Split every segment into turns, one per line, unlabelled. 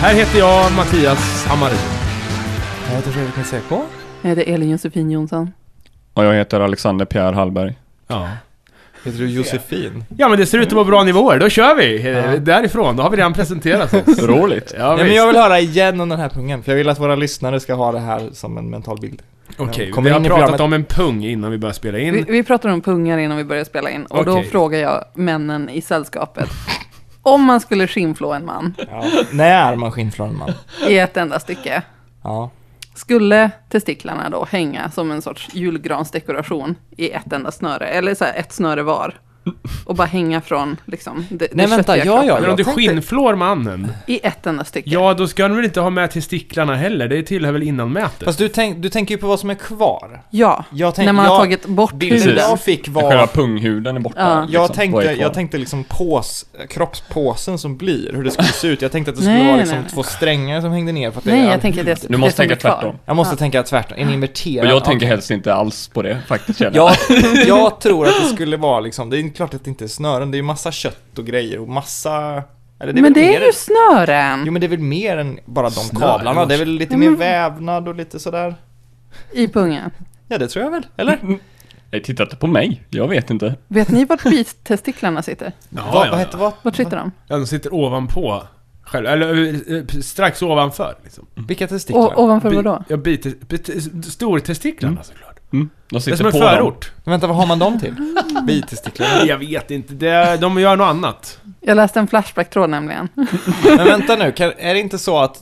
Här heter jag Mattias Hammarin.
Jag heter Fredrik Niseko.
Jag heter Elin Josefin Jonsson.
Och jag heter Alexander Pierre Hallberg.
Ja.
Heter du Josefin?
ja, men det ser ut att vara bra nivåer. Då kör vi! Eh, Därifrån, då har vi redan presenterat oss.
Roligt.
Ja,
Nej men
visst.
jag vill höra igen om den här pungen, för jag vill att våra lyssnare ska ha det här som en mental bild.
Okej,
Kommer
vi har
in i
pratat
programmet.
om en pung innan vi börjar spela
Vi,
in.
vi pratade om pungar innan vi började spela in och då
Okej.
frågar jag männen i sällskapet. Om man skulle skinnflå en man
Ja. När man skinnflår en man.
i ett enda stycke,
Ja.
skulle testiklarna då hänga som en sorts julgransdekoration i ett enda snöre, eller så här ett snöre var? Och bara hänga från liksom, det,
Nej,
det
vänta,
köttiga
ja, ja,
kroppen.
Men om
jag
du
tänkte-
skinnflår mannen,
I ett enda stycke.
ja då ska du väl inte ha med testiklarna heller? Det tillhör väl innanmätet?
Fast du, tänk, du tänker ju på vad som är kvar.
Ja,
Jag tänk,
när man
jag,
har tagit bort
Bilden
huden.
jag fick var...
Själva punghuden är borta.
Ja.
Jag,
liksom.
tänkte,
Vad är kvar?
jag tänkte liksom pås, kroppspåsen som blir, hur det skulle se ut. Jag tänkte att det skulle
Nej,
vara
nej,
liksom
nej.
två strängar som hängde ner för att det
Nej,
är
jag tänker det,
Du
det
måste
som blir
tänka
kvar.
tvärtom.
Jag måste
Ja.
tänka tvärtom, en inverterad.
Och jag
Ja.
tänker helst inte alls på det faktiskt känner jag.
Jag, jag tror att det skulle vara liksom, det är klart att det inte är snören, det är ju massa kött och grejer och massa... Eller är
Men
väl
det
mer
är ju
än-
snören!
Jo men det är väl mer än bara de
Snören,
kablarna, det är väl lite
Ja,
mer
men-
vävnad och lite sådär.
I pungen.
Ja det tror jag väl, eller?
Jag tittar inte på mig, jag vet inte.
Vet ni vart bittestiklarna sitter?
vad, vad hette vad?
Vart sitter de?
Ja, de sitter ovanpå själv, eller eh, strax ovanför liksom.
Vilka testiklar?
O- ovanför
Bi-
vad då?
Ja, bites, bites, stortestiklarna såklart.
Mm. De
Det är
sitter
som en
på dem.
förort.
Vänta, vad har man dem till? Bitestiklar?
Nej, Jag vet inte, det, de gör något annat.
Jag läste en Flashback-tråd nämligen.
Men vänta nu, kan, är det inte så att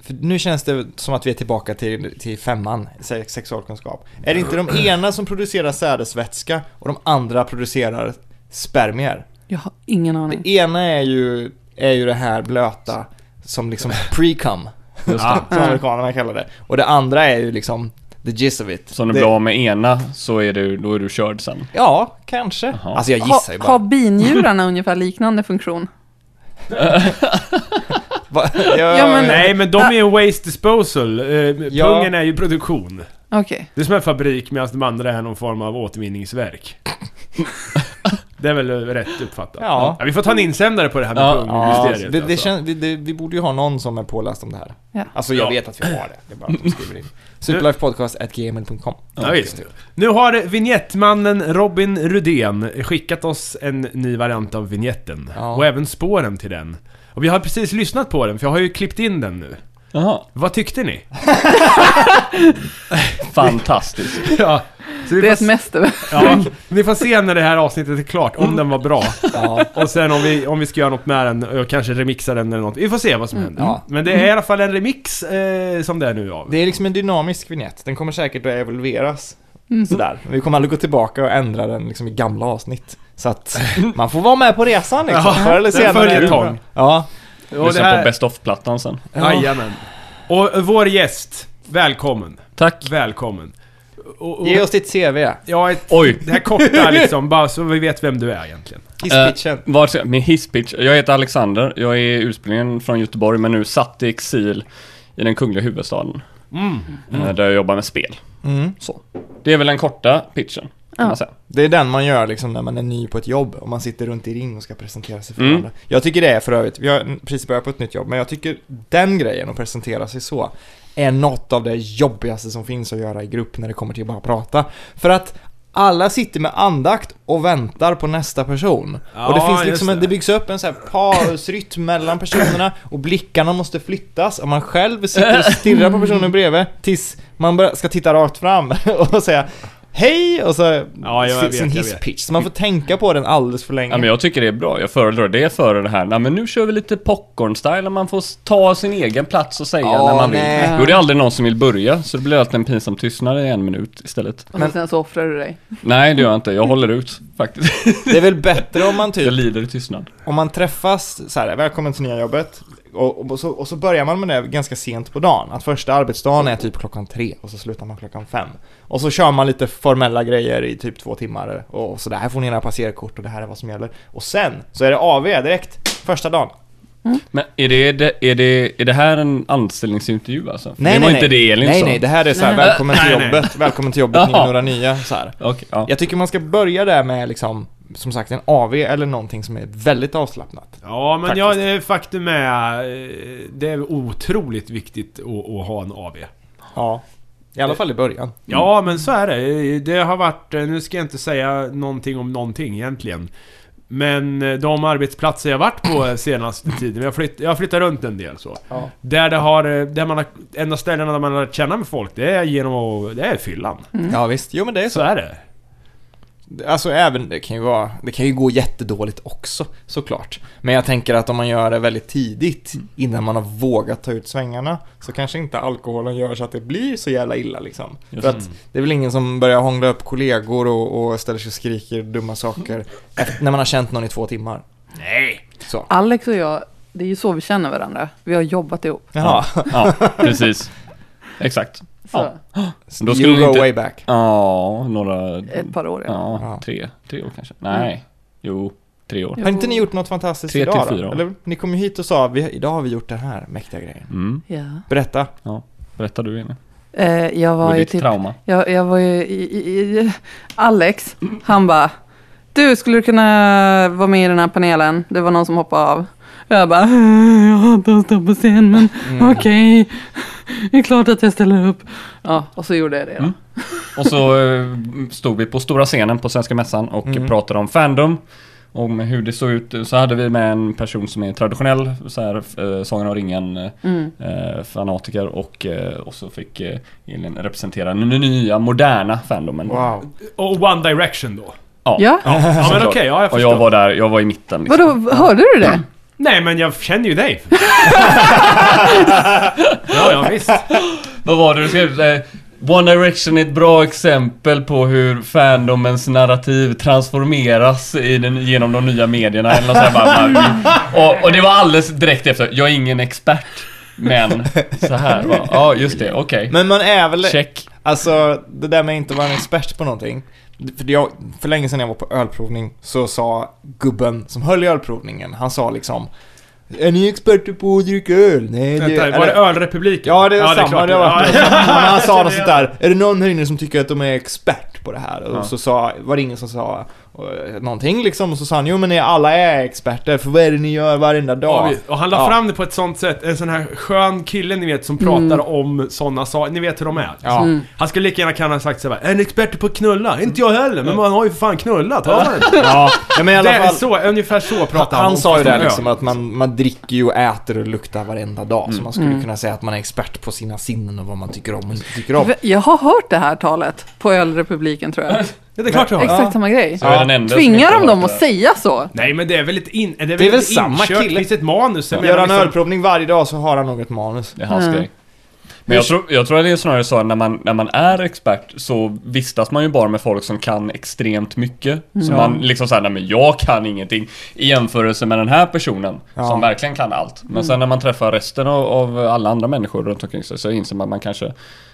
för nu känns det som att vi är tillbaka till, till femman, se- sexualkunskap. Är det inte de ena som producerar sädesvätska och de andra producerar spermier?
Jag har ingen aning.
Det ena är ju, är ju det här blöta som liksom pre-cum,
Just det.
Ja.
som amerikanerna kallar det. Och det andra är ju liksom the gist of it.
Så om du
det,
blir av med ena så är du, då är du körd sen.
Ja, kanske.
Jaha.
Alltså jag
Ha,
gissar ju
har
bara.
binjurarna ungefär liknande funktion?
Va- jag,
Ja, men-
Nej, men de är ju waste disposal. Eh,
Ja.
Pungen är ju produktion.
Okej.
Det är som en fabrik medan de andra är någon form av återvinningsverk. det är väl rätt uppfattat?
Ja.
vi får ta en insändare på det här med
Ja.
Ja,
pungmysteriet.
det, det
alltså.
känns, vi, det, vi borde ju ha någon som är påläst om det här.
Ja.
Alltså jag
Ja.
vet att vi har det, det är bara att de skriver in. Superlifepodcast.gmail.com
ja, visst. Nu har vignettmannen Robin Rudén skickat oss en ny variant av vignetten.
Ja.
Och även spåren till den. Och vi har precis lyssnat på den, för jag har ju klippt in den nu.
Jaha,
Vad tyckte ni?
fantastiskt.
ja. Så
Det
vi får
är ett
se-
mästerverk.
Ja, ni får se när det här avsnittet är klart, om den var bra.
Ja.
Och sen om vi, om vi ska göra något med den, och kanske remixa den eller något. Vi får se vad som
Mm.
händer.
Ja.
Men det är i alla fall en remix eh, som det är nu av.
Det är liksom en dynamisk vignett, den kommer säkert att evolveras. Sådär. Men Vi kommer aldrig gå tillbaka och ändra den liksom i gamla avsnitt. Så att man får vara med på resan liksom,
Ja,
förr eller
det är en
senare.
följetong.
Ja.
Och det
Lyssna på
här,
Best of-plattan sen.
jajamän. Och vår gäst, välkommen.
Tack.
Välkommen. Och, och,
Ge oss ditt CV,
ja, ett,
Oj.
det här korta liksom, bara så vi vet vem du är egentligen.
hisspitchen.
Eh, var ska, min hisspitch. Jag heter Alexander. Jag är ursprungligen från Göteborg men nu satt i exil i den kungliga huvudstaden. Eh, Där jag jobbar med spel.
Mm.
Så. Det är väl den korta pitchen. Kan
Ja.
man säga.
Det är den man gör liksom när man är ny på ett jobb och man sitter runt i ring och ska presentera sig för
Mm.
andra. Jag tycker det är för övrigt, vi har precis börjat på ett nytt jobb, men jag tycker den grejen att presentera sig så är något av det jobbigaste som finns att göra i grupp när det kommer till att bara prata. För att alla sitter med andakt och väntar på nästa person.
Ja,
och det finns
just
liksom, en,
det.
det byggs upp en så här pausrytm mellan personerna och blickarna måste flyttas och man själv sitter och stirrar på personen bredvid tills man bör- ska titta rakt fram och säga Hej! Och så
Ja, jag
si-
vet,
sin
jag
hisspitch. Så man får tänka på den alldeles för länge.
Ja, men jag tycker det är bra. Jag föredrar det före det här. Nej, men nu kör vi lite popcorn-style. och Man får s- ta sin egen plats och säga
Ja,
när man
nej.
vill. Då är det aldrig någon som vill börja. Så det blir alltid en pinsam tystnad i en minut istället.
Och
Men-
sen så offrar du dig.
Nej, det gör jag inte. Jag håller ut faktiskt.
Det är väl bättre om man
Jag
typ,
lider i tystnad.
om man träffas så här, välkommen till nya jobbet. Och, och, så, och så börjar man med det ganska sent på dagen. Att första arbetsdagen är typ klockan tre och så slutar man klockan fem. Och så kör man lite formella grejer i typ två timmar. Och så det här får ni era passerkort och det här är vad som gäller. Och sen så är det AV direkt, första dagen.
Men är det, är det, är det, är det här en anställningsintervju alltså? För
Nej,
det
nej,
var
nej.
inte det Elin
nej,
sa.
nej, det här är så här,
Nej.
välkommen till
Nej, nej.
jobbet, välkommen till jobbet, ni är
Jaha.
några nya. Så här.
Okej, ja.
Jag tycker man ska börja där med liksom som sagt en AV eller någonting som är väldigt avslappnat.
Ja, men
Faktiskt.
ja, eh, faktum är... eh, Det är otroligt viktigt att, att ha en AV.
Ja. I alla fall i början.
Ja, men så är det. Det har varit... eh, Nu ska jag inte säga någonting om någonting egentligen. Men eh, de arbetsplatser jag varit på senaste tiden, jag, flytt, jag har flyttat runt en del så.
Ja.
Där det har... eh, Där man har... Enda ställena där man har lärt känna med folk, det är genom att... Det är fyllan.
Mm.
ja visst, jo men det är
Så
så.
är det.
Alltså även, det kan ju vara, det kan ju gå jättedåligt också såklart. Men jag tänker att om man gör det väldigt tidigt
Mm.
innan man har vågat ta ut svängarna så kanske inte alkoholen gör så att det blir så jävla illa liksom.
Just
För att det är väl ingen som börjar hångla upp kollegor och, och ställer sig och skriker dumma
Mm.
saker efter, när man har känt någon i två timmar.
Nej!
Så.
Alex och jag, det är ju så vi känner varandra. Vi har jobbat ihop.
Jaha.
Ja, precis. Exakt.
Så
Ja. Då
Då
skulle
you
ni
go
inte-
way back.
Ja, några...
ett par år. Ja.
Ja,
Ja.
tre. Tre år kanske. Nej. Jo, tre år.
Jo.
Har inte ni gjort något fantastiskt
Tre till
idag
fyra
då?
år.
Eller, ni kom ju hit och sa, vi, idag har vi gjort den här mäktiga grejen.
Mm.
Ja.
Berätta.
Berätta du Jenny.
Eh, jag var
Vad är
ju
ditt
typ
trauma?
Jag, jag var ju i, i, i Alex, han bara Du, skulle du kunna vara med i den här panelen? Det var någon som hoppade av. Jag bara, "Eh, jag hatar att stå på scen men
Mm.
okej. Det är klart att jag ställer upp. Ja, och så gjorde jag det då.
Mm. Och så eh, stod vi på stora scenen på Svenska Mässan och
Mm.
pratade om Fandom. Om hur det såg ut. Så hade vi med en person som är traditionell så här, eh, Sagan om ringen eh,
Mm.
eh, fanatiker och, eh, och så fick eh, Elin representera den nya moderna Fandomen. då.
Wow.
Och One Direction då.
Ja,
Ja, men okej,
såklart.
ja, jag
och
förstår.
jag var där, jag var i mitten. Liksom.
vadå, hörde du det?
Nej, men jag känner ju dig. ja, ja, visst.
Vad var det du skrev? Eh, One Direction är ett bra exempel på hur fandomens narrativ transformeras i den, genom de nya medierna eller något sånt här. bara- och, och det var alldeles direkt efter, jag är ingen expert, men så här var Ja, just det, okej.
Men man är väl...
Check.
Alltså, det där med att inte vara en expert på någonting. För, jag, för länge sedan jag var på ölprovning så sa gubben som höll i ölprovningen, han sa liksom Är ni experter på att dricka öl? Nej, det...
Vänta, var det
eller-
ölrepubliken?
Ja, det är samma.
klart
det var,
Ja,
Men han sa
känner
något
igen
sånt där. Är det någon här inne som tycker att de är expert på det här? Och så sa, var det ingen som sa eh, någonting liksom. Och så sa han, jo men ni alla är experter, för vad är det ni gör varenda
Ja,
dag?
vi- och han la
Ja.
fram det på ett sånt sätt, en sån här skön kille ni vet som pratar om såna saker, ni vet hur de är.
Mm. Ja.
Han skulle lika gärna kunna ha sagt såhär en expert på att knulla, inte jag heller, men man har ju för fan knullat, har man inte?
ja, men i
Det
alla
är
fall.
så, ungefär så
Han,
pratar han. om-
sa ju det
om öl.
liksom att man, man dricker ju och äter och luktar varenda dag.
Mm.
Så man skulle kunna säga att man är expert på sina sinnen och vad man tycker om och inte tycker om.
Jag har hört det här talet på ölrepubliken tror jag.
Ja, det är klart du har.
Exakt samma grej.
Så jag är den enda som inte
Tvingar
har
de dem
hört
att
det.
säga så?
Nej men det är väl ett in... Det är väl,
väl
ett
samma
inkört,
kille.
Det finns ett manus. jag
Gör
menar liksom-
han ölprovning varje dag så har han något manus.
Det är hans
Mm.
grej. Men jag tror, jag tror att det är snarare så att när man, när man är expert så vistas man ju bara med folk som kan extremt mycket.
Mm.
Så man liksom såhär, nej men jag kan ingenting i jämförelse med den här personen
Ja. Mm.
som verkligen kan allt. Men sen när man träffar resten av, av alla andra människor runt omkring sig så inser man att man kanske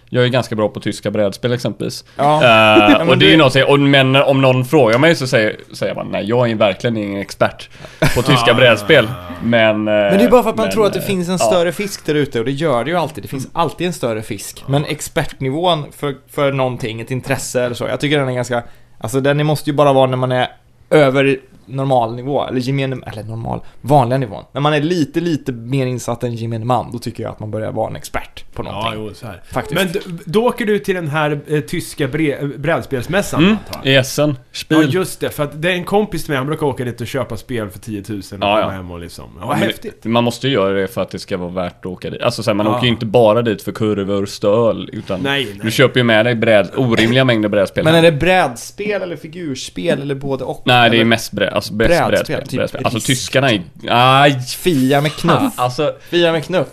jag är ganska bra på tyska brädspel exempelvis.
Ja.
Eh,
men
och det
det-
är ju något, jag säger, och men om någon frågar mig så säger, säger jag bara nej jag är verkligen ingen expert på tyska brädspel. Men, eh,
Men det är bara för att man
Eh,
tror att det finns en större fisk där ute och det gör det ju alltid. Det finns alltid en större fisk. Men expertnivån för, för någonting, ett intresse eller så. Jag tycker den är ganska... Alltså den måste ju bara vara när man är över normalnivå, eller gemene, eller normal, vanliga nivån. När man är lite, lite mer insatt än gemene man, då tycker jag att man börjar vara en expert på
Ja,
någonting.
jo, så här.
Faktiskt.
Men d- då åker du till den här eh, tyska bre- brädspelsmässan
Mm,
antar jag?
i Essen. Spiel.
Ja
Mm.
just det, för att det är en kompis till mig, han brukar åka dit och köpa spel för 10 000 och
Ja,
komma
ja.
hem och liksom... Ja,
Men det-
häftigt!
Man måste ju göra det för att det ska vara värt att åka dit. Alltså så här, man
Ja.
åker ju inte bara dit för kurvor, stöl, utan
Nej, nej.
du köper ju med dig bräd, orimliga mängder brädspel.
Men är det brädspel eller figurspel eller både och?
Nej, det är
Eller
mest bräd, alltså bäst brädspel.
Brädspel,
brädspel,
typ
Alltså
risk.
tyskarna är... Aj,
Fia med knuff.
alltså...
Fia med knuff.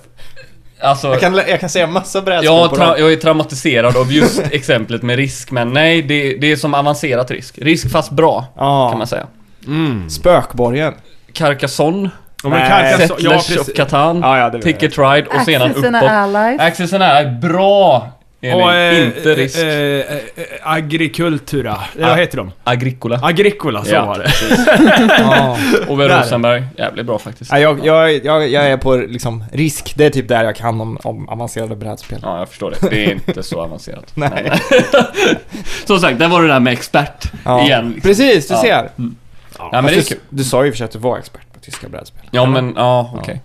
Alltså...
Jag kan, jag kan säga massa brädspel
Jag,
på
tra-
dem.
jag är traumatiserad av just exemplet med risk, men nej, det, det är som avancerat risk. Risk fast bra,
Ja.
kan man säga.
Mm. Spökborgen.
Carcassonne,
Om man
Nej.
kalkar så- ja,
Settlers of
precis.
Catan,
Ja, ja, det vet jag.
Ticket Ride och sedan
Access and
uppåt.
allies.
Access and Allies, bra! Elin,
Och, eh,
inte risk.
Eh, eh, eh, agrikultura. Eller vad heter de?
Agricola.
Agricola, så
Ja.
var det.
Ja.
Ove
Där.
Rosenberg, jävligt bra faktiskt.
Ja, jag, jag, jag, jag är på liksom risk, det är typ där jag kan om, om avancerade brädspel.
Ja, jag förstår det. Det är inte så avancerat. eh, Nej. Som sagt, där var det där med expert igen. liksom.
Precis, du
Ja. Mm.
ser.
Ja, men det är kul.
Du sa ju i och för sig att du var expert på tyska brädspel.
Ja men, ja okej.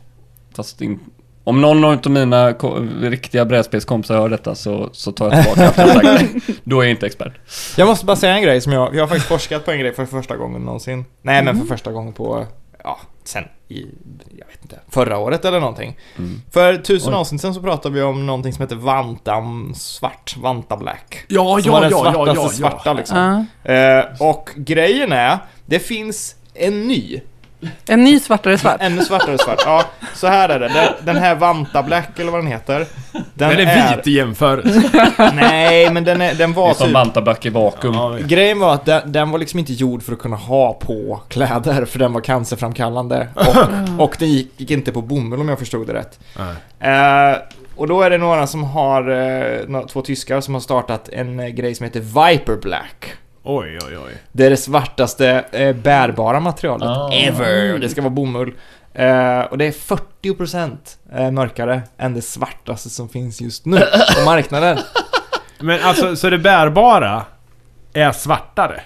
Fast in, om någon av mina ko- riktiga brädspelskompisar hör detta så, så tar jag tillbaka allt jag sagt. Då är jag inte expert.
Jag måste bara säga en grej som jag, jag har faktiskt forskat på en grej för första gången någonsin. Nej
Mm.
men för första gången på, ja, sen i, jag vet inte, förra året eller någonting.
Mm.
För tusen
Oj.
avsnitt sen så pratade vi om någonting som heter Vantam Svart, Vanta Black.
Ja,
Som var
ja,
den
ja,
svartaste
ja, ja, ja.
svarta liksom.
Ja.
Eh, och grejen är, det finns en ny,
En ny svartare svart.
ännu svartare svart. Ja, så här är det. Den- Den här Vanta Black eller vad den heter. Den,
Den är vit i jämförelse.
Nej, men den, är, den
Det
var
är som
typ
bantaback i vakuum.
Ja,
Grejen var att den, den var liksom inte gjord för att kunna ha på kläder, för den var cancerframkallande. Och, och den gick, gick inte på bomull om jag förstod det rätt.
nej.
Eh, och då är det några som har, eh, nå- två tyskar som har startat en eh, grej som heter Viper Black.
Oj, oj, oj.
Det är det svartaste eh, bärbara materialet
Ah.
ever. Och det ska vara bomull. Eh, och det är 40% eh, mörkare än det svartaste som finns just nu på marknaden.
Men alltså, så det bärbara är svartare?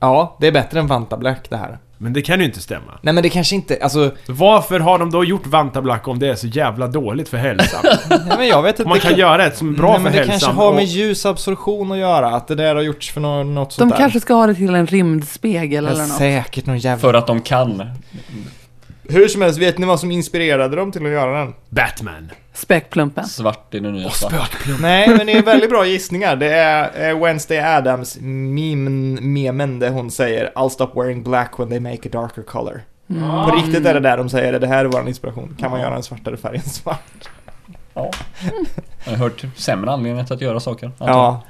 Ja, det är bättre än Vanta Black det här.
Men det kan ju inte stämma.
Nej men det kanske inte, alltså
Varför har de då gjort vantablack om det är så jävla dåligt för hälsan?
Nej, men jag vet inte.
Om man kan göra ett som är bra
Nej,
för
men det
hälsan
kanske har
och-
med ljusabsorption att göra, att det där har gjorts för nå- något
De
sånt där.
kanske ska ha det till en rymdspegel eller
Ja,
något.
Säkert någon jävla...
För att de kan.
Hur som helst, vet ni vad som inspirerade dem till att göra den?
Batman.
Späckplumpen.
Svart i den nya svart.
Nej, men det är väldigt bra gissningar. Det är eh, Wednesday Adams memen, memen där hon säger I'll stop wearing black when they make a darker color.
Mm.
På
Mm.
riktigt är det där de säger det, det här är vår inspiration. Kan man göra en svartare färg än svart?
Ja. Jag har hört sämre anledningar till att göra saker.
Ja.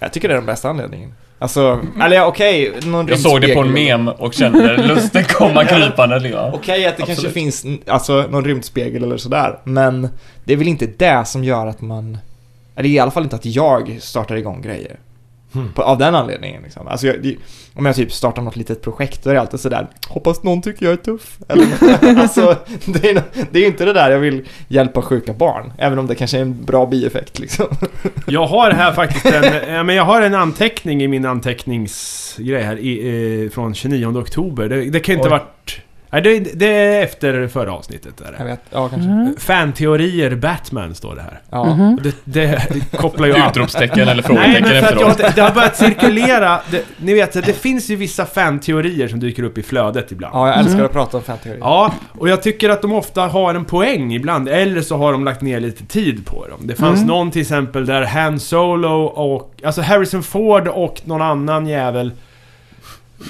Jag tycker det är den bästa anledningen. Alltså, eller ja, okej, någon
Jag såg det på en
rymdspegel.
mem och kände lusten komma liksom. krypande. Ja.
Okej att det kanske
Absolut.
finns n- alltså, någon rymdspegel eller sådär, men det är väl inte det som gör att man... Eller i alla fall inte att jag startar igång grejer.
Hmm.
På, av den anledningen liksom. Alltså, jag, det, om jag typ startar något litet projekt, då är det alltid sådär Hoppas någon tycker jag är tuff. Eller, alltså, det är, no- det är ju inte det där jag vill hjälpa sjuka barn. Även om det kanske är en bra bieffekt liksom.
Jag har här faktiskt en, ja, men jag har en anteckning i min anteckningsgrej här i, eh, från 29 oktober. Det, det kan ju inte
Oj.
varit... Nej, det, det är efter förra avsnittet. Där.
Jag vet, ja kanske.
Mm.
Fanteorier Batman står det här.
Ja.
Mhm.
Och Det, det, det kopplar ju an.
Utropstecken eller frågetecken
Nej, men för att
efteråt.
jag, det har börjat cirkulera. Det, ni vet, det finns ju vissa fanteorier som dyker upp i flödet ibland.
ja, jag älskar att prata om fanteori.
Ja, och jag tycker att de ofta har en poäng ibland, eller så har de lagt ner lite tid på dem. Det fanns någon till exempel där Han Solo och... Alltså Harrison Ford och någon annan jävel...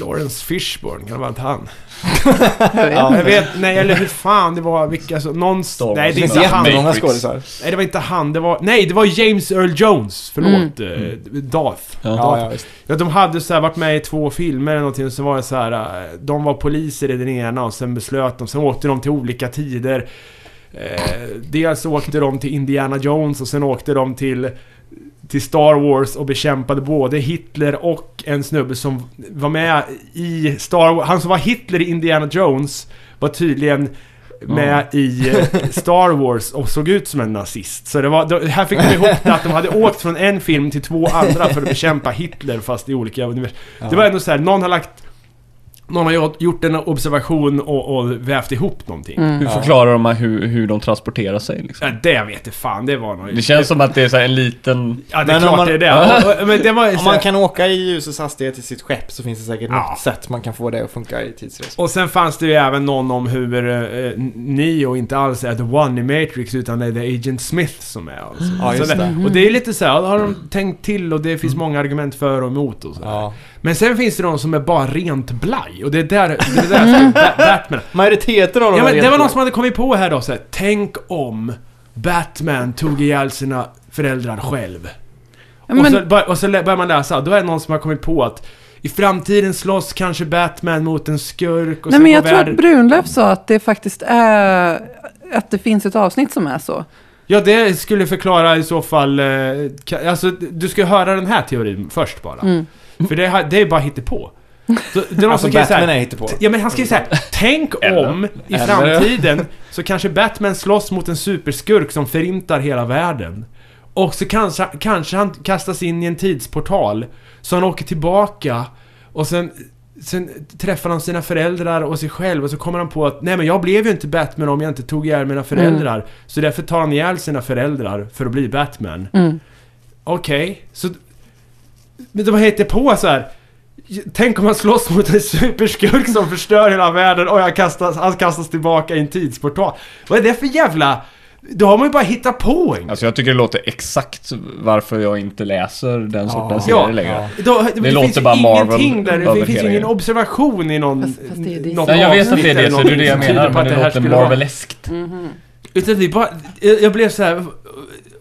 Lawrence Fishburne, kan det vara inte han?
Ja.
Jag vet, nej eller hur fan det var, vilka... Alltså, någon...
Star
Nej, det är
Wars.
inte han.
Jättemånga
Matrix.
skådisar.
Nej, det var inte han. Det var... Nej, det var James Earl Jones. Förlåt. eh, Darth.
Ja, ja, visst.
Ja, de hade så här varit med i två filmer eller någonting, så var det så här. eh, De var poliser i den ena och sen beslöt de, sen åkte de till olika tider. Eh, dels åkte de till Indiana Jones och sen åkte de till, till Star Wars och bekämpade både Hitler och en snubbe som var med i Star Wars. Han som var Hitler i Indiana Jones var tydligen med i eh, Star Wars och såg ut som en nazist. Så det var, då- här fick de ihop det att de hade åkt från en film till två andra för att bekämpa Hitler fast i olika universum. Det var ändå så här, någon har lagt... Någon har gjort- gjort en observation och, och vävt ihop någonting.
Mm.
Mm.
Hur förklarar de här hur, hur de transporterar sig liksom?
Ja, det vet jag fan, det var nog...
Det känns som att det är så här en liten...
Ja, det
Men
är klart
om man-
det är det. Och- och- Men det var ju
Om
så
man
här,
kan åka i ljusets hastighet i sitt skepp så finns det säkert
Ja.
något sätt man kan få det att funka i tidsresor.
Och sen fanns det ju även någon om hur eh, Neo inte alls är the one i Matrix utan det är the Agent Smith som är alltså.
Ja, just
så
det.
Och det är lite så här, då har de tänkt till och det finns många argument för och emot och så här.
Ja.
Men sen finns det de som är bara rent blaj och det är där, det är där jag
Mm.
ska, Ba- Batman.
Majoriteten av dem
Ja,
har
men det
rent
var någon
blod.
som hade kommit på här då så här, tänk om Batman tog ihjäl sina föräldrar själv.
Ja,
Och,
men-
så, bör- och så lä- börjar man läsa, då är det någon som har kommit på att i framtiden slåss kanske Batman mot en skurk och
Nej
så
men
går
jag tror
världen-
att Brunlöf sa att det faktiskt är, att det finns ett avsnitt som är så.
Ja, det skulle förklara i så fall... eh, ka- Alltså, du ska höra den här teorin först bara.
Mm.
För det, här- det är bara hittepå. Så, det är någon
Alltså
som skriver så här,
Batman är hittepå.
Ja men han skriver såhär, tänk
Eller-
om i
eller-
framtiden så kanske Batman slåss mot en superskurk som förintar hela världen. Och så kanske, kanske han kastas in i en tidsportal, så han åker tillbaka och sen Sen träffar han sina föräldrar och sig själv och så kommer han på att nej men jag blev ju inte Batman om jag inte tog ihjäl mina föräldrar. Så därför tar han ihjäl sina föräldrar för att bli Batman.
Mm.
Okej, så... Men de hittar på så här. Tänk om man slåss mot en superskurk som förstör hela världen och jag kastas, han kastas tillbaka i en tidsportal. Vad är det för jävla... Då har man ju bara hittat på en.
Alltså jag tycker det låter exakt varför jag inte läser den sortens
Ja.
serier längre.
Ja.
Då, det
låter
finns ju
bara Marvel
ingenting där, det
över
finns
hela
ju ingen
grejen.
observation i någon...
Fast- fast det är DC.
något
Nej, jag vet att
avsnitt
det är
eller
det, så det är
någonting
det jag
som
menar.
tyder på
Men
typ att
det
här
låter
skulle vara-
Marveleskt.
Utan det är bara, jag jag blev så här.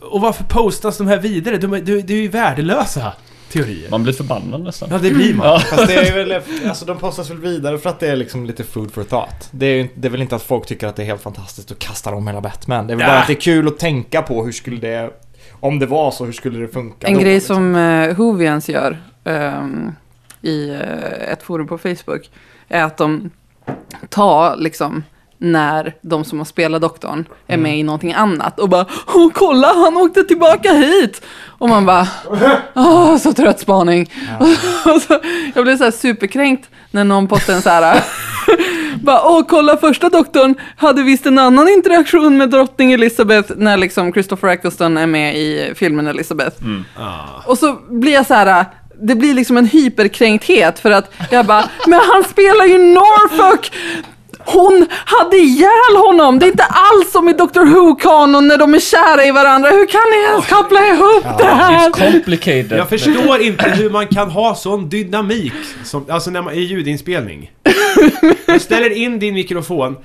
Och varför postas de här vidare? De, är- de, de är ju värdelösa teorier.
Man blir förbannad nästan.
Ja, det blir man.
Ja.
Fast det är väl, alltså de postas väl vidare för att det är liksom lite food for thought. Det är, ju- det är väl inte att folk tycker att det är helt fantastiskt att kasta om hela Batman. Det är väl bara
Ja.
att det är kul att tänka på hur skulle det, om det var så, hur skulle det funka
En
då,
grej
liksom.
som eh, Hovians gör ehm, i eh, ett forum på Facebook är att de tar liksom när de som har spelat doktorn är
Mm.
med i någonting annat och bara Åh, kolla han åkte tillbaka hit! Och man bara Åh, så trött spaning. Och så, jag blev så här superkränkt när någon postade en så här bara, åh kolla första doktorn hade visst en annan interaktion med drottning Elizabeth när liksom Christopher Eccleston är med i filmen Elizabeth. Och så blir jag så här, det blir liksom en hyperkränkthet för att jag bara, men han spelar ju Norfolk! Hon hade ihjäl honom! Det är inte alls som i Doctor Who-kanon när de är kära i varandra. Hur kan ni ens koppla ihop det här?
It's complicated.
Jag förstår inte hur man kan ha sån dynamik som, alltså när man, i ljudinspelning. Du ställer in din mikrofon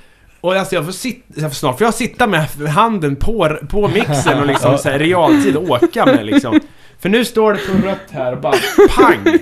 och alltså jag får sitta, jag får snart får jag sitta med handen på, på mixen och liksom så här, realtid åka med liksom. För nu står det på rött här och bara pang!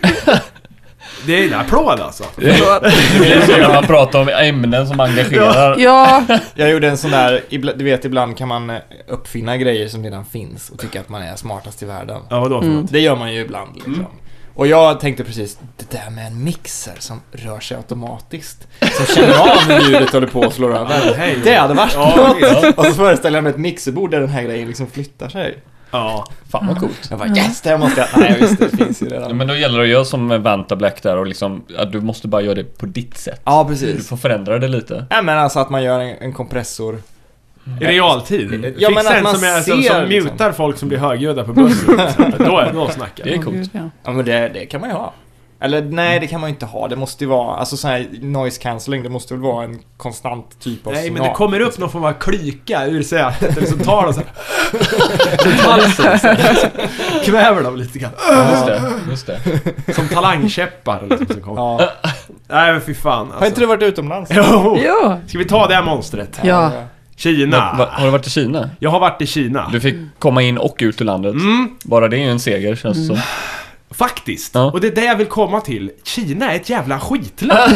Det är en applåd alltså.
Det blir så när man pratar om ämnen som engagerar.
Ja,
Jag gjorde en sån där, ibla- du vet ibland kan man eh, uppfinna grejer som redan finns och tycka att man är smartast i världen.
Ja vadå för något?
Det gör man ju ibland
Mm.
liksom. Och jag tänkte precis, det där med en mixer som rör sig automatiskt. Som känner av när ljudet håller på och slår över.
Hej.
Det hade varit
Ja,
något. Och så föreställer jag mig ett mixerbord där den här grejen liksom flyttar sig.
Ja.
Fan vad coolt.
Jag bara yes, det här måste jag... Nej visst, det finns ju
Ja,
redan.
men då gäller det att göra som med Vanta Black där och liksom, att du måste bara göra det på ditt sätt.
Ja,
Du
precis.
får förändra det lite.
Nej men alltså att man gör en, en kompressor.
I realtid?
Ja, men
Fixa
att
en
man
som, är, som,
ser,
som
liksom.
mutar folk som blir högljudda på bussen. till exempel. Då, då snackar
Det
vi.
är coolt.
Ja men det, det kan man ju ha. Eller nej, det kan man ju inte ha. Det måste ju vara, alltså sån här noise cancelling, det måste väl vara en konstant typ av
Nej men
signal.
det kommer upp någon form av klyka ur sätet eller så tar de så här, runt halsen så här, kväver dem lite grann.
Just det, just det.
Som talangkäppar liksom, som kommer.
Ja.
Nej men fy fan
Har inte
alltså.
du varit utomlands?
Jo!
ja.
Ska vi ta det här monstret?
Ja.
Kina.
Va- Har du varit i Kina?
Jag har varit i Kina.
Du fick komma in och ut ur landet.
Mm.
Bara det är ju en seger känns det som.
Faktiskt.
Ja.
Och det är det jag vill komma till. Kina är ett jävla skitland.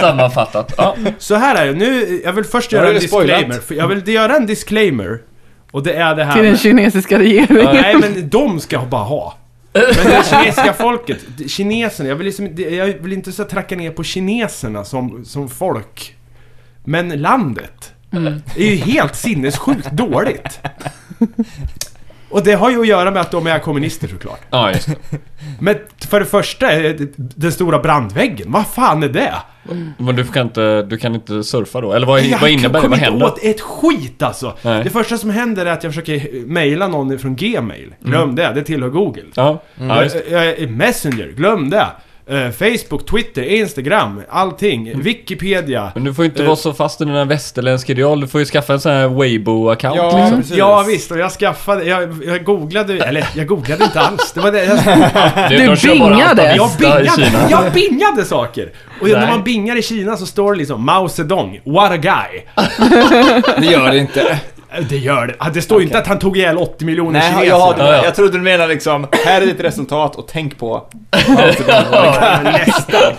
Sammanfattat. Ja.
Så här är det, nu, jag vill först
Har
göra
du
en
spoilat?
disclaimer. För Jag vill göra en disclaimer. Och det är det här
Till den kinesiska regeringen.
Nej men de ska jag bara ha. Men det kinesiska folket, det- kineserna, jag vill, liksom, det- jag vill inte så tracka ner på kineserna som, som folk. Men landet är ju helt sinnessjukt dåligt. Och det har ju att göra med att de är kommunister såklart.
ja, just det.
Men för det första, är det- den stora brandväggen, vad fan är det?
Men du kan inte, du kan inte surfa då? Eller vad, vad innebär det?
kommer
Vad
inte
händer?
åt ett skit alltså!
Nej.
Det första som händer är att jag försöker mejla någon från Gmail. Glöm det, det tillhör Google.
Mm. Ja, ja just det.
Eh, eh, Messenger, glöm det. Eh, Facebook, Twitter, Instagram, allting.
Mm.
Wikipedia.
Men du får ju inte
Eh.
vara så fast i dina västerländska ideal. Du får ju skaffa en sån här Weibo-account.
Ja,
liksom.
precis.
Mm. Ja visst, och jag skaffade, jag, jag googlade, eller jag googlade inte alls. Det var det, jag,
Du
de kör bara
bingade.
alfabeta
jag,
i Kina.
bingade, jag bingade saker! Och
Nej.
när man bingar i Kina så står det liksom Mao Zedong, what a guy.
Ah.
Det gör det inte.
Eh, Det gör det. Ah, Det står ju inte att han tog ihjäl 80 miljoner
Nej,
kineser.
jag, har,
Ja, ja.
jag trodde du menade liksom, här är ditt resultat och tänk på.
Ja, men nästan.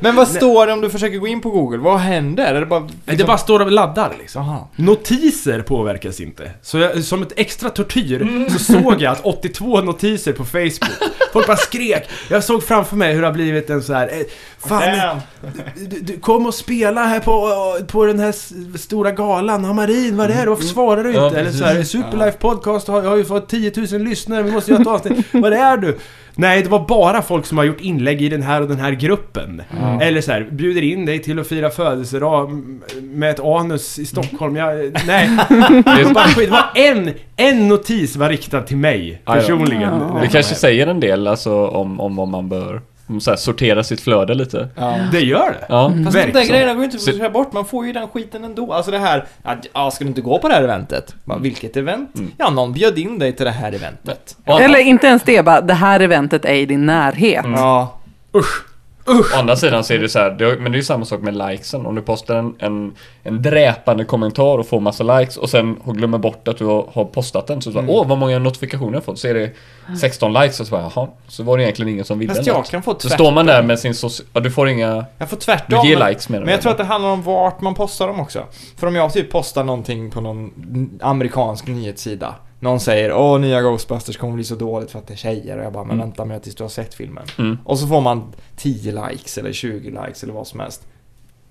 Men vad står det om du försöker gå in på Google? Vad händer? Är det bara...
Det bara står och laddar liksom.
Aha.
Notiser påverkas inte. Så jag, som ett extra tortyr så såg jag att 82 notiser på Facebook. Folk bara skrek. Jag såg framför mig hur det har blivit en så här. eh, Fan, du, du kom och spela här på, på den här s- stora galan. Ja, Marin, vad är det? Varför svarar du inte?
Mm. Ja,
Eller
precis.
så här, Superlife Podcast har, har ju fått 10 000 lyssnare. Vi måste göra ett avsnitt. Var är du? Nej, det var bara folk som har gjort inlägg i den här och den här gruppen. Eller så här, bjuder in dig till att fira födelsedag m- med ett anus i Stockholm. Jag, nej, det var bara skit. Det var en, en notis var riktad till mig
Aj då.
personligen.
Det kanske säger en del alltså om, om vad man bör om så här, sortera sitt flöde lite.
Ja.
Det gör det.
Ja.
Fast de där
Verksamt.
grejerna går ju inte att
Så-
sortera bort, man får ju den skiten ändå. Alltså det här, att, ja, ska du inte gå på det här eventet? Bara, vilket event? Ja, någon bjöd in dig till det här eventet.
Å,
Eller inte ens det, bara det här eventet är i din närhet.
Ja.
å andra sidan så är det så här, det, men det är ju samma sak med likesen. Om du postar en, en, en dräpande kommentar och får massa likes och sen glömmer bort att du har, har postat den så bara, åh vad många notifikationer jag har fått. Så är det 16 likes och så bara, jaha, så var det egentligen ingen som ville
Fast jag kan få
Mm. Så
tvärtom.
står man där med sin soci... Ja, du får inga...
Jag får
Du
tvärtom.
ger
men-
likes menar
Men jag tror att det handlar om vart man postar dem också. För om jag typ postar någonting på någon amerikansk nyhetssida. Någon säger åh nya Ghostbusters kommer bli så dåligt för att det är tjejer och jag bara men
Mm.
vänta mig tills du har sett filmen.
Mm.
Och så får man 10 likes eller 20 likes eller vad som helst.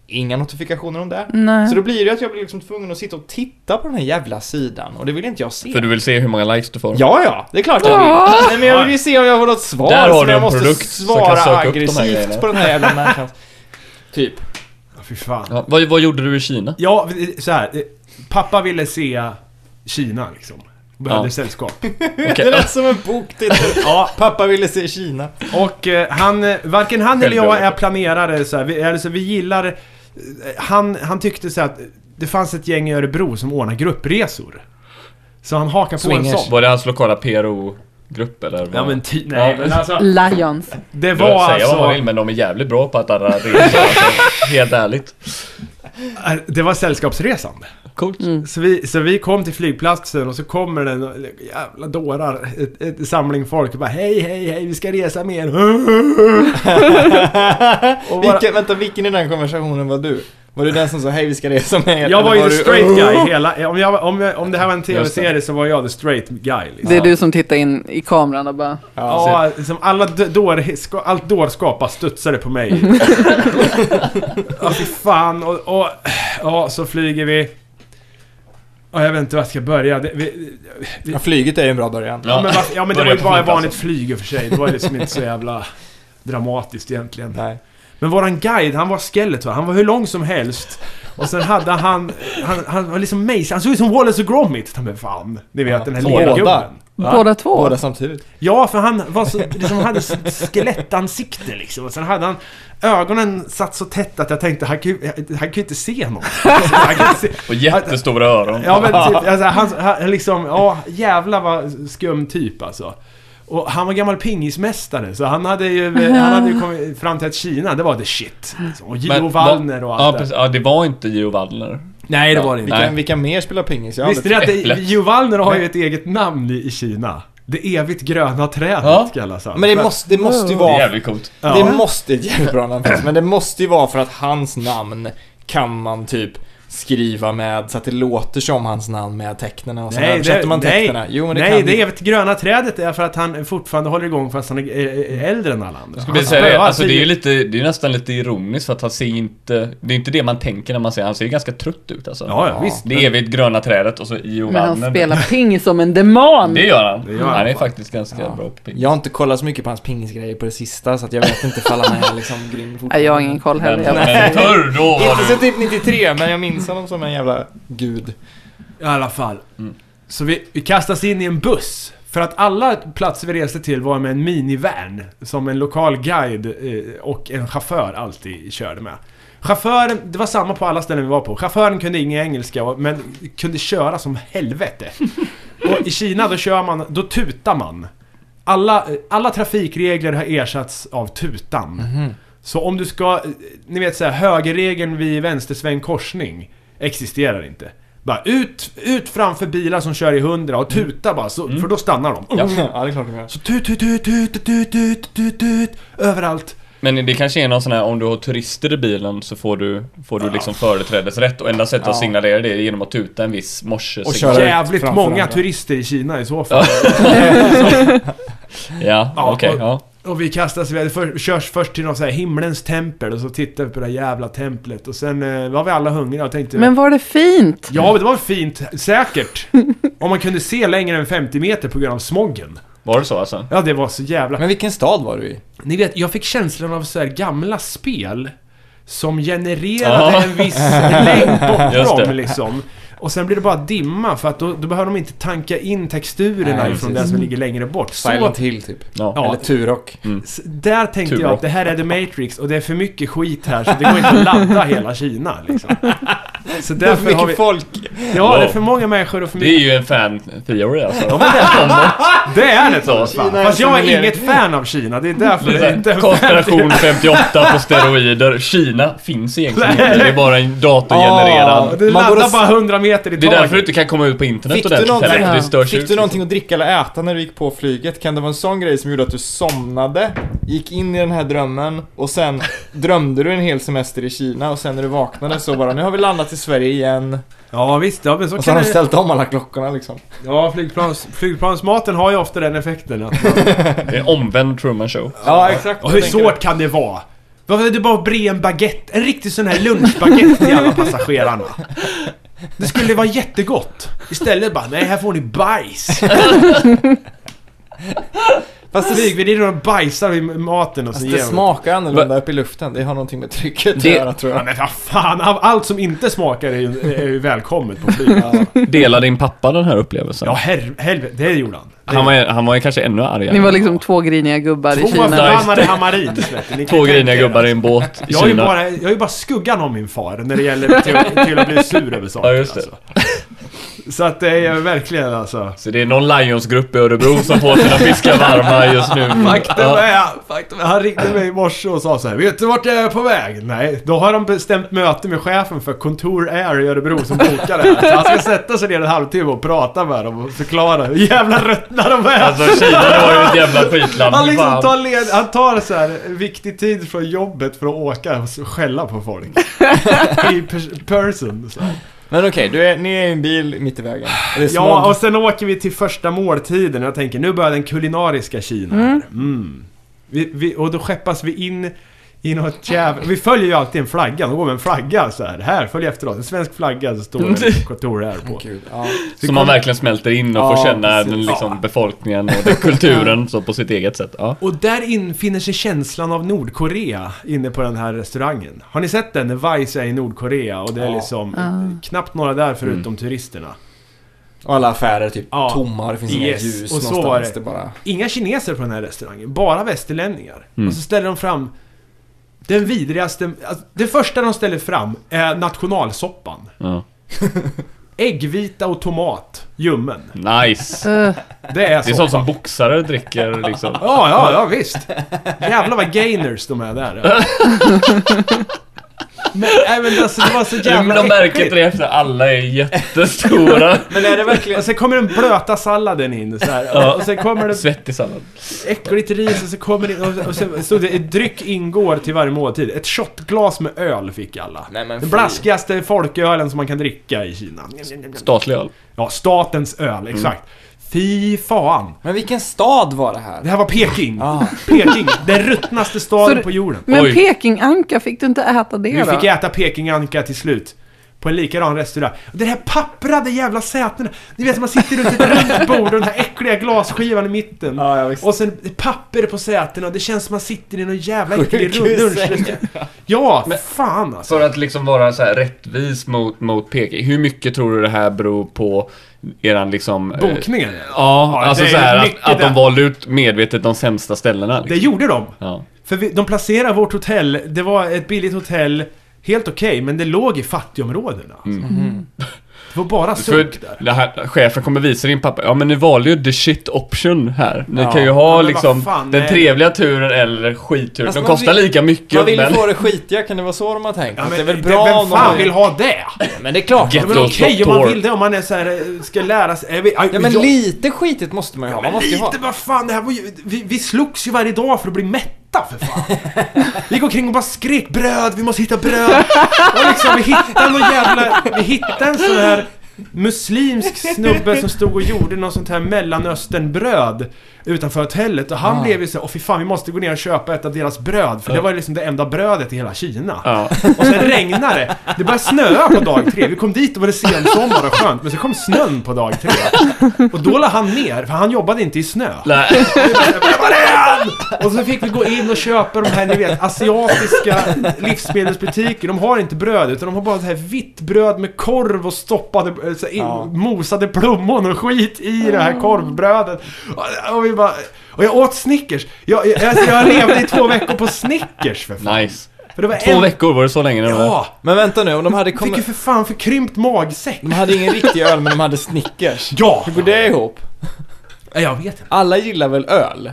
Inga notifikationer om det.
Mm, Nej.
Så då blir det att jag blir liksom tvungen att sitta och titta på den här jävla sidan och det vill inte jag se.
För du vill se hur många likes du får?
Ja, ja, det är klart jag
Ja.
vill. Nej, men jag vill ju se om jag får något svar.
Där har
så
du
jag
en
måste
produkt som kan
svara
söka upp de här grejerna.
aggressivt på den här jävla människan. Typ.
Ja, fy fan.
Ja, vad, vad gjorde du i Kina?
Ja, så här. eh, Pappa ville se Kina liksom. Och Behövde
Ja.
sällskap.
Okej,
Det lät som en boktitel.
Ja,
Pappa ville se Kina.
och eh, han, eh, varken han eller jag är
Självövertag.
planerare så här. Vi, alltså, vi gillar... eh, Han, han tyckte så här att det fanns ett gäng i Örebro som ordnar gruppresor. Så han hakar på en
Swingers.
sån.
Var det hans lokala PRO-grupp eller? vad?
Ja men ty, nej
Ja.
men alltså.
Lions.
Det
Du får
var
säga vad man
alltså...
vill men de är jävligt bra på att arrangera resor. Helt ärligt.
Eh, Det var sällskapsresan.
Coolt.
Så vi, så vi kom till flygplatsen och så kommer den och- jävla dårar, ett, ett samling folk och bara hej hej hej vi ska resa med er. Och bara-
vilken, vänta, vilken i den konversationen var du? Var du den som sa hej vi ska resa med er?
Jag var ju
Eller
the
du- Oh!
straight guy hela, om, jag, om, jag, om det här var en
Just det.
tv-serie så var jag the straight guy liksom.
Det är du som tittar in i kameran och bara...
Ja.
Ja, liksom alla d- dår, ska- allt dårskap bara studsade på mig. ja, fy fan. Och, och, ja, så flyger vi. Och jag vet inte var jag ska börja. Det, vi,
Ja, flyget är ju en bra början.
ja, men, va- ja, men det var
Börja
ju
på
bara ett
flygplatsen.
vanligt flyg i och för sig. Det var ju liksom inte så jävla dramatiskt egentligen.
Nej.
Men våran guide, han var skellet va? Han var hur lång som helst. Och sen hade han... Han, han var liksom Mace. Han såg ut som Wallace och Gromit. Ta mig fan. Ni vet den här
Båda.
lergubben.
Båda två?
Båda samtidigt.
Ja, för han var så, liksom, hade s- skelettansikte liksom. Och sen hade han ögonen satt så tätt att jag tänkte, han kan ju, han kan ju inte se någon. Alltså, han kan inte se.
Och jättestora öron.
Ja men typ, alltså, han, han liksom, ja jävla vad skum typ alltså. Och han var gammal pingismästare så han hade ju, han hade ju kommit fram till att Kina, det var the shit. Liksom. Och
Men
Gio
va-
Wallner och
ja,
allt det.
precis. ja, det var inte Geo Wallner.
Nej det var det inte.
Vilka,
Nej.
vilka mer spelar pingis? Jag har
Visste
aldrig-
ni att det-
Äpplet.
Gio Wallner har ju ett eget namn i, i Kina? Det evigt gröna trädet
Ja.
kallas han.
Men det
För att-
måste, det måste ju
Det är
vara
jävligt coolt.
Ja.
Det måste, ett jävligt bra namn faktiskt, men det måste ju vara för att hans namn kan man typ skriva med så att det låter som hans namn med tecknen och så
Nej,
översätter
det-
man
nej.
tecknen. Jo men det
Nej,
kan
det
ju-
evigt gröna trädet är för att han fortfarande håller igång fast han är eh, äldre än alla andra.
Ska vi
Han
säga det?
spöar
Alltså det är ju
tio-
lite, det är nästan lite ironiskt för att han ser inte... Det är inte det man tänker när man ser Han ser ju ganska trött ut alltså.
Ja, ja, visst.
Det evigt gröna trädet och så Geo
Men han
Wallner.
spelar ping som en demon!
Det gör han.
Det gör han.
han är faktiskt ganska
Ja.
bra på ping.
Jag har inte kollat så mycket på hans pingisgrejer på det sista så att jag vet inte ifall han är liksom grym
Nej,
fortfarande.
jag har ingen koll
Men,
heller. Jag bara,
men förr då var
Inte
du...
sen typ 93 men jag minns honom som en jävla gud.
I alla fall.
Mm.
Så vi, vi kastas in i en buss. För att alla platser vi reste till var med en minivan. Som en lokal guide eh, och en chaufför alltid körde med. Chauffören, det var samma på alla ställen vi var på. Chauffören kunde ingen engelska och- men kunde köra som helvete. Och i Kina då kör man, då tutar man. Alla, eh, alla trafikregler har ersatts av tutan. Så om du ska, eh, ni vet såhär högerregeln vid vänstersväng korsning existerar inte. Bara ut, ut framför bilar som kör i 100 och tuta bara, så, för då stannar de.
Ja, det är klart han gör.
Så tut, tut, tut, tut, tut, tut, tut, tut, överallt.
Men det kanske är någon sån här, om du har turister i bilen så får du, får du liksom företrädesrätt och enda sättet
Ja.
att signalera det är genom att tuta en viss morse.
Och köra-
Jävligt
framför
många
andra.
turister i Kina i så fall.
Ja,
Ja,
okej.
och-
ja.
Och vi kastas iväg, för, körs först till något så här himlens tempel och så tittar vi på det här jävla templet och sen eh, var vi alla hungriga och tänkte
men var det fint?
Ja, men det var fint, säkert. Om man kunde se längre än 50 meter på grund av smoggen.
Var det så alltså?
Ja, det var så jävla...
Men vilken stad var du i?
Ni vet, jag fick känslan av så här gamla spel som genererade
Ja.
en viss längd
Just
bort
det.
dem liksom. Och sen blir det bara dimma för att då, då behöver de inte tanka in texturerna
Nej,
ifrån
precis.
det som ligger längre bort. Så,
Silent Hill typ.
Ja.
Eller Turok.
s- där tänkte
Tur
jag
då.
att det här är The Matrix och det är för mycket skit här så det går inte att ladda hela Kina liksom. Så
Det är för
därför har
mycket
vi...
folk.
Ja, det är för många människor och för
Det är
mycket...
ju en fan theory alltså.
Det är det
Så,
Thomas! fan.
Kina är
Fast jag är
simulerad.
inget fan av Kina, det är därför det är inte är
Konspiration 58 på steroider. Kina finns egentligen inte. Det är bara en datorgenererad.
Du
Man borde
laddar
s-
bara 100 meter i
Det är därför du
taget.
inte kan komma ut på internet
Fick du,
ordentligt
någonting,
heller. för Det störs
fick
ut.
du någonting att dricka eller äta när du gick på flyget? Kan det vara en sån grej som gjorde att du somnade, gick in i den här drömmen och sen drömde du en hel semester i Kina och sen när du vaknade så bara nu har vi landat i Sverige igen.
Ja visst, ja, men så
Och så
kan
har
det...
de ställt om alla klockorna liksom.
Ja, flygplans, flygplansmaten har ju ofta den effekten. Att man...
Det är omvänd Truman show.
Ja exakt.
och hur
jag tänker
svårt kan det vara? Varför är det bara att bre en baguette? En riktig sån här lunchbaguette till alla passagerarna. Det skulle vara jättegott. Istället bara, nej här får ni bajs.
det. Fast det,
Flygvärdinnor bajsar i maten och så
fast
ger
det
de-
smakar annorlunda uppe i luften. Det har någonting med trycket att
Det-
göra tror
Ja,
jag.
men vad fan, av allt som inte smakar är ju, är ju välkommet på flyg.
Delar din pappa den här upplevelsen?
Ja her- helvete, det gjorde han. Det-
Han var, han var ju kanske ännu argare.
Ni var liksom två griniga gubbar i
Två var
Kina.
förbannade hamarin, vet ni. Ni kan
Två
tänka
griniga
er.
gubbar i en båt i
Jag har, ju
Kina.
bara, jag har ju bara skuggan om min far när det gäller till, till att bli sur över saker.
Ja, just det.
Alltså. Så att det är verkligen alltså...
Så det är någon Lionsgrupp i Örebro som får sina fiskar varma just nu.
Faktum
Ja.
är, faktum är, han ringde mig i morse och sa så här. Vet du vart jag är på väg? Nej, då har de bestämt möte med chefen för Kontor Air i Örebro som bokar det här. Så han ska sätta sig ner en halvtimme och prata med dem och förklara hur jävla ruttna de är.
Alltså Kina det var ju ett jävla skitland.
han liksom
Fan.
tar, led, han tar så här viktig tid från jobbet för att åka och skälla på folk. I pers- person. Så här.
Men okej, du är, ni är i en bil mitt i vägen. Och Det är
Ja,
smog.
och sen åker vi till första måltiden och jag tänker nu börjar den kulinariska Kina. här. Mm. Vi, vi, och då skeppas vi in i något jävla... Vi följer ju alltid en flagga, de går med en flagga så här. Här, följ efter oss. En svensk flagga så står det kontor här på.
Gud, ja.
Vi
Så man
kommer-
verkligen smälter in och får
Ja,
känna
precis.
den, liksom,
Ja.
befolkningen och den kulturen så på sitt eget sätt. Ja.
Och där infinner sig känslan av Nordkorea inne på den här restaurangen. Har ni sett den? När Vice är i Nordkorea och det är
Ja. Mm.
liksom knappt några där förutom turisterna.
Och alla affärer typ
Ja.
tomma, det finns inga
Yes,
ljus
och så
någonstans.
var det.
det bara...
Inga kineser på den här restaurangen, bara västerlänningar.
Mm.
Och så ställer de fram den vidrigaste... Alltså, det första de ställer fram är nationalsoppan.
Ja.
Äggvita och tomat, ljummen.
Nice!
Eh,
Det är
Det är
så.
sånt som boxare dricker liksom.
Ja, ja, ja visst. Jävlar vad gainers de är där. Men, nej, men alltså, det var så
De
jävla
märker
äckligt.
inte det efter alla är jättestora.
Men är det verkligen...
Och sen kommer den blöta salladen in så här.
Ja.
Och sen kommer det
Svettig sallad.
äckligt ris och så kommer det och, och sen stod det dryck ingår till varje måltid. Ett shotglas med öl fick alla.
Nej, men
Den
fy.
blaskigaste folkölen som man kan dricka i Kina.
Statlig öl.
Ja, statens öl, exakt. Fy fan.
Men vilken stad var det här?
Det här var Peking.
Ah.
Peking, den ruttnaste
Så
staden
det-
på jorden.
Men
Oj.
Pekinganka, fick du inte äta det
Vi
då?
fick äta Pekinganka till slut. På en likadan restaurang. Och Det här papprade jävla sätena. Ni vet man sitter runt ett runt bord och den här äckliga glasskivan i mitten.
Ja, ja, visst.
och sen papper på sätena. Det känns som man sitter i någon jävla äcklig
Sjukhus.
rundrestaurang. Ja, fan alltså.
För att liksom vara så här rättvis mot, mot Peking. Hur mycket tror du det här beror på eran liksom... eh,
Bokningen?
Ja,
Ja,
alltså
det är
så här att,
mycket
att de
där.
valde ut medvetet de sämsta ställena.
Det
Liksom.
gjorde de.
Ja.
För vi, de placerade vårt hotell, det var ett billigt hotell, helt okej, men det låg i fattigområdena. alltså.
Mm.
Det var bara
För
sunk där.
det här, chefen kommer visa din pappa, ja men ni valde ju the shit option här. Ni
Ja.
kan ju
Ja,
ha
men
liksom
vad fan, Alltså,
den
nej.
trevliga turen eller skitturen.
Fast
De
man
kostar
vill-
lika
Man
mycket
vill ju
men...
få det skitiga, kan det vara så de har tänkt?
Ja,
Att
men,
det är väl bra
vem
om de...
fan vill ha det?
Men det är klart!
Ja,
Ja,
Get-
men
Lost
okej om man
Doctor.
vill det, om man är så här, eh, ska lära sig... eh, vi- aj,
men
jag-
lite skitigt måste man ju ha, man
Men
måste ju ha...
lite, vad fan, det här var ju... Vi, vi slogs ju varje dag för att bli mätta, för fan. Vi gick omkring och bara skrek bröd, vi måste hitta bröd. Och liksom, vi hittade någon jävla... Vi hittade en sån här muslimsk snubbe som stod och gjorde något sånt här mellanösternbröd. utanför hotellet. Och han
Ah.
blev ju så här, åh fy fan vi måste gå ner och köpa ett av deras bröd. För det
Ja.
var ju liksom det enda brödet i hela Kina.
Ja.
Och sen regnade det. Det började snöa på dag tre. Vi kom dit och var det sensommar och skönt. Men så kom snön på dag tre. Och då la han ner, för han jobbade inte i snö.
Nej.
Var är han? Och så fick vi gå in och köpa de här, ni vet, asiatiska livsmedelsbutiker. De har inte bröd, utan de har bara så här vitt bröd med korv och stoppade, eh, så här, in,
Ja.
mosade plommon och skit i det här korvbrödet. Och, och vi bara... Och jag åt Snickers. Jag, jag, alltså, jag levde i två veckor på Snickers för fan.
Nice.
För det var
Två veckor var det så länge nu? eller?
Ja!
Men vänta nu, om de hade
Jag fick ju
kommit...
för fan förkrympt magsäck.
De hade ingen riktig öl men de hade Snickers.
Ja!
Hur går det ihop?
Nej, Jag vet inte.
Alla gillar väl öl?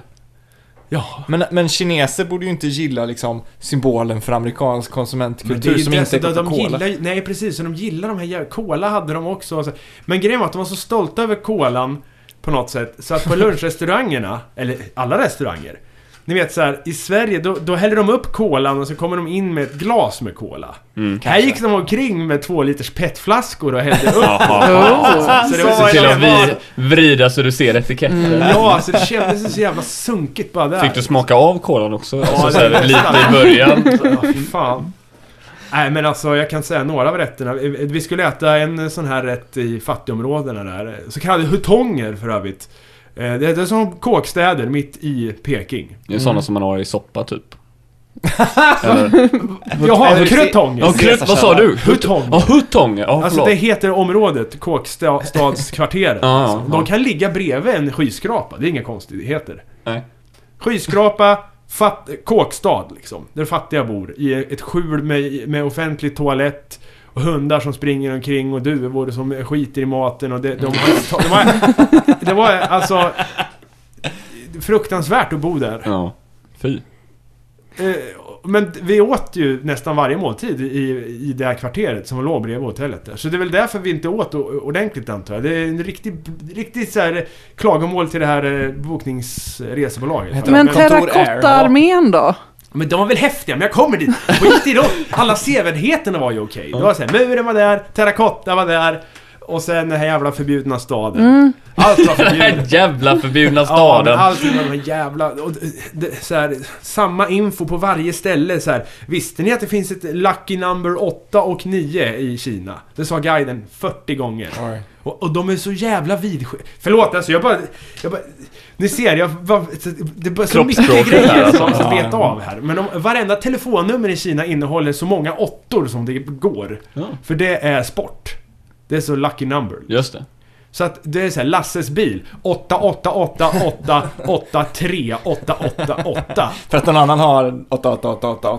Ja.
Men, men kineser borde ju inte gilla liksom symbolen för amerikansk konsumentkultur som inte är
de
Coca-Cola.
gillar, ju- Nej precis, så de gillar de här jävla... Cola hade de också. alltså. Men grejen var att de var så stolta över kolan på något sätt. Så att på lunchrestaurangerna, eller alla restauranger. Ni vet så här, i Sverige då, då häller de upp kolan och så kommer de in med ett glas med kola. här gick de omkring med två liters petflaskor och hällde upp.
Oh.
Så det
Se
var
till
så
att
jävla...
vi vrida så du ser etiketten.
Ja, alltså det kändes så jävla sunkigt bara där.
Fick du smaka av kolan också? alltså,
det-
så här, lite i början.
Ja, fy fan. Nej men alltså jag kan säga några av rätterna. Vi skulle äta en sån här rätt i fattigområdena där. Så kallade hutonger för övrigt. Eh, Det det är som kåkstäder mitt i Peking.
Det är sådana som man har i soppa typ. Eller,
Jaha,
eller-
krutonger!
ja, krut, vad sa du?
Hutong.
Ja, hutong! Ja,
Alltså
förlåt.
det heter området kåkstadskvarteret.
Ja, ja,
alltså.
ja.
De kan ligga bredvid en skyskrapa. Det är inga konstigheter.
Nej.
Skyskrapa, fatt, kåkstad liksom. Där fattiga bor. I ett skjul med, med offentlig toalett. Och hundar som springer omkring och duvor som skiter i maten och det, de har, det, var, det var alltså... Fruktansvärt att bo där.
Ja. Fy.
Eh, Men vi åt ju nästan varje måltid i, i det här kvarteret som låg bredvid hotellet där. Så det är väl därför vi inte åt o- ordentligt antar jag. Det är en riktig, riktig så här eh, klagomål till det här eh, bokningsresebolaget.
Heter
Men,
Men
Kontor Air,
terrakotta-armén då?
men de var väl häftiga, men jag kommer dit! Skit i dem! Alla sevärdheterna var ju okej. Det var så här, muren var där, terrakotta var där och sen den här jävla förbjudna staden. Allt var
Den här
förbjudet.
jävla förbjudna
Ja, men
staden.
allting med de här jävla... Och det, det, så här, samma info på varje ställe. Så här. Visste ni att det finns ett lucky number 8 och 9 i Kina? Det sa guiden 40 gånger.
Oj.
Och, och de är så jävla vidskepta. Förlåt alltså, jag bara... Jag bara ni ser, jag var, det var så mycket
Kroppsspråket där,
grejer
alltså.
som man måste
Ja.
beta av här. Men de, varenda telefonnummer i Kina innehåller så många åttor som det går.
Ja.
För det är sport. Det är så lucky number.
Just det.
Så att det är så här, Lasses bil. 888883888.
För att någon annan har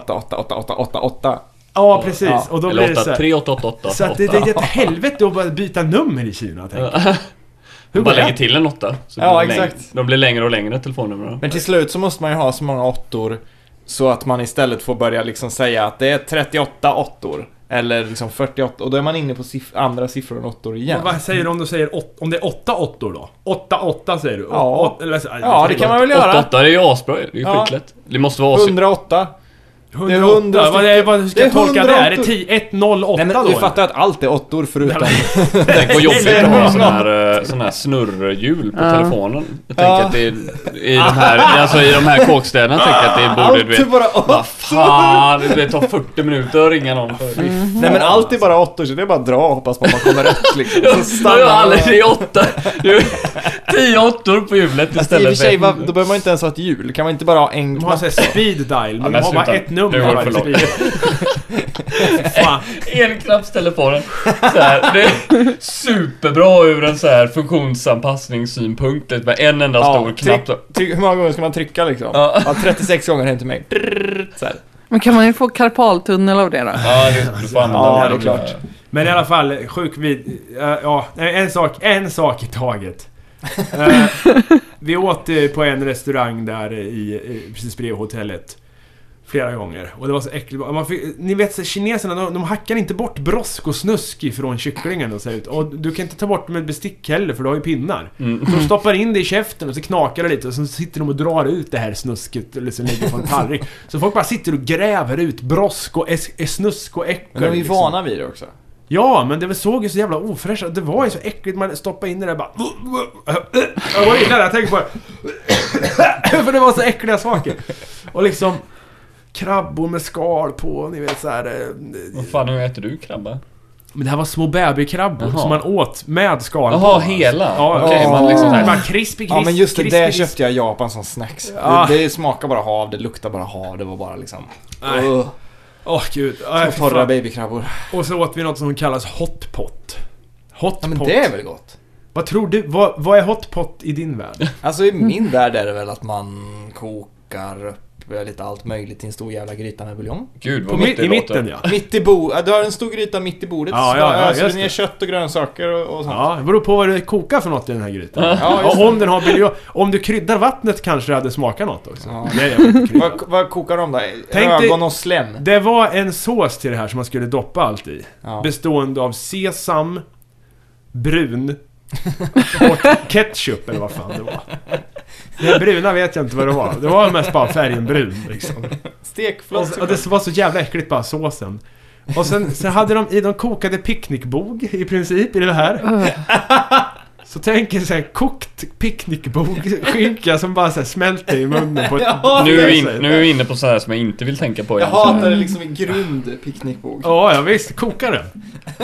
8888888888.
Ja, precis.
Ja,
och då blir
Eller
det så
8,
här.
3, 8, 8, 8.
Så att det, det är ett helvete att bara byta nummer i Kina, tänker jag. Hur går
Bara lägger
det?
till en åtta. så
Ja,
blir de längre-
exakt.
De blir längre och längre telefonnumren.
Men till slut så måste man ju ha så många åttor så att man istället får börja liksom säga att det är 38 åttor. Eller liksom 48 och då är man inne på siff- andra siffror än åttor igen.
Och Vad säger du om du säger åt, om det är åtta åttor då? Åtta åtta säger du?
Ja.
Åt- eller så- aj,
Ja, det kan man väl
Åtta,
göra.
åtta, det är ju asbra ju. Det är ju
Ja.
skitlätt. Det måste vara asigt.
108. det är
108.
hundra
Vad, är, vad ska
Det är
jag tolka det? Är det
108?
10, 108
Nej men
då?
du fattar att allt är åttor förutom...
Tänk vad jobbigt
Eller
att ha
hur?
sån här, eh, sån här snurrhjul på
Ja.
telefonen. Jag
Ja.
tänker att det är i de här, alltså i de här kåkstäderna tänker jag att det borde, du
Allt är
vet.
bara
Vad
åttor.
fan, det tar 40 minuter att ringa någon. för-
Nej men allt är bara åttor så det är bara att dra och hoppas på att man kommer rätt liksom. Så
Ja,
stannar
jag har
man.
aldrig- Det är åtta, det är tio åttor på hjulet
Fast i och för
istället
sig, vad- då behöver man inte ens ha ett hjul. Kan man inte bara ha en
De har
knapp?
såhär speed dial, men
men
de har bara
sluta.
ett nummer.
Nu går det
varje
för långt.
speed. Fan.
Enknappstelefonen. Så här, det är superbra ur en så här funktionsanpassningssynpunkt. Det är Med en enda
Ja,
stor
tryck-
typ.
knapp. då.
tryck- Hur många gånger ska man trycka liksom?
Ja.
Ja, 36 gånger hem till mig. Så här.
Men kan man ju få karpaltunnel av det då?
Ja, det, du får använda
Ja,
den.
det är klart.
Men i alla fall, sjuk vid... ja, ja, en sak, en sak i taget. Eh, vi åt eh, på en restaurang där i, eh, precis bredvid hotellet. Flera gånger. Och det var så äckligt. Man fick, ni vet så, kineserna, de, de hackar inte bort brosk och snusk ifrån kycklingen och så ut. Och du kan inte ta bort dem med bestick heller för du har ju pinnar.
Mm.
Så de stoppar in det i käften och så knakar det lite och så sitter de och drar ut det här snusket eller så ligger på en tallrik. Så folk bara sitter och gräver ut brosk och es, es, snusk och äckel.
Men de är ju
liksom.
vana vid det också.
Ja, men det var- såg ju så jävla ofräscht ut. Det var ju så äckligt. Man stoppade in det där bara... Jag var illa när jag tänkte på det. För det var så äckliga saker. Och liksom... Krabbor med skal på, ni vet eh, såhär...
Vad fan, hur äter du krabba?
Men det här var små babykrabbor
Jaha.
som man åt med skal
Jaha, hela?
Ja,
Okej, man liksom så
det
här-
var krispig, krispig,
Ja men just det,
krispig,
det
krispig.
köpte jag i Japan som snacks.
Ja.
Det, det smakar bara hav, det luktar bara hav, det var bara liksom...
Nej.
Ugh,
Åh gud. Nej,
och
fy
torra
fan.
babykrabbor.
Och så åt vi något som kallas hotpot.
Ja men
Hotpot.
det är väl gott?
Vad tror du? Vad, vad är hotpot i din värld?
Alltså i min värld är det väl att man kokar upp eh, lite allt möjligt i en stor jävla gryta med buljong.
Gud,
På
vad
mi-
gott det
I mitten
låter.
ja.
Mitt i bo... ja, Du har en stor gryta mitt i bordet.
Ja, ja, ja,
öser du
just
ner
det.
kött och grönsaker och, och sånt.
Ja, det beror på vad du kokar för något i den här grytan.
Ja, just
och om den har buljong. Om du kryddar vattnet kanske det hade smakat något också.
Ja.
Det, är jag inte kryddar.
Vad, vad kokar de då?
Tänk dig-
Ögon och slem?
det var en sås till det här som man skulle doppa allt i.
Ja.
Bestående av sesam, brun och ketchup eller vad fan det var. Det bruna vet jag inte vad det var. Det var mest bara färgen brun liksom. Och,
Stekflott
och det var så jävla äckligt bara såsen. Och sen, sen hade de i, de kokade picknickbog i princip i det här. Så tänk er såhär kokt picknickbog, skinka som bara såhär smälter i munnen på ett...
Ja,
Nu är, vi in, nu är vi inne på så här som jag inte vill tänka på
Jag
egentligen.
hatar det liksom i grund picknickbog.
Ja, ja visst, koka den.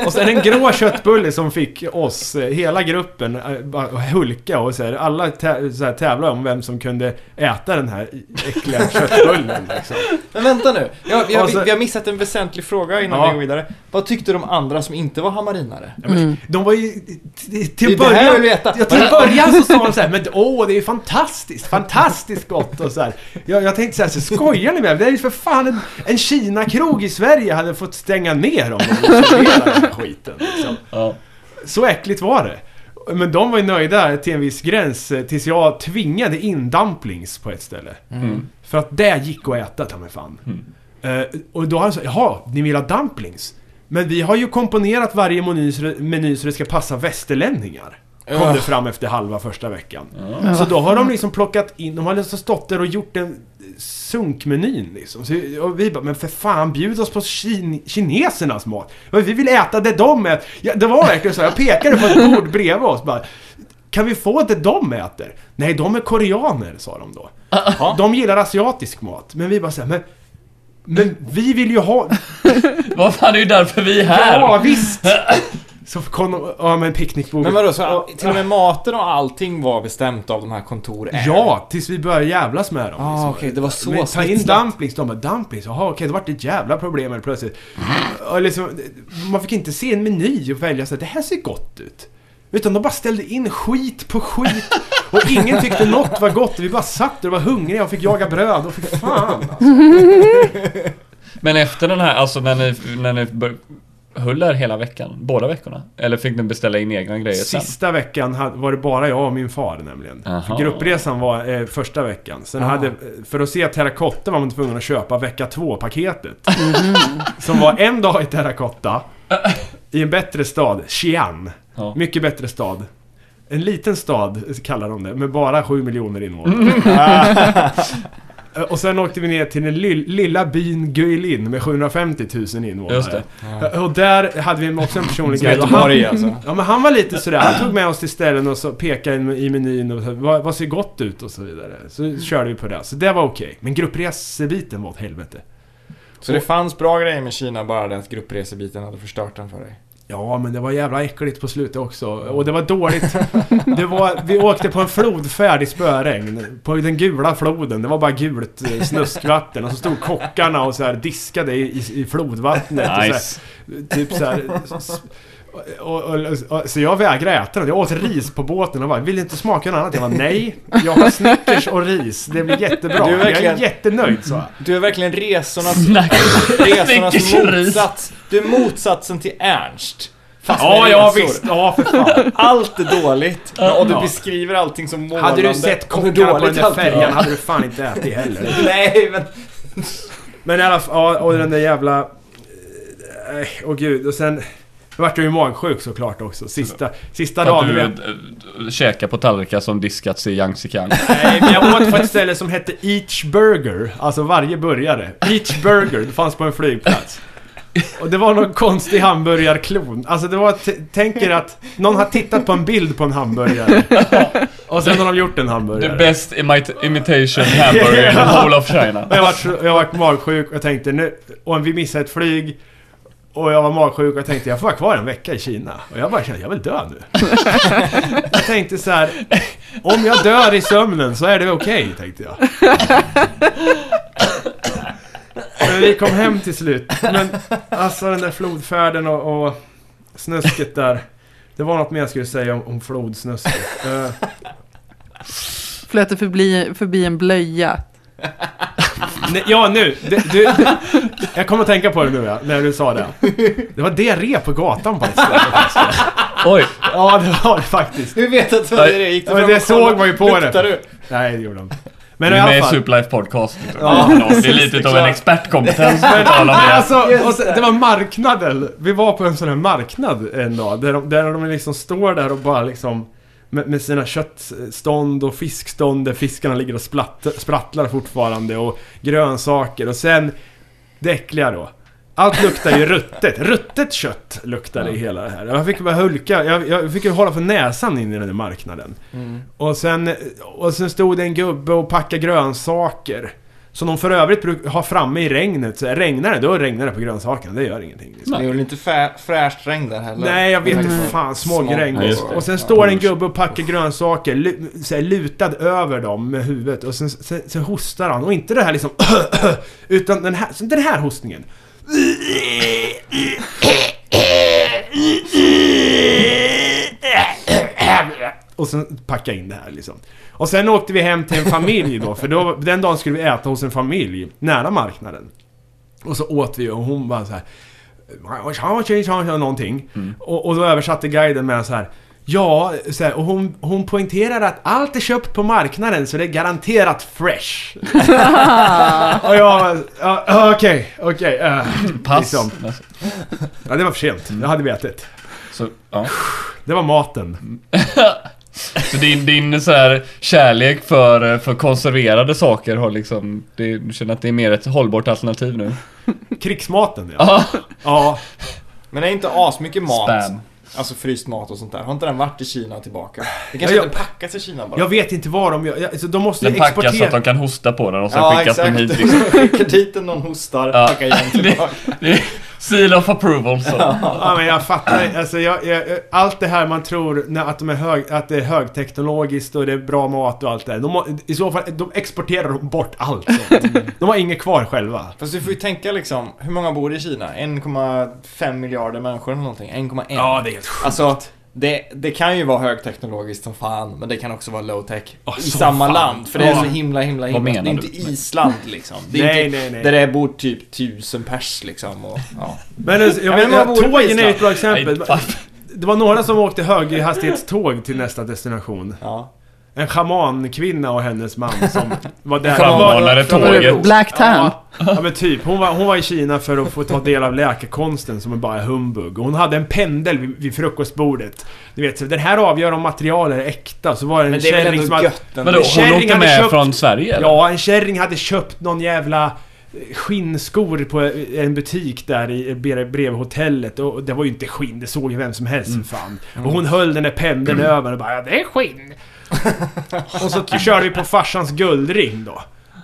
Och sen en grå köttbulle som fick oss, eh, hela gruppen, eh, bara hulka och så här, alla tä- så här, tävlade om vem som kunde äta den här äckliga köttbullen liksom.
Men vänta nu, jag, jag,
Alltså-
vi har missat en väsentlig fråga innan
Ja.
vi går vidare. Vad tyckte de andra som inte var hammarinare?
De var ju... Till,
Mm. Det
till
är det här jag
början...
vill veta.
Ja, till början så sa de så här, men åh, det är ju fantastiskt, fantastiskt gott och så här. Jag, jag tänkte så här, så skojar ni med mig? Det är ju för fan en, en Kina-krog i Sverige hade fått stänga ner om de hade serverat den här skiten. Liksom.
Ja.
Så äckligt var det. Men de var ju nöjda till en viss gräns eh, tills jag tvingade in dumplings på ett ställe.
Mm.
För att det gick att äta ta mig fan. Eh, och då har han sagt, jaha, ni vill ha dumplings? Men vi har ju komponerat varje meny så, det- meny så det ska passa västerlänningar. Kom det fram efter halva första veckan. Så då har de liksom plockat in, de har liksom stått där och gjort en eh, sunkmenyn liksom. Så, och vi bara, men för fan bjud oss på kin- kinesernas mat. Men Vi vill äta det de äter. Ja, det var verkligen så, jag pekade på ett bord bredvid oss bara. Kan vi få det de äter? Nej, de är koreaner, sa de då. De gillar asiatisk mat. Men vi bara såhär, men... Men vi vill ju ha...
Vad fan, det är ju därför vi är här!
Ja, visst! Så kom de... Ja, men picknickbord.
Men vadå, så till och med maten och allting var bestämt av de här eh, kontoren?
Ja, tills vi började jävlas med dem.
Ah,
liksom.
okej, det var så
Men Ta in
snitslat.
dumplings, de bara dumplings, jaha okej, då vart det ett jävla problem helt plötsligt. Och liksom, man fick inte se en meny och välja så här, det här ser gott ut. Utan de bara ställde in skit på skit. Och ingen tyckte något var gott. Vi bara satt och var hungriga och fick jaga bröd. Och fy fan alltså.
Men efter den här, alltså när ni, när ni bör- höll er hela veckan? Båda veckorna? Eller fick ni beställa in egna grejer sen?
Sista veckan ha- var det bara jag och min far nämligen. För
Aha.
Gruppresan var eh, första veckan. Sen hade, eh, för att se terrakotta var man tvungen att köpa vecka två-paketet. Som var en dag i terrakotta. I en bättre stad, Xi'an.
Ja.
Mycket bättre stad. En liten stad kallar de det, med bara 7 miljoner invånare. Eh, Och sen åkte vi ner till den lill- lilla byn Guilin med 750 000 invånare.
Just det.
Eh, Och där hade vi också en personlig
Som
guide. Och
Göteborg
han-
alltså.
Ja men han var lite sådär, han tog med oss till ställen och så pekade in i menyn och så, vad, vad ser gott ut och så vidare. Så körde vi på det. Så det var okej. Men gruppresebiten var åt helvete.
Så det fanns bra grejer med Kina, bara det att gruppresebiten hade förstört den för dig?
Ja men det var jävla äckligt på slutet också. Och det var dåligt. Det var, vi åkte på en flodfärd i spöregn. På den gula floden. Det var bara gult eh, snuskvatten. Och så stod kockarna och så här diskade i, i, i flodvattnet. Och så här,
Nice.
Typ så här, s- och, och, och, så jag vägrade äta den. Jag åt ris på båten och bara, vill du inte smaka något annat? Jag bara, nej. Jag har Snickers och ris. Det blir jättebra.
Du är
Jag
verkligen-
är jättenöjd så.
Du är verkligen resornas,
Snack.
resornas
Vilken ris.
motsats. Du är motsatsen till Ernst. Fast
Ja,
med
ja
resor.
visst. Ja, för fan.
Allt är dåligt. Och du
Ja.
beskriver allting som målande.
Hade du sett
och hur
kockarna på den
dåligt
där
allting
färjan
var.
hade du fan inte ätit heller.
Nej, men...
Men i alla fall, ja, och den där jävla... Nej, Åh gud. Och sen vart jag ju magsjuk såklart också. Sista, sista
För att
dagen.
du
Jag,
äh, käkar på tallrikar som diskats i Yangtze Kiang.
nej, men jag åt på ett ställe som hette Each Burger. Alltså varje burgare. Each Burger. Det fanns på en flygplats. Och det var någon konstig hamburgarklon. Alltså det var, t- tänk er att någon har tittat på en bild på en hamburgare. Och sen har de gjort en
The
hamburgare.
best imit- imitation hamburger in the whole of China.
Och jag var, jag var magsjuk och jag tänkte nu... Och vi missade ett flyg. Och jag var magsjuk och jag tänkte jag får vara kvar en vecka i Kina. Och jag bara kände jag vill dö nu. jag tänkte så här. Om jag dör i sömnen så är det väl okej, tänkte jag. Men vi kom hem till slut. Men alltså den där flodfärden och, och snusket där. Det var något mer jag skulle säga om, om flodsnusket. Eh,
Flöt det förbi, förbi en blöja.
Nej, ja, nu! Du, du, jag kommer att tänka på det nu, ja, när du sa det. Det var diarré på gatan faktiskt.
Oj,
Ja, det var det faktiskt.
Du vet att det
Nej.
är det. Gick
Ja, men
fram och
det såg
kollade?
man ju på det.
Luktar du?
Nej, det gjorde de inte. Men
du
i
är med i
alla fall.
Superlife Podcast. Liksom.
Ja,
det är lite utav en
klart.
expertkompetens på tal om det.
Alltså, och sen, det var marknaden. Vi var på en sån här marknad en dag. Där de, där de liksom står där och bara liksom... Med, med sina köttstånd och fiskstånd där fiskarna ligger och splatt, sprattlar fortfarande. Och grönsaker. Och sen... Det äckliga då. Allt luktar ju ruttet. Ruttet kött luktar det i hela det här. Jag fick bara hulka. Jag, jag fick ju hålla för näsan in i den där marknaden.
Mm.
Och sen, och sen stod det en gubbe och packade grönsaker. Som de för övrigt bruk- har framme i regnet. Så regnar det, då regnar det på grönsakerna. Det gör ingenting. Liksom.
Det gjorde inte frä- fräscht regn där heller.
Nej, jag vet
Mm.
inte. Fan, smågregn.
Ja, just det.
och sen står en gubbe och packar grönsaker, lu- så här, lutad över dem med huvudet. Och sen, sen, sen hostar han. Och inte det här liksom... utan den här, den här hostningen. Och sen packa in det här liksom. Och sen åkte vi hem till en familj då, för då, den dagen skulle vi äta hos en familj nära marknaden. Och så åt vi och hon bara så här. "Tja, tja, tja, tja", Någonting.
Mm.
Och, och då översatte guiden med så här. Ja, så här, och hon, hon poängterar att allt är köpt på marknaden så det är garanterat fresh. och jag bara, "Ja, ja, okej, okej. eh."
Pass.
Liksom. Ja, det var för sent. Det hade vi ätit.
Så, ja.
Det var maten.
så din, din så här kärlek för, för konserverade saker har liksom... Det, du känner att det är mer ett hållbart alternativ nu?
Krigsmaten ja.
Ja.
ja.
Men det är inte asmycket mat.
Spam.
Alltså fryst mat och sånt där. Har inte den varit i Kina och tillbaka? Det
Ja,
kanske
jag-
inte packas i Kina bara.
Jag vet inte vad de gör. Jag- Alltså, de måste
Den
ju exportera.
packas så att de kan hosta på den och sen
ja,
skickas den
exakt.
hit. Liksom.
Skickar dit den, någon hostar,
Ja.
packar igen tillbaka.
Det är Seal of approval. Så.
Ja men jag fattar alltså, jag, jag, jag- Allt det här man tror när, att, de är hög, att det är högteknologiskt och det är bra mat och allt det där. de, har- I så fall, de exporterar de bort allt sånt. De har inget kvar själva.
Fast du får ju tänka liksom, hur många bor i Kina? 1,5 miljarder människor eller någonting? 1,1?
Ja det är helt sjukt.
Alltså, det, det kan ju vara högteknologiskt som fan, men det kan också vara low-tech.
Ja,
I
som
samma
fan.
land, för det är
Ja.
så himla, himla,
Vad
himla. Det
menar
är inte
du?
Island liksom. Det är
Nej,
inte,
nej, nej.
Där det bor typ tusen pers liksom. Och, ja.
Men alltså, jag,
Ja,
jag,
men man
jag,
bor på
tågen är
Island.
ett bra exempel.
Nej, fan.
Det var några som åkte höghastighetståg till nästa destination.
ja.
En schamankvinna och hennes man som var där.
Framanhållare
De var-
tåget.
Black Tan.
Ja, ja men typ. Hon var, hon var i Kina för att få ta del av läkarkonsten som är bara humbug. Och hon hade en pendel vid, vid frukostbordet. Du vet, så den här avgör om material är äkta. Så var det en
Men det är väl
kärring som
ändå
hade...
gött ändå.
Vadå, hon
Kärring
åkte
hade
med
köpt-
från Sverige eller?
Ja, en kärring hade köpt någon jävla eh, skinnskor på eh, en butik där i- eh, bre- bredvid hotellet och det var ju inte skinn, det såg ju vem som helst
Mm.
för fan. Och hon höll den där pendeln över och bara ja, det är skinn. och så t- körde vi på farsans guldring då.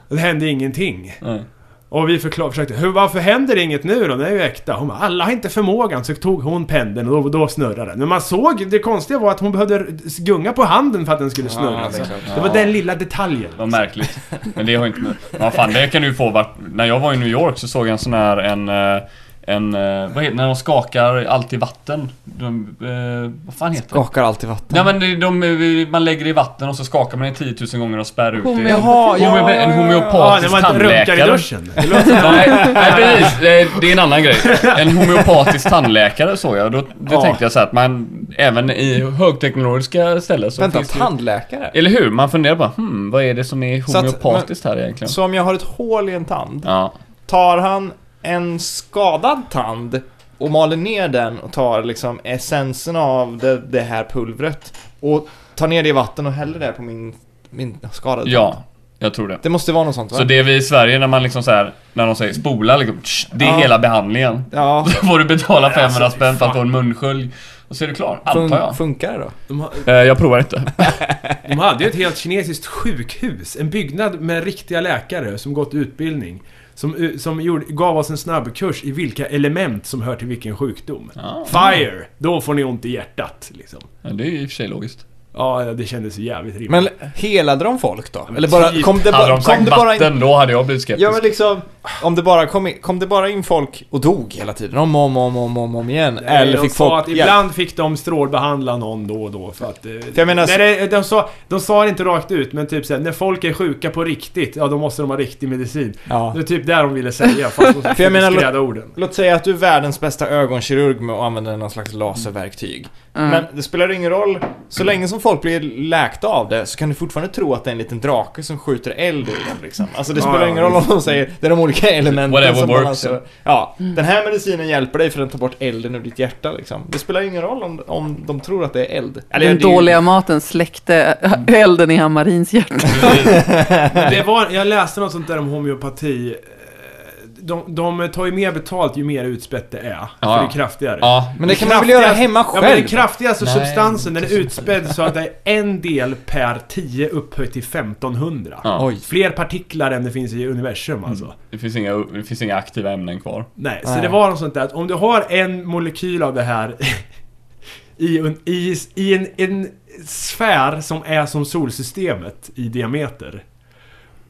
Det hände ingenting.
Nej.
Och vi förklar, försökte, hur, varför händer inget nu då? Den är ju äkta. Hon bara, alla har inte förmågan. Så tog hon pendeln och då, då snurrade den. Men man såg, det konstiga var att hon behövde gunga på handen för att den skulle snurra.
det är
så
klart.
det var den lilla detaljen.
Vad märkligt. Men det har inte med... Ja, fan, det kan du ju få vart... När jag var i New York så såg jag en sån här en... eh, En... eh, Vad heter När de skakar allt i vatten. De, eh, vad fan heter det?
Skakar alltid vatten.
Nej men det- de, eh, man lägger det i vatten och så skakar man det 10 000 gånger och spär ut det.
Homeo-
Jaha, ja, ja, ja,
Homeo- En
ja.
Ja,
homeopatisk
när man inte runkar i
tandläkare.
duschen.
Nej, nej precis, Eh, det är en annan grej. En homeopatisk tandläkare såg jag. Då, då
Ja.
tänkte jag så här att man även i högteknologiska ställen så
Vänta,
finns det ju-
tandläkare?
Eller hur? Man funderar bara hmm, vad är det som är
Så att-
homeopatiskt här egentligen?
Så om jag har ett hål i en tand,
Ja.
tar han en skadad tand och maler ner den och tar liksom essensen av det, det här pulvret och tar ner det i vatten och häller det på min, min skadade tand.
Ja. Jag tror det.
Det måste vara något sånt va?
Så det är vi i Sverige när man liksom så här, när de säger spola liksom, tsch, det är
Ja.
hela behandlingen.
Ja,
Då får du betala 500
alltså,
spänn för att
fan.
få en munskölj. Och så är du klar,
fun
antar jag.
funkar det då?
De, ha-
Eh, jag provar inte.
de hade ju ett helt kinesiskt sjukhus. En byggnad med riktiga läkare som gått utbildning. Som, u- som gjorde, gav oss en snabbkurs i vilka element som hör till vilken sjukdom.
Ja,
Fire! Då får ni ont i hjärtat, liksom.
Ja, det är ju i och för sig logiskt.
Ja, det kändes ju jävligt rimligt.
Men helade de folk då? Eller bara,
typ.
kom det,
hade
bara,
de
kom
sagt
det bara
vatten,
in...
då hade jag blivit skeptisk.
Ja men liksom, om det bara kom in, kom det bara in folk och dog hela tiden? Om och om och om, om, om, om igen?
Nej,
Eller
Eh, de
fick
sa
folk
att ibland fick de strålbehandla någon då och då för att... eh,
jag menar-
nej, nej, de, sa, de sa det inte rakt ut, men typ såhär, när folk är sjuka på riktigt, ja då måste de ha riktig medicin.
Ja.
Det är typ där de ville säga, fast de
För jag menar-
skräda orden.
Låt säga att du är världens bästa ögonkirurg med att använda någon slags laserverktyg.
Mm.
Men det spelar ingen roll, så länge som folk blir läkta av det så kan du fortfarande tro att det är en liten drake som skjuter eld ur dem liksom. Alltså det
Ja,
spelar
ja,
ingen roll om de säger det är de olika elementen
Whatever
som
works,
balanserar. Ja, den här medicinen hjälper dig för den tar bort elden ur ditt hjärta liksom. Det spelar ingen roll om, om de tror att det är eld. Eller,
Den
det är ju-
dåliga maten släckte elden i Hammarins hjärta.
Men det var, jag läste något sånt där om homeopati. Eh, De, de tar ju mer betalt ju mer utspätt det är.
Ja.
För det är kraftigare.
Ja.
Men det kan man väl göra hemma
Ja, men
själv?
den kraftigaste
Nej,
substansen, den
inte
är
så
utspädd så att det är en del per 10 upphöjt till 1500.
Ja.
Oj.
Fler partiklar än det finns i universum alltså.
Det, finns inga, det finns inga aktiva ämnen kvar.
Nej, så
Nej.
det var något sånt där att om du har en molekyl av det här i, en, i, i en, en sfär som är som solsystemet i diameter.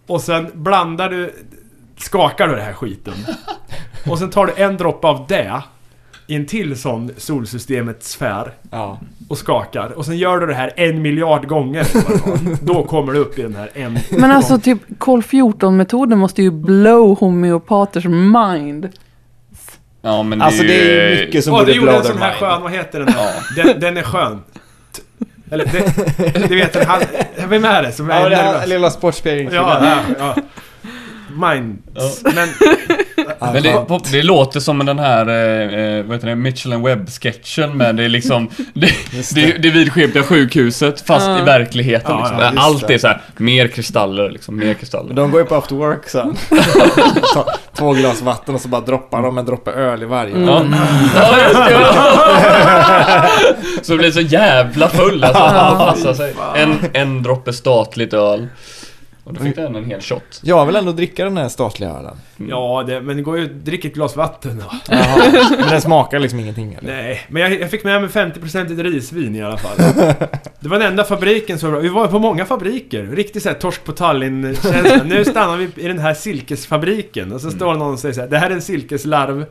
Och sen blandar du, skakar du den här skiten. Och sen tar du en droppe av det i en till sån solsystemets sfär
Ja.
och skakar. Och sen gör du det här en miljard gånger. Då kommer du upp i den här en
Men alltså typ kol 14 metoden måste ju blow homeopaters mind.
Typ.
Ja, men det
Alltså det är
ju-
ju mycket som
Åh,
borde
du gjorde
blow
en
their
sån här
mind.
skön, vad heter den då? Den, den är skön. T- Eller, det, du vet, han, vem är det som är
Ja, den här
nervös?
lilla sportspegeln.
Ja, ja, ja. Mind.
Ja.
Men,
Men det, på- det låter som den här, eh, eh, vad heter det, Mitchell and Webb-sketchen med det är liksom Det,
Just
det, det vidskepliga sjukhuset fast i verkligheten
Ja,
liksom.
ja,
just
Allt
det.
är så här, mer kristaller liksom, mer kristaller.
De går ju på after work
Mm.
sen. Ta två glas vatten och så bara droppar de en droppe öl i varje.
Mm.
Ja. ja, just det. ja. Så det blir så jävla full alltså. Allt passar sig. En, en droppe statligt öl. Och då fick den en hel shot.
Jag vill ändå dricka den här statliga ölen.
ja, det, men det går ju drick ett glas vatten då.
Jaha. Men den smakar liksom ingenting eller?
Nej, men jag, jag fick med mig 50% risvin i alla fall. Det var den enda fabriken som var bra. Vi var på många fabriker. Riktigt såhär torsk på Tallinn-känsla. Nu stannar vi i den här silkesfabriken. Och så står det någon och säger såhär, det här är en silkeslarv.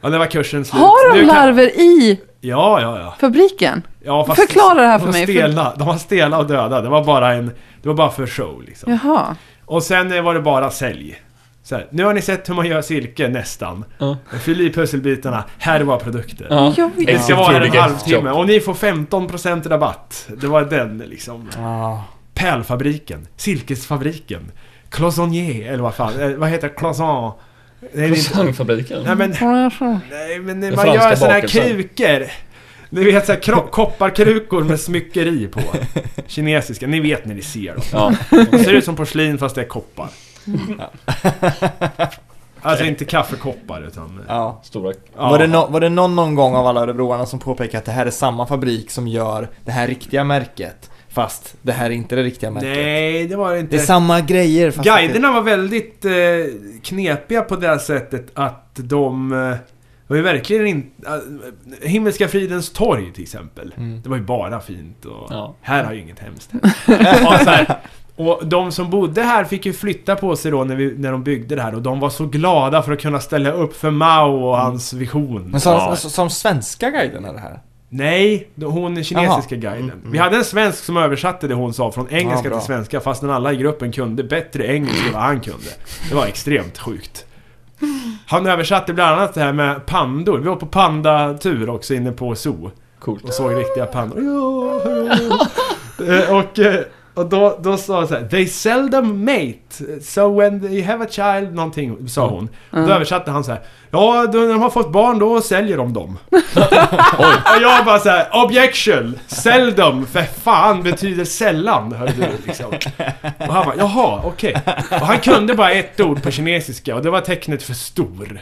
Ja, det var kursen slut.
Har de
Nu kan-
larver i
Ja, ja, ja.
fabriken?
ja
Förklara det här för
de var
mig, för-
Stela, de var stela och döda. Det var bara en... Det var bara för show liksom.
Jaha.
Och sen eh, var det bara sälj. Så här, nu har ni sett hur man gör silke, nästan.
Ja.
Fyll i pusselbitarna. Här är våra produkter.
Ja.
Jag vet.
Det ska
Exakt.
vara en
Tidiga
halvtimme
jobb.
och ni får 15% rabatt. Det var den liksom.
Ah.
Pärlfabriken, silkesfabriken, Cloisonnier eller vad fan, eh, vad heter det? Cloison? Nej, det är inte,
Sangfabriken.
nej men,
Ja,
nej, men när
Den
man
franska
gör såna här
bakelsen.
krukor. Ni vet såhär kro- kopparkrukor med smyckeri på. Kinesiska, ni vet när ni ser dem.
Ja.
Det ser ut som porslin fast det är koppar. Alltså inte kaffekoppar utan...
Ja.
Stora...
Ja.
Var, det nå- var det någon, någon gång av alla örebroarna som påpekade att det här är samma fabrik som gör det här riktiga märket? Fast det här är inte det riktiga märket.
Nej, det var det inte.
Det är samma grejer fast
Guiderna var väldigt eh, knepiga på det här sättet att de... Eh, var ju verkligen inte... Eh, Himmelska fridens torg till exempel.
Mm.
Det var ju bara fint och...
Ja.
Här har ju inget hemskt hänt. ja, så här. Och de som bodde här fick ju flytta på sig då när, vi, när de byggde det här och de var så glada för att kunna ställa upp för Mao och hans vision.
Men sa,
Ja.
sa, sa de svenska guiderna det här?
Nej, då- hon är kinesiska
Jaha.
guiden.
Mm, mm.
Vi hade en svensk som översatte det hon sa från engelska
Ja, bra.
till svenska fastän alla i gruppen kunde bättre engelska än vad han kunde. Det var extremt sjukt. Han översatte bland annat det här med pandor. Vi var på pandatur också inne på zoo
Coolt.
och såg riktiga pandor. Ja, ja. Eh, och, eh, Och då, då sa hon så här, They seldom mate, so when they have a child, någonting, sa hon. Då översatte han så här, Ja, då, när de har fått barn då säljer de dem. Och jag bara så här, Objection! Seldom, för fan betyder sällan, hörde du liksom. Och han bara, jaha, okej. Och han kunde bara ett ord på kinesiska och det var tecknet för stor.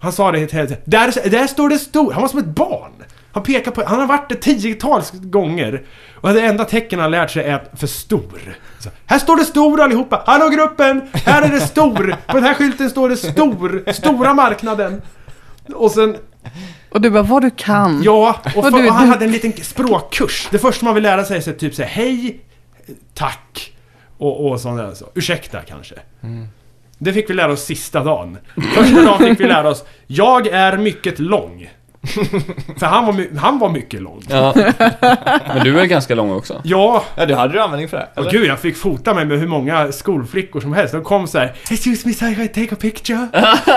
Han sa det helt hela tiden. Där, där står det stor. Han var som ett barn. Han pekar på... Han har varit det tiotals gånger. Och det enda tecken han lärt sig är att för stor. Så, här står det stor allihopa. Hallå gruppen! Här är det stor. På den här skylten står det stor. Stora marknaden. Och sen,
Och du bara, vad du kan.
ja. Och,
Vad
för,
du är
och han
duktig.
hade en liten språkkurs. Det första man vill lära sig är så typ så här, hej, tack och, och sånt där. Så. Ursäkta kanske. Det fick vi lära oss sista dagen. Första dagen fick vi lära oss Jag är mycket lång. För han var, my- han var mycket lång.
Ja. Men du är ganska lång också.
Ja,
Ja, du hade du användning för det?
och gud jag fick fota mig med hur många skolflickor som helst. De kom så här. Excuse me sir, I take a picture?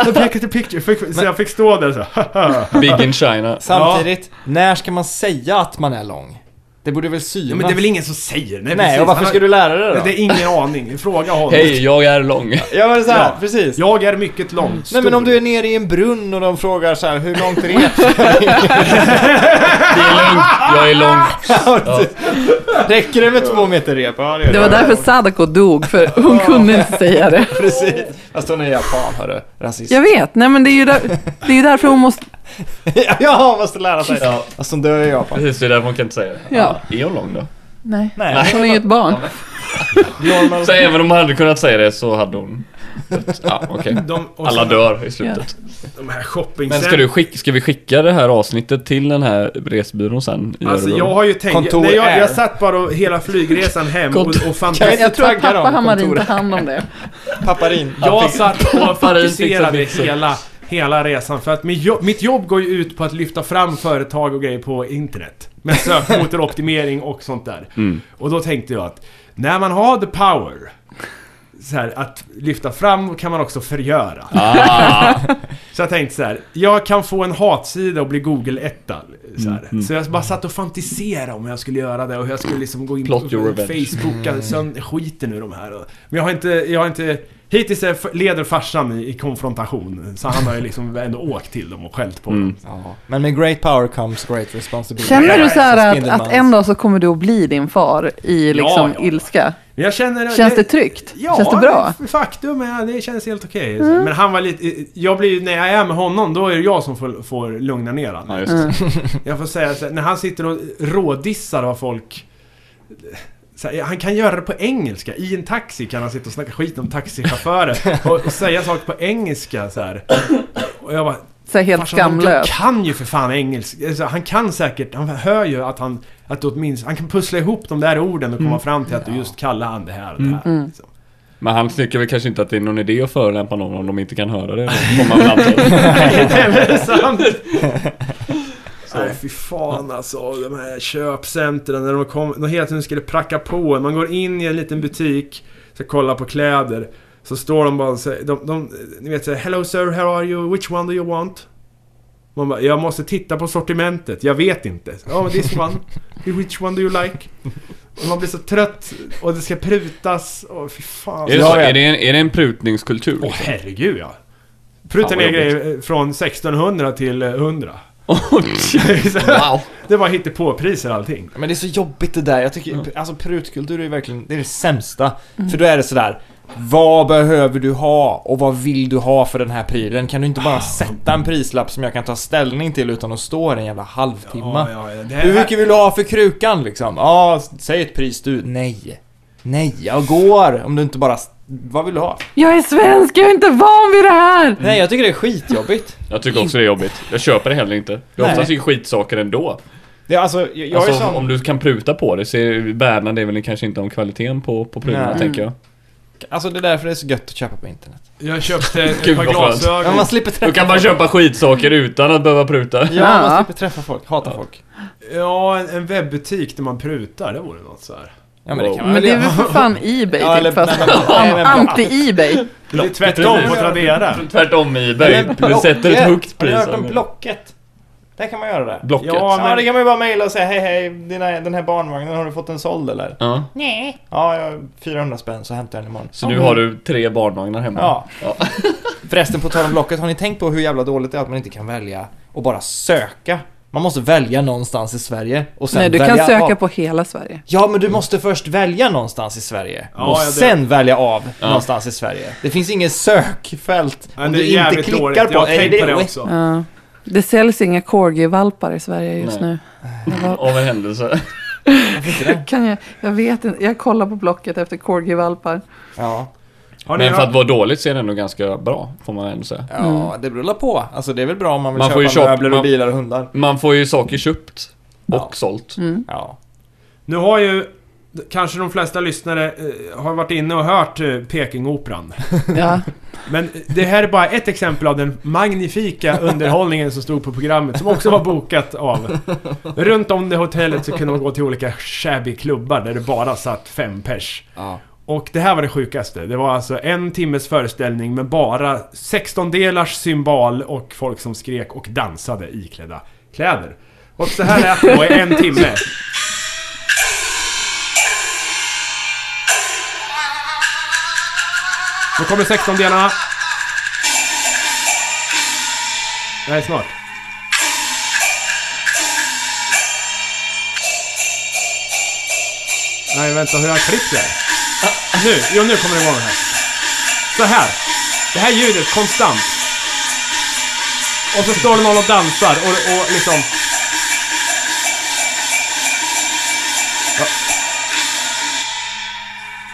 De pekade picture. Fick, så jag fick stå där så här,
Big in China.
Samtidigt, när ska man säga att man är lång? Det borde väl synas?
ja, Men det är väl ingen som säger det?
Nej, och varför ska du lära dig det då?
Det är ingen aning. Fråga honom.
Hej, jag är lång.
Ja men såhär,
Ja.
precis.
Jag är mycket lång.
Nej
stor.
men om du är nere i en brunn och de frågar så här, hur långt är det?
Det är lugnt, jag är lång.
Räcker det med två meter rep? Ja, gör
Det var därför Sadako dog, för hon kunde inte säga det.
Precis. Fast hon är japan hörru, rasist.
Jag vet, nej men det är ju, där, det är ju därför hon måste...
ja, hon måste lära sig.
Ja.
Fast hon dör i Japan.
Precis, det är därför hon kan inte säga det.
Ja.
Är hon lång då?
Nej,
Nej.
hon är ju ett barn.
Normal...
Så även om hon hade kunnat säga det så hade hon... Ja, okej.
De, och
Alla
sen-
dör i slutet.
De här
Men
shoppingcentren.
ska, du skicka, ska vi skicka det här avsnittet till den här resbyrån sen? I
Alltså
Örebro?
jag har ju tänkt...
Kontor
nej, jag,
Air.
jag satt bara och, hela flygresan hem och,
Kontor-
och
Kan
fantiserade.
inte
Jag tror att
tagga
pappa
dem på
Hammarin tar
kontoret.
hand om det.
Paparin.
Jag satt och
Paparin fixar
fokuserade
mixen.
hela, hela resan för att mitt jobb, mitt jobb går ju ut på att lyfta fram företag och grejer på internet. Med sökmotoroptimering och sånt där.
Mm.
Och då tänkte jag att när man har the power så här, att lyfta fram kan man också förgöra.
Ah,
Så jag tänkte så här, jag kan få en hatsida och bli Google-etta. Så,
Mm,
här. så jag bara satt och fantiserade om hur jag skulle göra det och hur jag skulle liksom gå in på
Plot your revenge.
Facebooka sönder skiten ur de här. Och- Men jag har inte, jag har inte... Hittills är, leder farsan i, i konfrontation. Så han har ju liksom ändå åkt till dem och skällt på
Mm.
dem.
Ja. Men med great power comes great responsibility.
Känner du så här att,
Spindelmans.
att en dag så kommer du att bli din far i
Ja,
liksom
ja.
ilska?
Men jag känner...
Känns det tryggt?
Ja,
Känns det bra? Mm.
f- faktum är det känns helt okej. Men han var lite... Jag blir ju- när jag är med honom, då är det jag som får, får lugna ner honom.
ja, just det.
Mm.
Jag får säga så här, när han sitter och rådissar vad folk... Så här, han kan göra det på engelska. I en taxi kan han sitta och snacka skit om taxichaufförer och, och säga saker på engelska så här. Och jag bara...
Så här helt
"Farsan, han- Han
skamlös.
kan ju för fan engelska. Alltså, han kan säkert, han hör ju att han... Att du åtminstone, han kan pussla ihop de där orden och
Mm.
komma fram till att du just kallar han det här och det här. liksom.
Men han tycker väl kanske inte att det är någon idé att förolämpa någon om de inte kan höra det. Då kommer han väl anta.
Nej, det är väl sant. Nej fy fan alltså, de här köpcentren när de kom, de hela tiden skulle pracka på en. Man går in i en liten butik, ska kolla på kläder. Så står de bara och säger, de, de, ni vet såhär Hello sir, how are you? Which one do you want? Man bara, jag måste titta på sortimentet, jag vet inte. Ja, men this one. Which one do you like? Och man blir så trött och det ska prutas och fy fan.
Är det, så, är, det en, är det en prutningskultur?
Åh
liksom?
herregud ja. Pruta
Fan,
ner
vad
grejer eh, från 1600 till eh, 100.
Åh, shit. wow.
Det var hittepåpriser allting.
Men det är så jobbigt det där. Jag tycker, alltså prutkultur är verkligen, det är det sämsta.
Mm.
För då är det sådär, vad behöver du ha och vad vill du ha för den här prylen? Kan du inte bara sätta en prislapp som jag kan ta ställning till utan att stå här en jävla halvtimme?
ja, ja. Det
Hur
här,
mycket vill du ha för krukan liksom? Ja, s- säg ett pris du. Nej. Nej, jag går om du inte bara... s- Vad vill du ha?
Jag är svensk, jag är inte van vid det här!
Nej, jag tycker det är skitjobbigt.
Jag tycker också det är jobbigt. Jag köper det heller inte. Det är
Nej.
oftast ju skitsaker ändå.
Det, är alltså, jag, jag
alltså,
är sån...
om du kan pruta på det så är- värnar det väl kanske inte om kvaliteten på, på prylarna,
Nej.
tänker jag.
Alltså det är därför det är så gött att köpa på internet.
jag köpte ett
Gud,
par
vad skönt.
Ja,
glasögon.
man slipper träffa
Du kan bara köpa skitsaker utan att behöva pruta.
Ja,
Ja.
man slipper träffa folk. Hata folk.
Ja, en, en webbutik där man prutar, det vore något så här.
Ja, men det kan man
Men
väl
det är
göra.
väl för fan Ebay
Ja, eller-
typ, fast
nej, men- nej, men-
anti-Ebay.
Det är tvärtom på Tradera.
Tvärtom i eBay.
Men
Du sätter ett
Blocket.
högt
Har
pris.
ni hört om Blocket? Där kan man göra det.
Blocket.
Ja,
Ja,
men-
det kan man ju bara mejla och säga hej hej, dina, den här barnvagnen, har du fått en såld eller?
Ja.
Ja, jag har 400 spänn så hämtar jag den imorgon.
Så nu har du tre barnvagnar hemma?
Ja.
Ja.
Förresten, på tal om Blocket, har ni tänkt på hur jävla dåligt det är att man inte kan välja och bara söka? Man måste välja någonstans i Sverige och sen
Nej, du
välja
kan söka
av.
på hela Sverige.
Ja, men du måste först välja någonstans i Sverige
Ja,
och
ja, det-
sen välja av
Ja.
någonstans i Sverige. Det finns inget sökfält
Ja,
om
det är
du inte
jävligt
klickar
dåligt.
på
Jag har tänkt på det
Hey,
också.
Ja. Det säljs inga corgi-valpar i Sverige just
Nej.
nu. Jag, bara,
Av en händelse.
kan jag, jag vet inte, jag kollar på Blocket efter corgi-valpar.
Ja,
Har ni
Men för att
några...
vara dåligt så är det ändå ganska bra, får man ändå säga.
ja det beror på. Alltså det är väl bra om man vill
Man
köpa
får ju köpa-
möbler och
man-
bilar och hundar.
Man får ju saker köpt och
Ja. Mm.
sålt.
Mm.
Ja.
Nu har ju kanske de flesta lyssnare eh, har varit inne och hört eh, Pekingoperan.
Ja.
Men det här är bara ett exempel av den magnifika underhållningen som stod på programmet, som också var bokat av. Runt om det hotellet så kunde man gå till olika shabby klubbar där det bara satt fem pers.
Ja.
Och det här var det sjukaste. Det var alltså en timmes föreställning med bara 16-delars cymbal och folk som skrek och dansade iklädda kläder. Och så här lät det då i en timme. Nu kommer 16-delarna. Nej, snart. Nej, vänta, hur har jag klippt det? här? Nu, jo nu kommer det igång här. Så här. Det här ljudet konstant. Och så står det någon och dansar och, och liksom... Ja.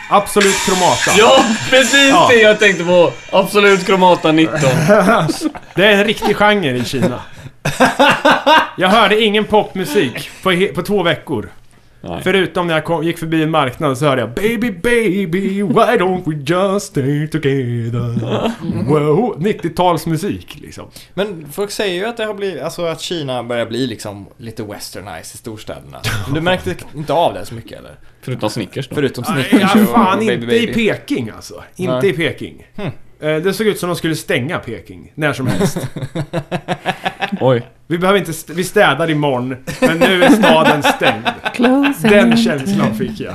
Absolut kromata.
Ja, precis
Ja.
det jag tänkte på! Absolut Kromata 19.
Det är en riktig genre i Kina. Jag hörde ingen popmusik på, he- på två veckor.
Nej.
Förutom när jag kom, gick förbi en marknad så hörde jag Baby baby why don't we just stay together Wow, 90-talsmusik liksom.
Men folk säger ju att det har blivit, alltså att Kina börjar bli liksom lite westernized i storstäderna. Men Du märkte inte av det så mycket eller?
Förutom Snickers då.
Förutom
Nej,
Snickers
ja,
och
fan
alltså, Baby
inte i
Baby.
Peking alltså. Inte
Nej. Hm.
i Peking. Eh, Det såg ut som de skulle stänga Peking när som helst.
Oj.
Vi behöver inte... St- vi städar imorgon, men nu är staden stängd.
Closing.
Den känslan fick jag.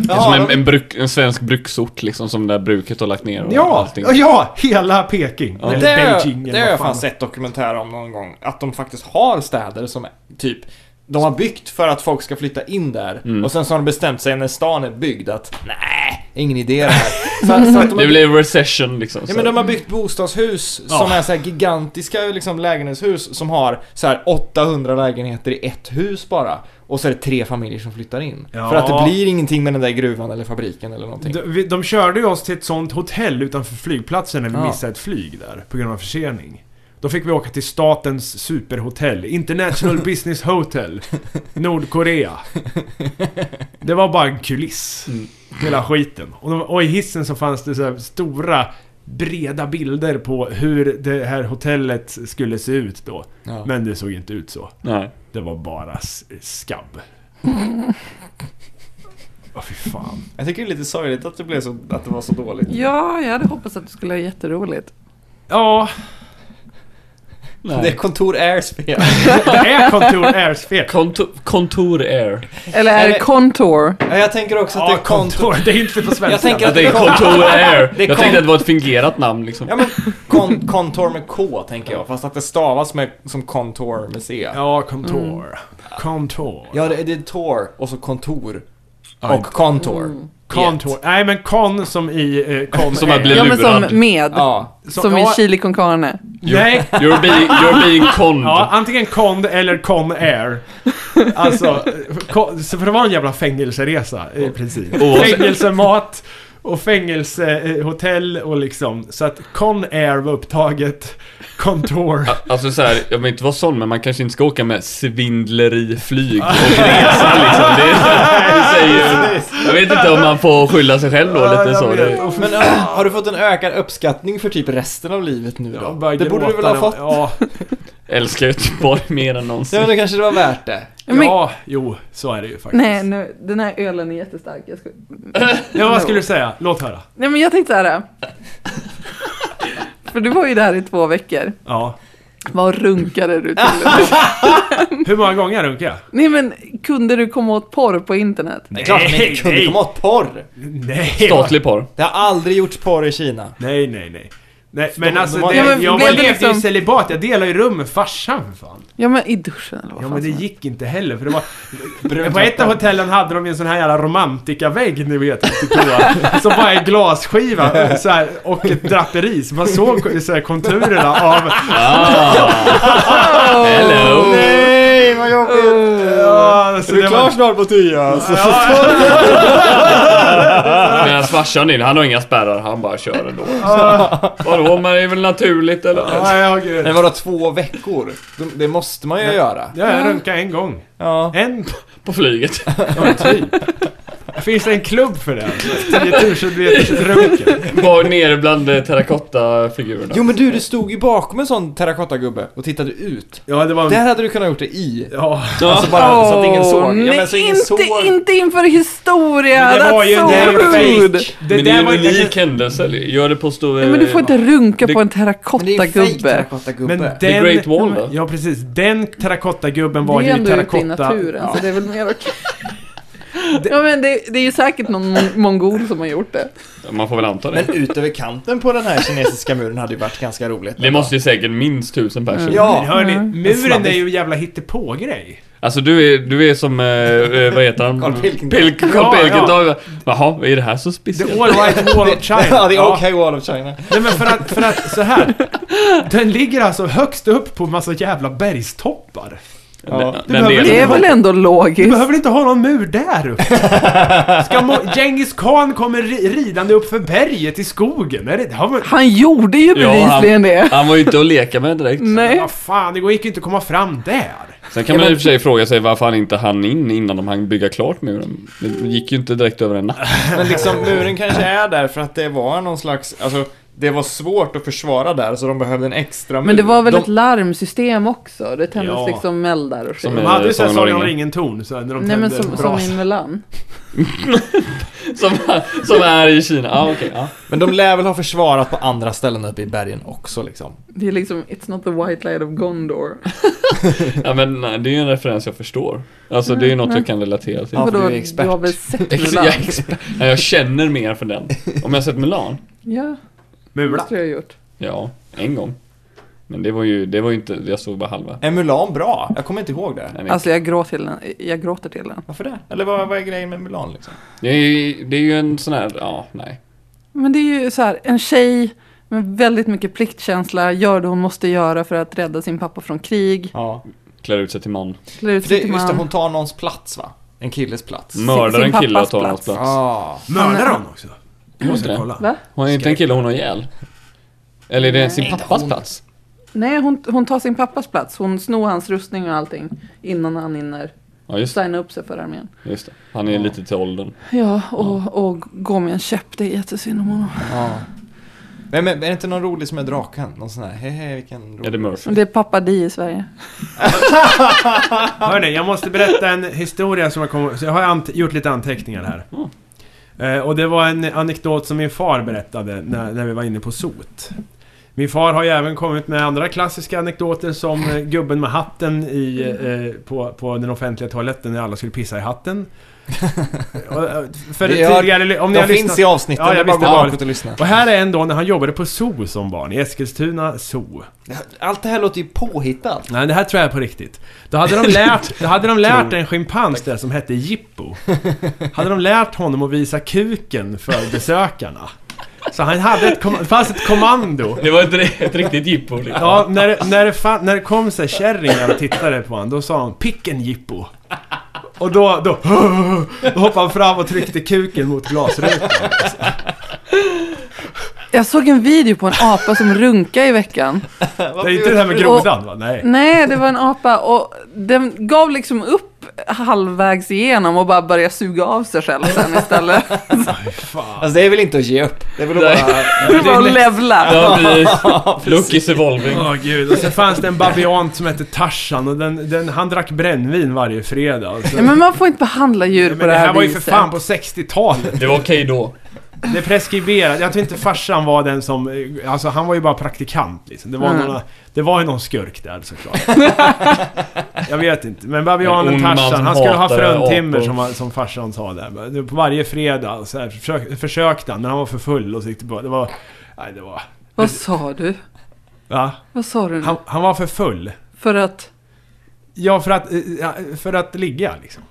Det är som en,
de-
en, bruk, en svensk bruksort liksom som det där bruket har lagt ner och
Ja,
allting.
ja, hela Peking.
Ja.
Eller
Det, har
Beijing
jag-
eller
det har
vad
jag fan sett dokumentär om någon gång. Att de faktiskt har städer som är- typ de har byggt för att folk ska flytta in där
Mm.
och sen så har de bestämt sig när stan är byggd att nej, ingen idé det här. så, så att de har
Det blev recession liksom.
Ja men de har byggt bostadshus som
Ja.
är så här gigantiska liksom lägenhetshus som har så här 800 lägenheter i ett hus bara. Och så är det tre familjer som flyttar in.
Ja.
För att det blir ingenting med den där gruvan eller fabriken eller någonting.
De, vi, de körde ju oss till ett sånt hotell utanför flygplatsen när vi
Ja.
missade ett flyg där på grund av försening. Då fick vi åka till statens superhotell, International Business Hotel, Nordkorea. Det var bara en kuliss,
Mm.
hela skiten. Och, de, och i hissen så fanns det så här stora, breda bilder på hur det här hotellet skulle se ut då.
Ja.
Men det såg inte ut så.
Nej.
Det var bara s- skabb. Åh fy fan.
Jag tycker det är lite sorgligt att det, blev så, att det var så dåligt.
Ja, jag hade hoppats att du skulle ha jätteroligt.
Ja,
Det är kontor Airspeed.
Det är kontor Airsfed.
Kontor, kontor Air.
Eller är det
Eller-
Contour?
ja, jag tänker också att
Ja,
det är kontor...
kontor. Det är inte på svenska.
Jag tänker
Ja,
att
det är Kontor Air.
Det är kon-
Jag tänkte att det var ett fingerat namn liksom.
Ja men kon, kontor med K tänker jag. Fast att det stavas med, som kontor med C.
Ja, kontor.
Mm.
Kontor.
Ja det, det är tor och så kontor.
Ja,
Och kontor.
kontor. Nej, men kon som i... Eh, kon
Som att
är.
bli
Ja, men
lurad.
som med.
Ja.
Så-
Som i
ja,
chili con carne.
Nej.
You're being, you're being conned.
Ja, antingen kon eller con air. Alltså, eh, kon, så för det var en jävla fängelseresa i princip.
Och-
Fängelsemat och fängelsehotell och liksom. Så att con air var upptaget. Kontor.
Alltså så här, jag vill inte vara sån men man kanske inte ska åka med svindleriflyg och resa liksom. Det, är- det säger, ju- jag vet inte om man får skylla sig själv då
Ja,
lite
jag
så.
vet.
Det,
Och
Men äh, har du fått en ökad uppskattning för typ resten av livet nu
jag
då?
började
Det borde du väl
gråta
ha
när-
fått?
Ja,
älskar Göteborg mer än
Ja
någonsin.
men då kanske det var värt det.
Men-
ja, jo, så är det ju faktiskt.
Nej, nu, den här ölen är jättestark. Jag ska...
Ja, vad skulle du säga? Låt höra.
Nej, men jag tänkte så här. För du var ju där i två veckor.
Ja.
Vad runkade du till?
Hur många gånger runkade jag?
Nej men, kunde du komma åt porr på internet?
Det är klart att man inte kunde
nej.
komma åt porr!
Nej!
Statlig porr.
Det har aldrig gjorts porr i Kina.
Nej, nej, nej. Nej,
De-
men
de
alltså,
var-
det,
Ja,
men
jag
blev
var
det
levde ju
liksom-
celibat. Jag delade ju rum med farsan för fan.
Ja men i duschen eller vad
Ja,
fan
men det
som helst.
gick inte heller för det var... På ett av hotellen hade de ju en sån här jävla romantikervägg, ni vet, till toa. Som bara är glasskiva så här, och ett draperi. Så man såg så här, konturerna av...
Ah. Hello!
Nej, vad jobbigt!
Ja, så
Är du
det
klar
var,
snart Mattias?
Medan farsan in, han har inga spärrar, han bara kör ändå. Vadå, men det är väl naturligt eller?
ja, ja, gud.
Men vadå två veckor? De- Det måste man ju göra.
Ja, jag runkade en gång.
Ja.
En
På flyget.
Ja, typ. Finns det en klubb för det? Alltså, 10 000 meters runken.
Var nere bland eh, terrakottafigurerna.
Jo men du, du stod ju bakom en sån terrakottagubbe och tittade ut.
Ja, det var...
Där hade du kunnat gjort det i.
Ja,
Alltså bara så att ingen
Åh,
såg. Ja,
nej,
men så ingen
inte,
såg.
inte inför historia!
Men det var ju- det är ju
That's so rude!
fake.
men det
där
är
var
en
inte-
unik händelse. Gör det på stor... eh,
Nej men du får inte runka
Det-
på en
Men det är ju fejk
terrakottagubbe.
terrakottagubbe.
Men
Men
den...
det...
The Great Wall, va?
Ja, precis. Den terrakottagubben
Det
var
är
ju
ändå ute i
terrakotta...
naturen så det är väl mer okej. Ja men det, det är ju säkert någon mon- mongol som har gjort det.
Man får väl anta det.
Men ut över kanten på den här kinesiska muren hade ju varit ganska roligt.
Det måste ju säkert minst tusen personer.
Men
Ja!
hörni,
Mm.
muren är
Sladdis.
ju en jävla hittepågrej.
Alltså du är, du är som, eh, eh, vad heter han?
Carl Pilkington.
Pilk, Carl
Ja,
Pilkington. Jaha, är det här så
The
speciellt?
All Right Wall of China.
Ja, det är OK Wall of China.
Nej men för att, för att så här. Den ligger alltså högst upp på massa jävla bergstoppar.
Ja.
Den
behöver
delen.
inte
Det är väl ändå
Du
logiskt?
behöver inte ha någon mur där uppe. Ska Mo- Genghis Khan kommer ri- ridande upp för berget i skogen? Är det, har man,
Han gjorde ju
Ja, han-
bevisligen det.
Han var ju inte att leka med direkt.
Nej.
Vad fan, det gick ju inte att komma fram där.
Sen kan man i och för sig fråga sig varför han inte hann in innan de hann bygga klart muren. Det gick ju inte direkt över en natt.
Men liksom muren kanske är där för att det var någon slags, alltså det var svårt att försvara där så de behövde en extra mur.
Men det var väl
de,
ett larmsystem också? Det tändes
Ja.
liksom eldar och
Som
skit.
De
Men, eh,
hade ju såhär
Sagan om
Sagan om
ringen.
ringen-ton, så här, när de
Nej men
tände
som, som
brasan.
i Mulan.
Som, som är i Kina. Ah, okej. ja.
Men de lär väl ha försvarat på andra ställen uppe i bergen också liksom.
Det är liksom, it's not the white light of Gondor.
ja, men nej, det är ju en referens jag förstår. Alltså det är ju något
Mm,
jag kan relatera till.
Ja, för
Vadå,
du är expert.
har väl sett
Ex-
Mulan?
jag, är expert. Nej, jag känner mer för den. Om jag har sett Mulan?
Ja, det
Mula.
måste jag ha gjort.
Ja, en gång. Men det var ju, det var ju inte, jag såg bara halva.
Är Mulan bra? Jag kommer inte ihåg det.
Nej, nej.
Alltså jag gråter till den. Jag gråter till den.
Varför det? Eller vad, vad är grejen med Mulan liksom?
Det är, ju, det är ju en sån här, ja, nej.
Men det är ju så här, en tjej med väldigt mycket pliktkänsla gör det hon måste göra för att rädda sin pappa från krig.
Ja.
Klär ut sig till man.
Klär ut
För det,
sig till
just det, hon
man. Mm.
tar någons plats va? En killes plats.
Mördar
Sin
en kille och
pappas
tar
plats.
hans plats.
Ah.
Mördar hon också? Jag
Gjorde
måste
det?
kolla.
Va?
Hon är inte en kille hon har ihjäl. Eller är det sin pappas plats?
Nej, hon, hon tar sin pappas plats. Hon snor hans rustning och allting innan han hinner
Ja, just det.
signa upp sig för armén.
Just det. Han är lite till åldern.
Ja, och, och gå med en käpp. Det är jättesynd om honom.
Ja. Men, men är det inte någon rolig som är draken? Någon sån här, hehe vilken rolig...
Är det Murphy?
Men Det är pappa Di i Sverige.
Hörni, jag måste berätta en historia som jag kommer... Så jag har ant- gjort lite anteckningar här.
Mm.
Eh, och det var en anekdot som min far berättade när, när vi var inne på sot. Min far har ju även kommit med andra klassiska anekdoter som eh, gubben med hatten i, eh, på, på den offentliga toaletten när alla skulle pissa i hatten. Och, eh, för
Vi har-
tidigare, om ni
De
har
finns
lyssnat...
i avsnitten,
Ja,
det
jag
är bara att
visste
gå
det.
bakåt och lyssna.
Och här är en då när han jobbade på zoo som barn, i Eskilstuna zoo.
Allt det här låter ju påhittat.
Nej, det här tror jag är på riktigt. Då hade de lärt, då hade de lärt en schimpans där som hette Jippo. Hade de lärt honom att visa kuken för besökarna. Så han hade ett, kom- det fanns ett kommando.
Det var ett, ett riktigt jippo liksom.
Ja, när, när, det fan, när det kom så här kärringar och tittade på honom, då sa han ”Picken Jippo”. Och då, då, då hoppade han fram och tryckte kuken mot glasrutan.
Jag såg en video på en apa som runkade i veckan.
Det är inte det här med grodan va? Nej.
Nej, det var en apa och den gav liksom upp halvvägs igenom och bara började suga av sig själv sen istället.
Alltså det är väl inte att ge upp? Det är väl att
Nej.
bara...
Det var att levla.
Ja, precis. Look is evolving.
Åh gud, och så fanns det en babiant som hette Tarzan och den, den, han drack brännvin varje fredag. Och så-
Nej, men man får inte behandla djur
Nej,
på
men det här var ju för
viset.
fan på 60-talet.
Det var okej då.
Det är preskriberat. Jag tror inte farsan var den som... eh, Alltså han var ju bara praktikant liksom. Det var,
Mm.
några, det var ju någon skurk där såklart. jag vet inte. Men babianen
En ond man som
Tarzan, han skulle ha
hatade
fruntimmer
apor.
som, var- som farsan sa där. Det- På varje fredag så här, försök, försökte han, men han var för full och så gick det bara... Det var... Nej, det var...
Vad sa du?
Va?
Vad sa du nu?
Han, han var för full.
För att
Ja, för att, eh, ja, för att ligga liksom.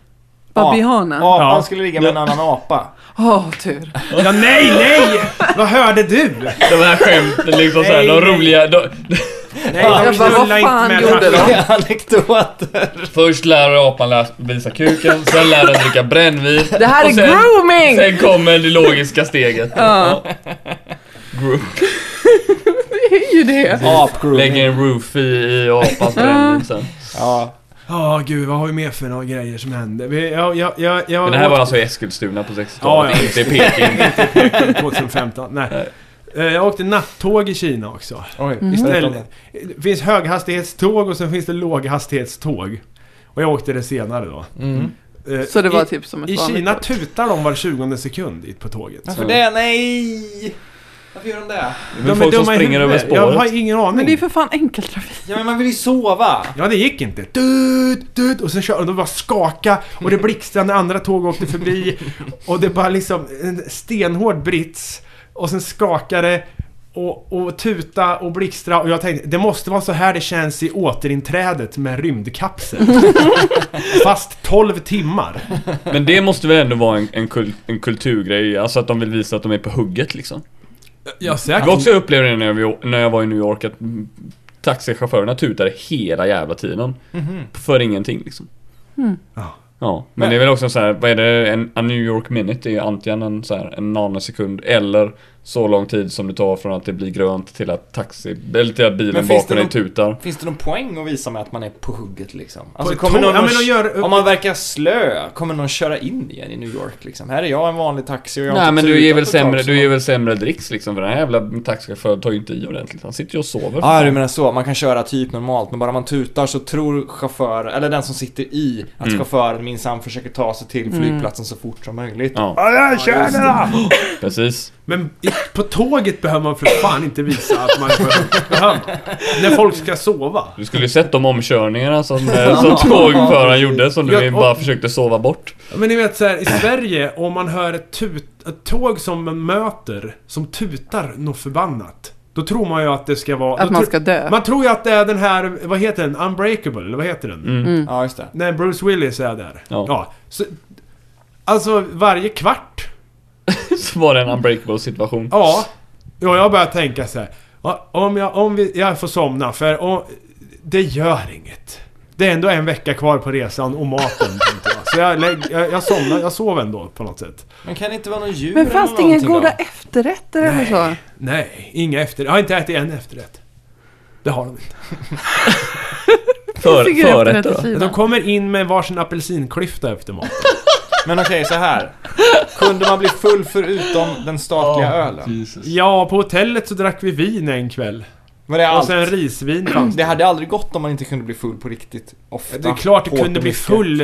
babianen? Ja,
Apan
Ja.
skulle ligga med en annan apa.
tur.
Ja, nej, nej! Vad hörde du?
De här skämten liksom såhär,
Nej,
de
nej.
roliga... De,
Nej,
Jag bara,
de
vad
knullar
fan
inte med
gjorde
farsan.
de?
Anekdoter.
först lär apan läs- visa kuken, sen lär den dricka brännvin.
Det här
och
är
sen,
grooming!
Sen kommer det logiska steget.
Ja.
Gro-
Det är ju det.
Apgrooming.
Lägger en roofie i apans brännvin sen.
Ja.
Ja, gud, vad har vi mer för några grejer som händer? Vi, jag, jag, jag, jag
Men det här var alltså i Eskilstuna på 60-talet,
Ja, ja.
inte i Peking.
2015, nej. Eh, Jag åkte nattåg i Kina också.
Oj,
Istället. Det finns höghastighetståg och sen finns det låghastighetståg. Och jag åkte det senare då.
Mm.
Eh,
Så det var
i,
typ som ett
I
vanligt
Kina
brott.
tutar de var 20 sekund dit på tåget.
Varför det? Nej! Varför gör de det?
Men folk som
dumma i
springer över
huvudet. Jag
spåret.
har ingen aning.
Men det är ju för fan enkeltrafik.
Ja men man vill ju sova!
Ja, det gick inte. Dut, dut, och sen körde de bara skaka och det blixtrade när andra tåg åkte förbi. Och det bara liksom en stenhård brits. Och sen skakade och, och tuta och blixtra och jag tänkte det måste vara så här det känns i återinträdet med rymdkapseln. Fast 12 timmar.
Men det måste väl ändå vara en, en, kul, en kulturgrej, alltså att de vill visa att de är på hugget liksom.
Ja,
Jag också upplevde det när jag, när jag var i New York att mm, taxichaufförerna tutade hela jävla tiden.
Mhm.
För ingenting liksom.
Ja.
Ja, men det är väl också så här, vad är det, en a New York minute är ju antingen en, så här, en nanosekund eller så lång tid som det tar från att det blir grönt till att taxi, eller till att bilen
Men finns
bakom
det
dig
någon-
tutar.
Finns det någon poäng att visa med att man är på hugget liksom?
ett tåg? Ja, men de gör-
Om man verkar slö, kommer någon köra in igen i New York liksom? Här är jag en vanlig taxi och jag har
Nej
inte
men
tutat
du ger väl
på ett tag,
sämre,
så-
du ger väl sämre dricks liksom för den här jävla taxichauffören tar ju inte i ordentligt. Han sitter ju och sover.
Ja, du menar så. Man kan köra typ normalt, men bara man tutar så tror chaufför, eller den som sitter i, att
Mm.
chauffören minsann försöker ta sig till flygplatsen så fort som möjligt.
Ja,
Ja, kör det då!
precis.
Men i, på tåget behöver man för fan inte visa att man behöver. När folk ska sova.
Du skulle ju sett de omkörningarna som, eh, som tågföraren gjorde som du
Jag-
bara försökte sova bort.
Ja, Men ni vet så här, i Sverige, om man hör ett, tut, ett tåg som man möter, som tutar något förbannat. Då tror man ju att det ska vara...
Att
då
man
tro-
ska dö.
man tror ju att det är den här, vad heter den? Unbreakable, eller vad heter den?
Mm.
Ja, just det.
När Bruce Willis är där.
Ja.
så, alltså varje kvart.
Så var det en unbreakable situation.
Ja. Ja, jag börjar tänka så här. ja, Om jag, om vi, jag får somna, för om, det gör inget. Det är ändå en vecka kvar på resan och maten. tänkte jag. Så jag, lägg, jag, jag somnar, jag sover ändå på något sätt.
Men kan det inte vara någon djur
Men fanns
eller
det inga
någonting
goda
då?
efterrätter eller så?
Nej, inga efterrätt. Jag har inte ätit en efterrätt. Det har de inte.
För,
Tycker jag
förrätter
efterrätt i
då?
Men
Kina.
De kommer in med varsin apelsinklyfta efter maten.
Men okej, så här. Kunde man bli full förutom den statliga ölen?
Ja, på hotellet så drack vi vin en kväll.
Var det
Och
allt?
sen risvin fanns
Det
det.
hade aldrig gått om man inte kunde bli full på riktigt ofta.
Det är klart det
Hårt och
kunde bli
mycket.
full.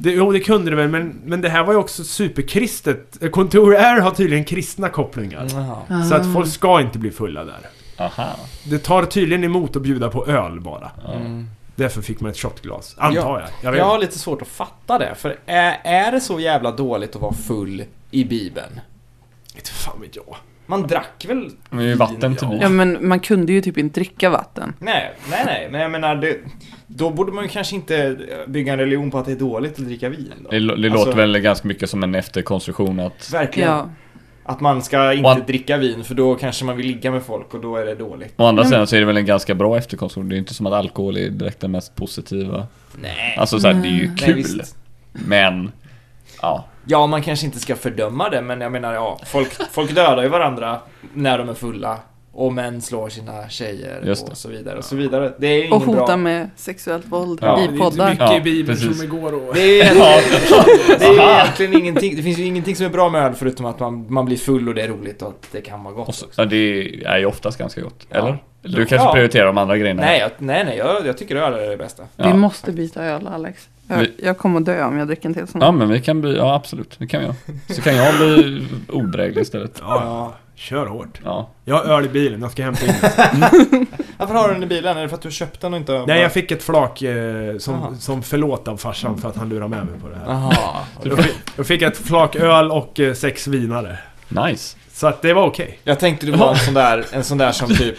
Det, jo, det kunde det väl, men, men det här var ju också superkristet. Contour Air har tydligen kristna kopplingar.
Jaha.
Ah.
Så att folk ska inte bli fulla där.
Aha.
Det tar tydligen emot att bjuda på öl bara.
Mm.
Därför fick man ett shotglas. Antar jag. Jag vet
Jag har
inte.
lite svårt att fatta det, för är, är det så jävla dåligt att vara full i Bibeln?
Inte fan vet jag.
Man drack väl?
Men det är ju vatten till
Ja
vin.
men man kunde ju typ inte dricka vatten.
Nej, nej, nej, men jag menar det, Då borde man ju kanske inte bygga en religion på att det är dåligt att dricka vin då.
Det, lå- det
Alltså-
låter väl ganska mycket som en efterkonstruktion att...
Verkligen.
Ja.
Att man ska inte
Man-
dricka vin för då kanske man vill ligga med folk och då är det dåligt.
Å andra sidan så är det väl en ganska bra efterkonstruktion. Det är ju inte som att alkohol är direkt den mest positiva.
Nej.
Alltså såhär, det är ju
Nej,
kul.
visst.
Men... Ja.
Ja, man kanske inte ska fördöma det, men jag menar ja, folk, folk dödar ju varandra när de är fulla. Och män slår sina tjejer
Just det.
och så vidare och så vidare. Det är ju
Och
inget
hota
bra.
med sexuellt våld
Ja.
Det är
i
ju inte
poddar.
mycket i
Ja,
Bibeln
precis.
som igår och...
Det är, det är ju egentligen ingenting, det finns ju ingenting som är bra med öl förutom att man, man blir full och det är roligt och att det kan vara gott
Och så,
också.
ja, det är ju oftast ganska gott.
Ja.
Eller? Du kanske
Ja.
prioriterar de andra grejerna?
Nej, jag, nej, nej, jag, jag tycker öl är det bästa.
Ja.
Vi måste byta öl Alex. Jag,
Vi-
jag kommer att dö om jag dricker en till sån.
Ja men vi kan bli, ja absolut, det kan jag. Så kan jag bli odräglig istället.
Ja, ja. Kör hårt.
Ja.
Jag har öl i bilen, jag ska hämta in den.
Varför har du den i bilen? Är det för att du köpte den och inte...
Nej, jag fick ett flak eh,
Aha.
som, som förlåt av farsan för att han lurade med mig på det här.
Jaha.
Jag fick, jag fick ett flak öl och eh, sex vinare.
Nice.
Så att det var okej.
Jag tänkte du var en sån där, en sån där som typ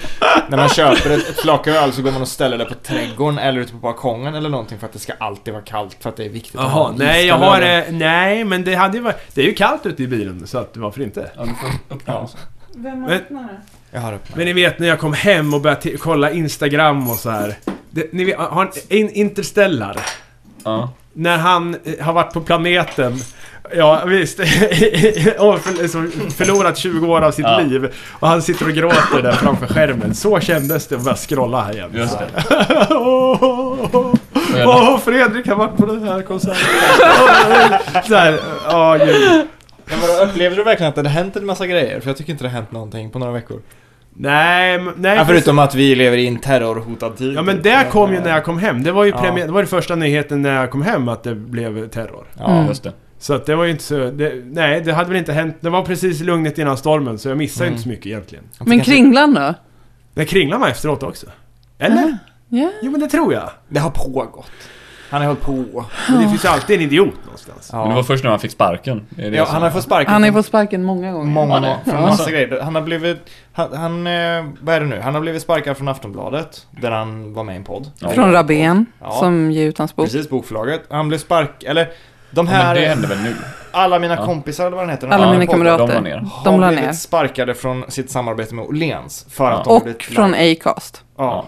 När man köper ett, ett flak öl så går man och ställer det på trädgården eller ute på balkongen eller någonting för att det ska alltid vara kallt för att det är viktigt att ha
Jaha,
en
nej jag
iskall
har
öl.
eh, Nej, men det hade ju varit... Det är ju kallt ute i bilen, så att varför inte?
Ja, du får öppna den.
Vem
Men-
öppnar
Jag har öppnat
Men ni vet när jag kom hem och började ti- kolla Instagram och så här. Det, ni vet, har en, in, Interstellar.
Ja.
När han eh, har varit på planeten. Ja visst. och för, så förlorat 20 år av sitt
Ja.
liv. Och han sitter och gråter där framför skärmen. Så kändes det att börja scrolla här igen.
Just det.
Åh, åh, åh.
Och jag-
Åh, Fredrik har varit på den här konserten. så här, ja gud.
Men vadå, upplevde du verkligen att det hade hänt en massa grejer? För jag tycker inte det har hänt någonting på några veckor
Nej, men- nej.
ja, Förutom att vi lever i en terrorhotad tid eh,
Ja men det kom ju när jag kom hem. Det var ju
Ja.
premiär, det var ju första nyheten när jag kom hem att det blev terror.
Ja,
Mm.
Just det.
Så att det var ju inte så... Det, nej, det hade väl inte hänt. Det var precis lugnet innan stormen så jag missade ju
Mm.
inte så mycket egentligen.
Men Kringlan då?
Men kringlan var efteråt också. Eller?
Ja.
Jo men det tror jag.
Det har pågått Han har hållit på
Men det finns ju alltid en idiot någonstans.
Men det var först när han fick sparken. Är det
Ja,
så?
han har fått sparken
Han har ju
från-
fått sparken många gånger.
Många
Ja, det-
från
ja.
massa grejer. Han har blivit, han, han, eh, vad är det nu? Han har blivit sparkad från Aftonbladet, där han var med i en podd.
Ja.
Från Rabén,
Ja.
som ger ut hans bok.
Precis, bokförlaget. Han blev spark, eller de
Ja, Men
här,
det hände väl nu?
alla mina
Ja.
kompisar eller vad den heter. den
Alla
här
mina
podden,
kamrater.
De la ner.
de la
har blivit
ner.
sparkade från sitt samarbete med Åhléns för
Ja.
att de har
Och
blivit
från
Ja.
Acast.
Ja.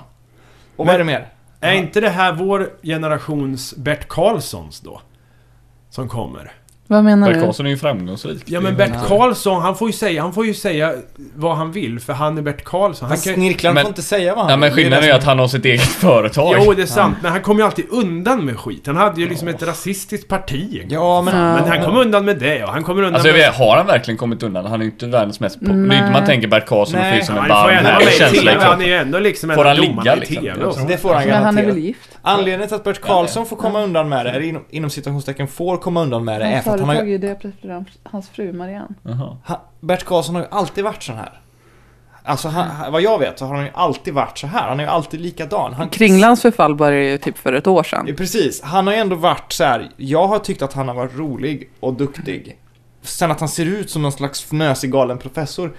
Och vad är det mer?
Är inte det här vår generations Bert Karlssons då? Som kommer.
Vad menar
Bert
du?
Karlsson är ju framgångsrik.
Ja men
Det är ju-
Bert Karlsson, han får ju säga, han får ju säga vad han vill för han är Bert Karlsson.
Han
Han kan,
snirklan
men-
får inte säga vad han
Ja men
vill.
skillnaden är
det
ju
som-
att han har sitt eget företag.
Jo, det är sant. Men han kom ju alltid undan med skit. Han hade ju liksom ett rasistiskt parti.
Ja men...
Ja.
Men han kom undan med det och han kommer undan
Alltså jag
med...
vet, har han verkligen kommit undan? Han är ju inte världens mest pop- Det är inte
Nej.
man tänker Bert Karlsson och
Nej.
finns som
Ja,
en
han får
varm
ändå
här
vara med i
känsla i
TV. Han
kroppen.
är ju ändå liksom en
Får
av
han ligga,
domarna i
liksom?
TV
Jag
och så.
tror-
Det får han
Men han är
garanterat.
väl gift?
Anledningen till att Bert Karlsson får komma undan med det, eller inom, inom citationstecken får komma undan med det, är
Hans
för att han har
företag är
ju,
ju det program, hans fru Marianne.
Jaha.
han, Bert Karlsson har ju alltid varit sån här. Alltså han,
Mm.
han- vad jag vet så har han ju alltid varit så här. Han är ju alltid likadan. Han,
Kringlans förfall började ju typ för ett år
Ja,
sedan.
Precis, han har ju ändå varit så här. jag har tyckt att han har varit rolig och duktig. Sen att han ser ut som någon slags fnösig galen professor,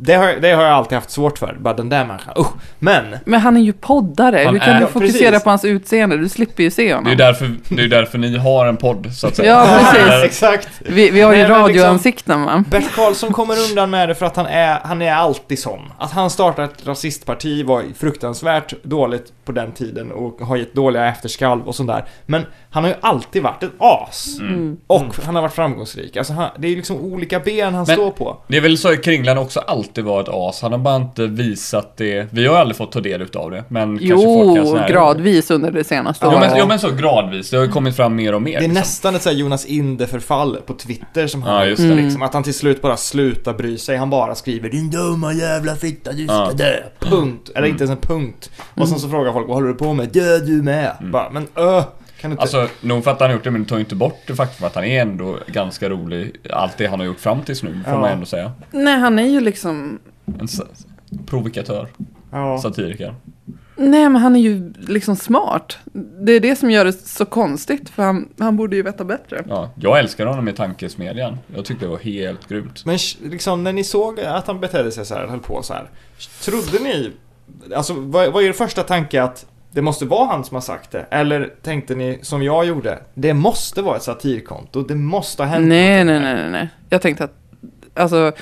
det har, det har jag alltid haft svårt för. Bara den där människan, usch. Men,
Men han är ju poddare,
Han
hur kan
är-
du
Ja,
fokusera
precis.
på hans utseende? Du slipper ju se
Det är ju
honom.
därför, det är ju därför ni har en podd så att säga.
Ja, precis.
exakt.
Vi, vi har ju
Nej, men liksom-
radioansikten va?
Bert Karlsson kommer undan med det för att han är, han är alltid sån. Att han startade ett rasistparti var fruktansvärt dåligt på den tiden och har gett dåliga efterskalv och sånt där. Men han har ju alltid varit ett as.
Mm.
Och han har varit framgångsrik. Alltså han, det är ju liksom olika ben han
Men-
står på.
Det är väl så att Kringlan också alltid var ett as. Han har bara inte visat det. Vi har ju aldrig fått ta del utav det. Men kanske folk
Jo,
kan sån här-
gradvis under det senaste
Jo
året.
men, jo men så gradvis. Det har ju kommit fram mer och mer.
Det är
liksom.
nästan ett så här Jonas Inde-förfall på Twitter som
Ja,
han
just
det.
liksom, Att han till slut bara slutar bry sig. Han bara skriver Din dumma jävla fitta, du ska
Ja. Mm.
dö. Punkt. Eller inte ens en punkt. Och sen så frågar folk Vad håller du på med? Dö du med. Bara, men öh. Kan du inte...
Alltså, nog för att han har gjort det, men det tar ju inte bort det faktum att han är ändå ganska rolig. Allt det han har gjort fram tills nu, får
Ja.
man ändå säga.
Nej, han är ju liksom...
En s- provokatör,
ja.
satiriker.
Nej, men han är ju liksom smart. Det är det som gör det så konstigt, för han, han borde ju veta bättre.
Ja, jag älskar honom i tankesmedjan. Jag tyckte det var helt grymt.
Men sh- liksom när ni såg att han betedde sig så här, höll på så här. Trodde ni, alltså vad, vad är er första tanke att det måste vara han som har sagt det? Eller tänkte ni som jag gjorde, det måste vara ett satirkonto, det måste ha hänt
Nej, nej,
någonting
nej, nej, nej. Jag tänkte att, alltså,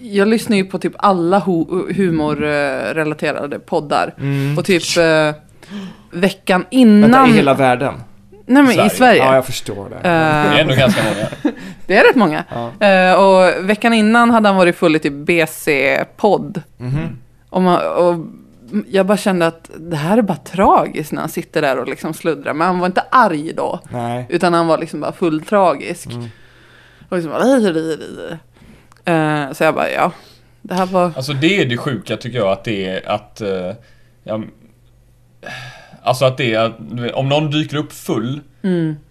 jag lyssnar ju på typ alla ho- humorrelaterade poddar.
här." Mm.
Och typ eh, veckan
Vänta,
innan...
i hela världen?
Nej, men
Sverige.
i Sverige.
Ja, jag förstår det.
Det är
Eh,
ändå ganska många.
det är rätt många.
Ja.
Eh, och veckan innan hade han varit full i typ BC-podd.
Mhm.
Och, man, och jag bara kände att det här är bara tragiskt när han sitter där och liksom sluddrar. Men han var inte arg då.
Nej.
Utan han var liksom bara full tragisk.
Mm.
Och liksom bara... "Ri, ri, ri." Eh, så jag bara, ja. Det här var...
Alltså det är det sjuka tycker jag att det är att... eh, ja, Alltså att det är, att, du vet, om någon dyker upp full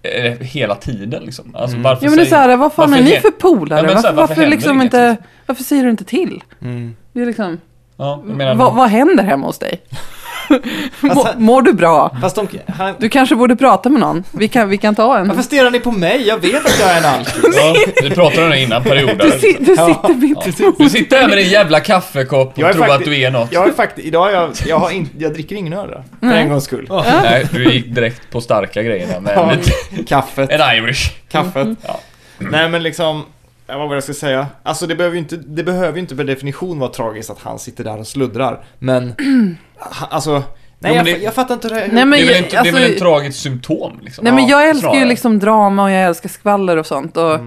eh, hela tiden liksom.
Mm.
Alltså
Mm.
varför
Ja men det är
säger-
såhär, vad fan
varför
är ni
det-
för polare?
Ja, men så här,
varför,
varför
varför,
händer
liksom
inget,
inte,
liksom?
varför säger du inte till?
Mm.
Det är liksom,
Ja, jag menar,
vad, vad händer hemma hos dig? Mår,
Alltså-
mår du bra?
Fast de, han,
Du kanske borde prata med någon. Vi kan, vi kan ta en.
varför stirrar ni på mig? Jag vet att jag är en alkis.
ja, vi pratade om det innan perioder.
Du, si, du
Ja,
sitter mitt emot.
Du sitter här med din jävla kaffekopp och
Jag är
tror att
faktiskt-
du är något.
Jag är faktiskt, idag jag, jag har in, jag dricker ingen öl då, för
Nej.
en gångs skull.
Nej, du gick direkt på starka grejer där med
Ja,
lite-
kaffet,
en Irish.
kaffet.
Ja.
Mm. Nej men liksom, jag vad var det jag ska säga? Alltså det behöver ju inte, det behöver ju inte per definition vara tragiskt att han sitter där och sluddrar, men ha- alltså, nej
Jo, men
jag,
det-
fa- jag fattar inte det här.
Nej, men
det, är väl
jag-
inte, det är väl
alltså-
ett tragiskt symptom liksom.
Nej men
Ja,
jag älskar ju
snarare.
liksom drama och jag älskar skvaller och sånt. Och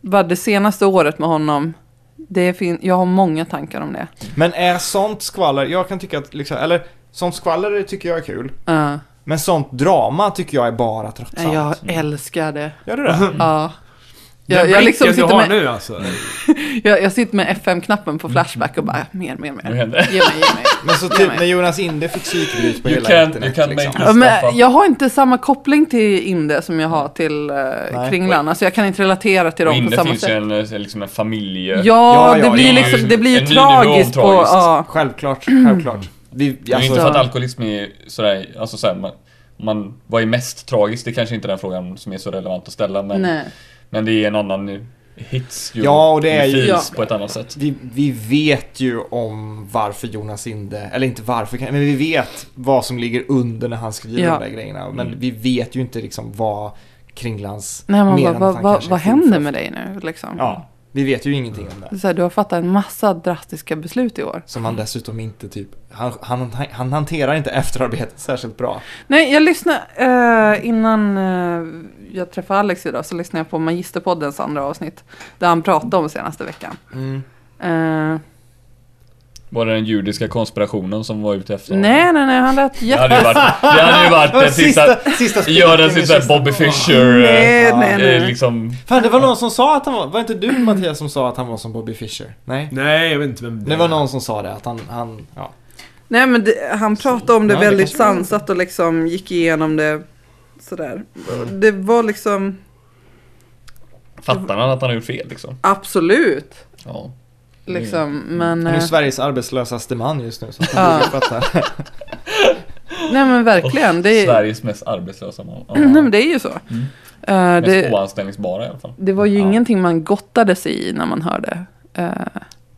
bara det senaste året med honom, det fin- jag har många tankar om det.
Men är sånt skvaller, jag kan tycka att liksom, eller sånt skvaller tycker jag är kul,
Ja.
men sånt drama tycker jag är bara tröttsamt.
Nej, jag älskar det.
Gör du det?
Ja.
Den
Jag, jag,
blicken
liksom
du
sitter
har
med,
nu alltså.
jag, jag sitter med FM-knappen på Flashback och bara mer, mer,
Nu
mer.
händer det.
Ge mig, ge mig.
Men så
Ge
typ
mig.
när Jonas Inde fick psykbryt på
You
hela
can-
internet
you can make
liksom.
me-
Ja,
Stefan.
men jag har inte samma koppling till Inde som jag har till eh,
Nej.
Kringlan. Alltså jag kan inte relatera till
Och
dem på
inne
samma
finns ju
sätt.
en, eh, liksom en familje...
Ja,
Ja, ja,
det blir
ja.
liksom, det blir
En
ju
ny nivå av
tragiskt på...
tragiskt.
Ja.
Självklart, självklart. Vi,
Det är ju
alltså,
inte så att alkoholism är sådär, alltså såhär, man, man, vad är mest tragiskt? Det kanske inte är den frågan som är så relevant att ställa men,
Nej.
men det är en annan hits ju.
Ja, och det är ju-
feels
Ja.
på ett annat sätt.
vi, vi vet ju om varför Jonas Inde, eller inte varför, men vi vet vad som ligger under när han skriver
Ja.
de där grejerna. Men
Mm.
vi vet ju inte liksom vad Kringlans
Nej, man
mer
bara,
än
vad,
att han
vad,
kanske är
vad
full
händer
för-
med Mm. dig nu liksom?
Ja, vi vet ju ingenting om
Det
det.
är så här, du har fattat en massa drastiska beslut i år.
Som han dessutom inte typ, han, han, han hanterar inte efterarbetet särskilt bra.
Nej, jag lyssnade eh, innan eh, jag träffade Alex idag så lyssnade jag på Magisterpoddens andra avsnitt. Där han pratade om senaste veckan.
Mm.
Eh,
Var det den judiska konspirationen som var ute efter honom?
nej, nej, nej, han lät
Det
jätte...
hade ju varit, det hade ju varit den sista...
sista
Gör den
spiken i
sista
kistan.
Bobby Fischer... eh,
Nej,
Ja,
nej, nej.
eh, liksom...
Fan, det var någon som sa att han var, var inte du Mattias som sa att han var som Bobby Fischer? Nej?
Mm.
Nej, jag vet inte vem
Det var någon som sa det, att han, han, ja.
Nej men det, han pratade om det
Ja, det
väldigt
kanske var
sansat och liksom gick igenom det sådär. Det var liksom
Fattar han att han har gjort fel liksom?
absolut
Ja.
liksom men
Mm. Han är
eh,
ju Sveriges arbetslösaste man just nu, så
Ja.
han borde fatta.
nej men verkligen det är,
Sveriges mest arbetslösa man. Ja.
nej, men det är ju så. Eh,
Mest
det,
oanställningsbara i alla fall.
det var ju
Mm. Ja.
ingenting man gottade sig i när man hörde. Eh,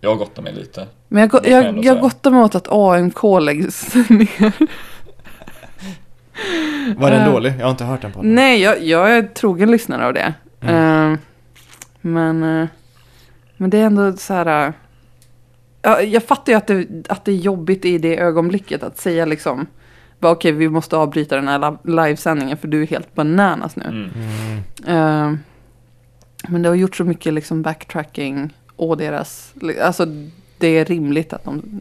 Jag gottar mig lite.
men jag, go-
Det kan jag ändå
jag, jag
säga.
gottar mig åt att AMK läggs ner.
Var
Eh.
den dålig? Jag har inte hört den på den.
Nej, jag, jag är trogen lyssnare av det.
Mm.
Eh, men, eh, men det är ändå så här... eh, ja, jag fattar ju att det, att det är jobbigt i det ögonblicket att säga liksom... bara, Okej, vi måste avbryta den här la- livesändningen för du är helt bananas nu.
Mm.
Eh, men det har gjort så mycket liksom backtracking och deras... li- Alltså, det är rimligt att de...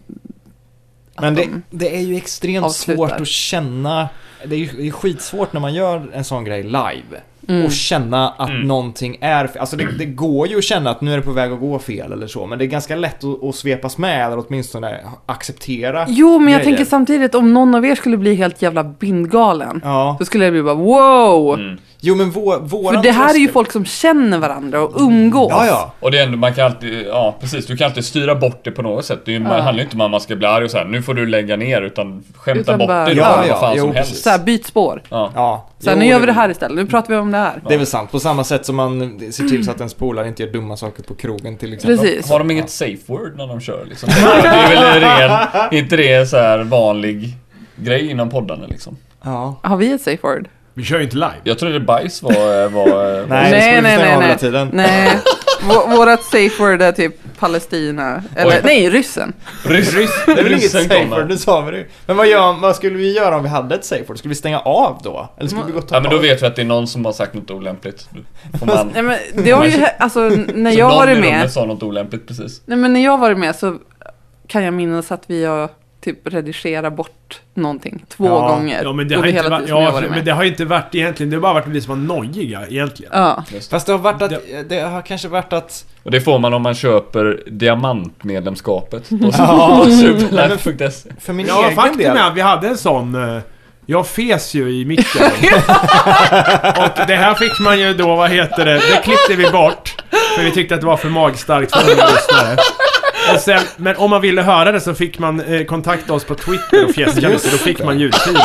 att
Men det,
de-
det är ju extremt
Mm. avslutar.
svårt att känna, det är ju det är skitsvårt när man gör en sån grej live.
Mm.
Och känna att
Mm.
någonting är fel. Alltså det, det går ju att känna att nu är det på väg att gå fel eller så. Men det är ganska lätt att, att svepas med eller åtminstone acceptera.
Jo, men jag
grejer.
tänker samtidigt om någon av er skulle bli helt jävla bindgalen.
Ja.
Då skulle jag bli bara wow!
Mm.
Jo men vår, våran
För det här är ju
tröskel-
folk som känner varandra och umgås.
Ja ja.
Och det är ändå, man kan alltid, ja precis, du kan alltid styra bort det på något sätt. Det är ju- man- handlar ju inte om att man ska bli arg och så här, nu får du lägga ner, utan skämta
Utan
bort
bara-
det då,
Ja,
vad
ja,
fan
jo,
som
precis.
helst.
Så här, byt spår.
Ja.
ja.
Så här,
Jo,
nu gör vi
det-
det här istället. Nu pratar vi om det här.
Det är väl sant, på samma sätt som man ser till så att ens polare inte gör dumma saker på krogen till exempel.
Precis.
Har de inget safe word när de kör liksom? Det är väl ren, inte det en så här vanlig grej inom poddarna liksom?
Ja.
Har vi ett safe word?
Vi kör ju inte live.
Jag trodde bajs var... eh, var
Nej, det skulle vi stänga av hela tiden.
nej. Vå- Vårat safe word är typ Palestina.
Oj.
Eller nej, ryssen.
Ryss, ryss,
Det är väl inget safe word, nu sa vi det ju. Men vad, gör, vad skulle vi göra om vi hade ett safe word? Skulle vi stänga av då? Eller skulle vi gå och ta
Ja men då
av?
vet vi att det är någon som har sagt något olämpligt. Får man,
Nej, men det har ju, he- alltså eh, när
så
jag
någon i
varit
rummet
med.
sa något olämpligt precis.
Nej men när jag varit med så kan jag minnas att vi har typ redigerat bort någonting två
Ja.
gånger.
Ja men det har
under
inte
hela
varit,
tiden jag
ja,
varit med.
men det har inte varit egentligen, det har bara varit att vi som var nojiga egentligen.
Ja.
Fast det har varit att, det har kanske varit att...
Och det får man om man köper diamantmedlemskapet på superlife.se.
För min
Ja,
egen
faktum
del.
är att vi hade en sån eh, Jag fes ju i micken. och det här fick man ju då, vad heter det, det klippte vi bort. För vi tyckte att det var för magstarkt för många lyssnare. Och sen, men om man ville höra det så fick man eh, kontakta oss på Twitter och fjäska lite, då fick man ljudfilen.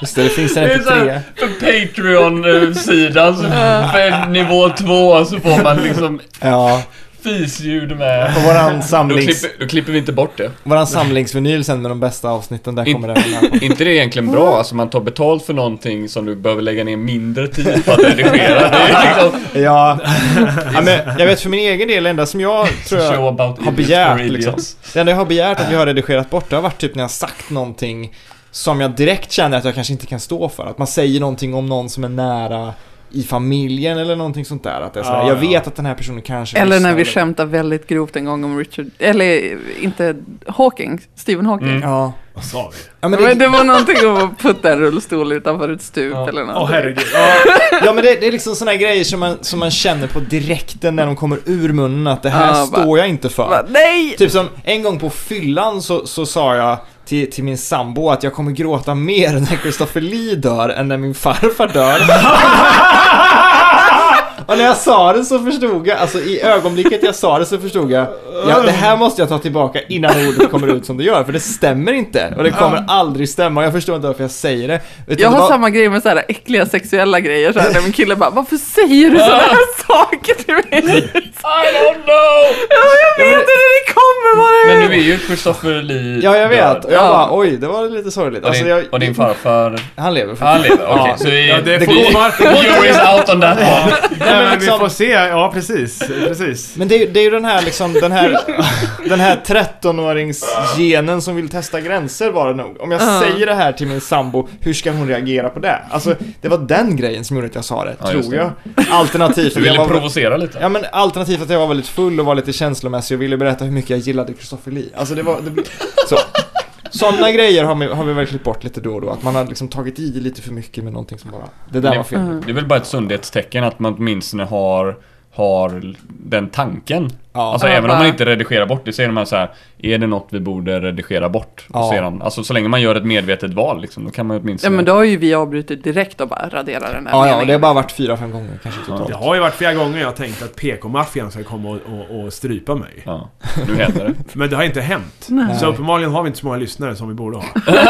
Just det, det finns
Det
en
är så
MP3.
här, för Patreon-sidan, så för nivå två så får man liksom
Ja,
fisljud med.
på våran,
Då
samlings,
klipper, då klipper vi inte bort det.
våran samlingsvinyl sen med de bästa avsnitten, där
In-
kommer den här. på.
inte det egentligen
Mm.
bra? Alltså man tar betalt för någonting som du behöver lägga ner mindre tid på att redigera. Det är liksom
Ja. ja, men jag vet för min egen del, det enda som jag tror jag...
show about
har
idiots
begärt,
for idiots.
liksom. Det enda jag har begärt att jag har redigerat bort, det har varit typ när jag har sagt någonting som jag direkt känner att jag kanske inte kan stå för. Att man säger någonting om någon som är nära i familjen eller någonting sånt där. Att det är sådär,
Ja,
jag
ja.
vet att den här personen kanske
Eller
lyssnar
när vi skämtar väldigt grovt en gång om Richard, eller inte Hawking, Stephen Hawking.
Mm.
Ja.
Vad sa vi?
Ja men,
Men det,
det,
var någonting om att putta en rullstol utanför ett stup
Ja.
eller
Åh
något.
herregud. Ja,
ja, men det, det är liksom såna här grejer som man, som man känner på direkten när de kommer ur munnen att det här
Ja, bara-
står jag inte för.
Va, nej!
Typ som en gång på fyllan så, så sa jag till, till min sambo att jag kommer gråta mer när Christopher Lee dör än när min farfar dör. Och när jag sa det så förstod jag, alltså i ögonblicket jag sa det så förstod jag, ja, det här måste jag ta tillbaka innan ordet kommer ut som det gör, för det stämmer inte. Och det kommer aldrig stämma, och jag förstår inte varför jag säger det. Utan
Jag
det
har
var-
samma grej med så här äckliga sexuella grejer så här, när min kille bara Varför säger du sådana här saker till mig?
I don't know!
Ja, jag vet inte när det kommer vad
Men
det
nu är ju Christopher Lee
Ja, jag vet.
död.
Och jag
Ja.
bara, oj, det var lite sorgligt.
Och
Alltså,
din,
jag,
och din farfar...
Han lever fortfarande.
Han lever, okej.
Ja.
Så vi...
ja det får
vi-
man...
Jury's out on that one.
Nej, men vi
liksom-
får se. Ja, precis. Precis.
Men det är, ju- det är ju den här liksom, den här, den här 13-åringsgenen som vill testa gränser var det nog. Om jag
Ja.
säger det här till min sambo, hur ska hon reagera på det? Alltså, det var den grejen som gjorde att jag sa det,
Ja, just
tror jag.
det.
Alternativt
Du
att jag
ville
var...
provocera lite.
Ja men alternativt att jag var väldigt full och var lite känslomässig och ville berätta hur mycket jag gillade Christopher Lee. Alltså det var, det, så. Sådana grejer har, vi- har vi verkligen klippt bort lite då och då, att man har liksom tagit i lite för mycket med någonting som bara, det där var fel.
Mm.
Det är väl bara ett sundhetstecken att man åtminstone har, har den tanken.
Ja.
Alltså
Ja,
även om
bara-
man inte redigerar bort det så är de här så här, Är det något vi borde redigera bort?
Ja.
Och sedan, alltså så länge man gör ett medvetet val liksom, då kan man
Ja
åtminstone...
men då har ju vi avbrutit direkt och bara raderat den där
Ja, ja,
meningen.
och det har bara varit fyra, fem gånger kanske totalt.
Det har ju varit flera gånger jag tänkt att PK-maffian ska komma och, och, och strypa mig.
Ja, nu händer det.
Men det har inte hänt.
Nej.
Så uppenbarligen har vi inte så många lyssnare som vi borde ha.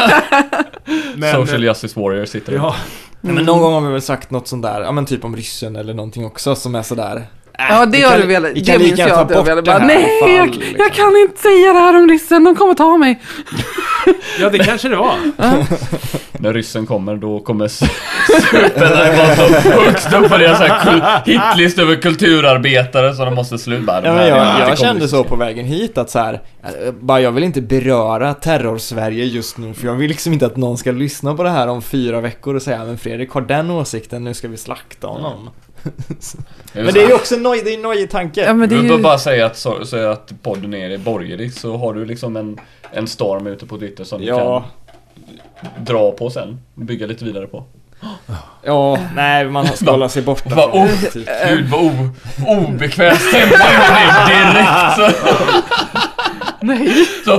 eh,
Social Justice Warrior sitter där.
ja,
Nej,
Mm.
men någon gång har vi väl sagt något sånt där, ja men typ om ryssen eller någonting också som är sådär. äh,
Ja det
vi
har
kan-
du velat,
vi
det
kan
minns
lika
jag
gärna
att
ta
du har
bort
velat
det
bara,
här
Nej
ifall,
jag,
liksom."
jag kan inte säga det här om ryssen, de kommer ta mig.
ja, det kanske det var.
När ryssen kommer, då kommer supen där bara så högst upp på deras så här kul- hitlist över kulturarbetare som de måste sluta.
Ja, men jag jag kände så på vägen hit att så här, eh, bara jag vill inte beröra terror-Sverige just nu för jag vill liksom inte att någon ska lyssna på det här om fyra veckor och säga men Fredrik har den åsikten, nu ska vi slakta honom. Men det är ju också en noj, det är en nojig
Ja,
tanke.
men det är
du behöver
ju...
bara säga att, så, säga att podden är borgerlig så har du liksom en, en storm ute på Twitter som
Ja,
du kan dra på sen. Bygga lite vidare på.
ja, nej man ska hålla sig borta.
Vad
från det,
o-
typ.
Gud vad o, obekvämt stämning det blev direkt så.
Nej,
så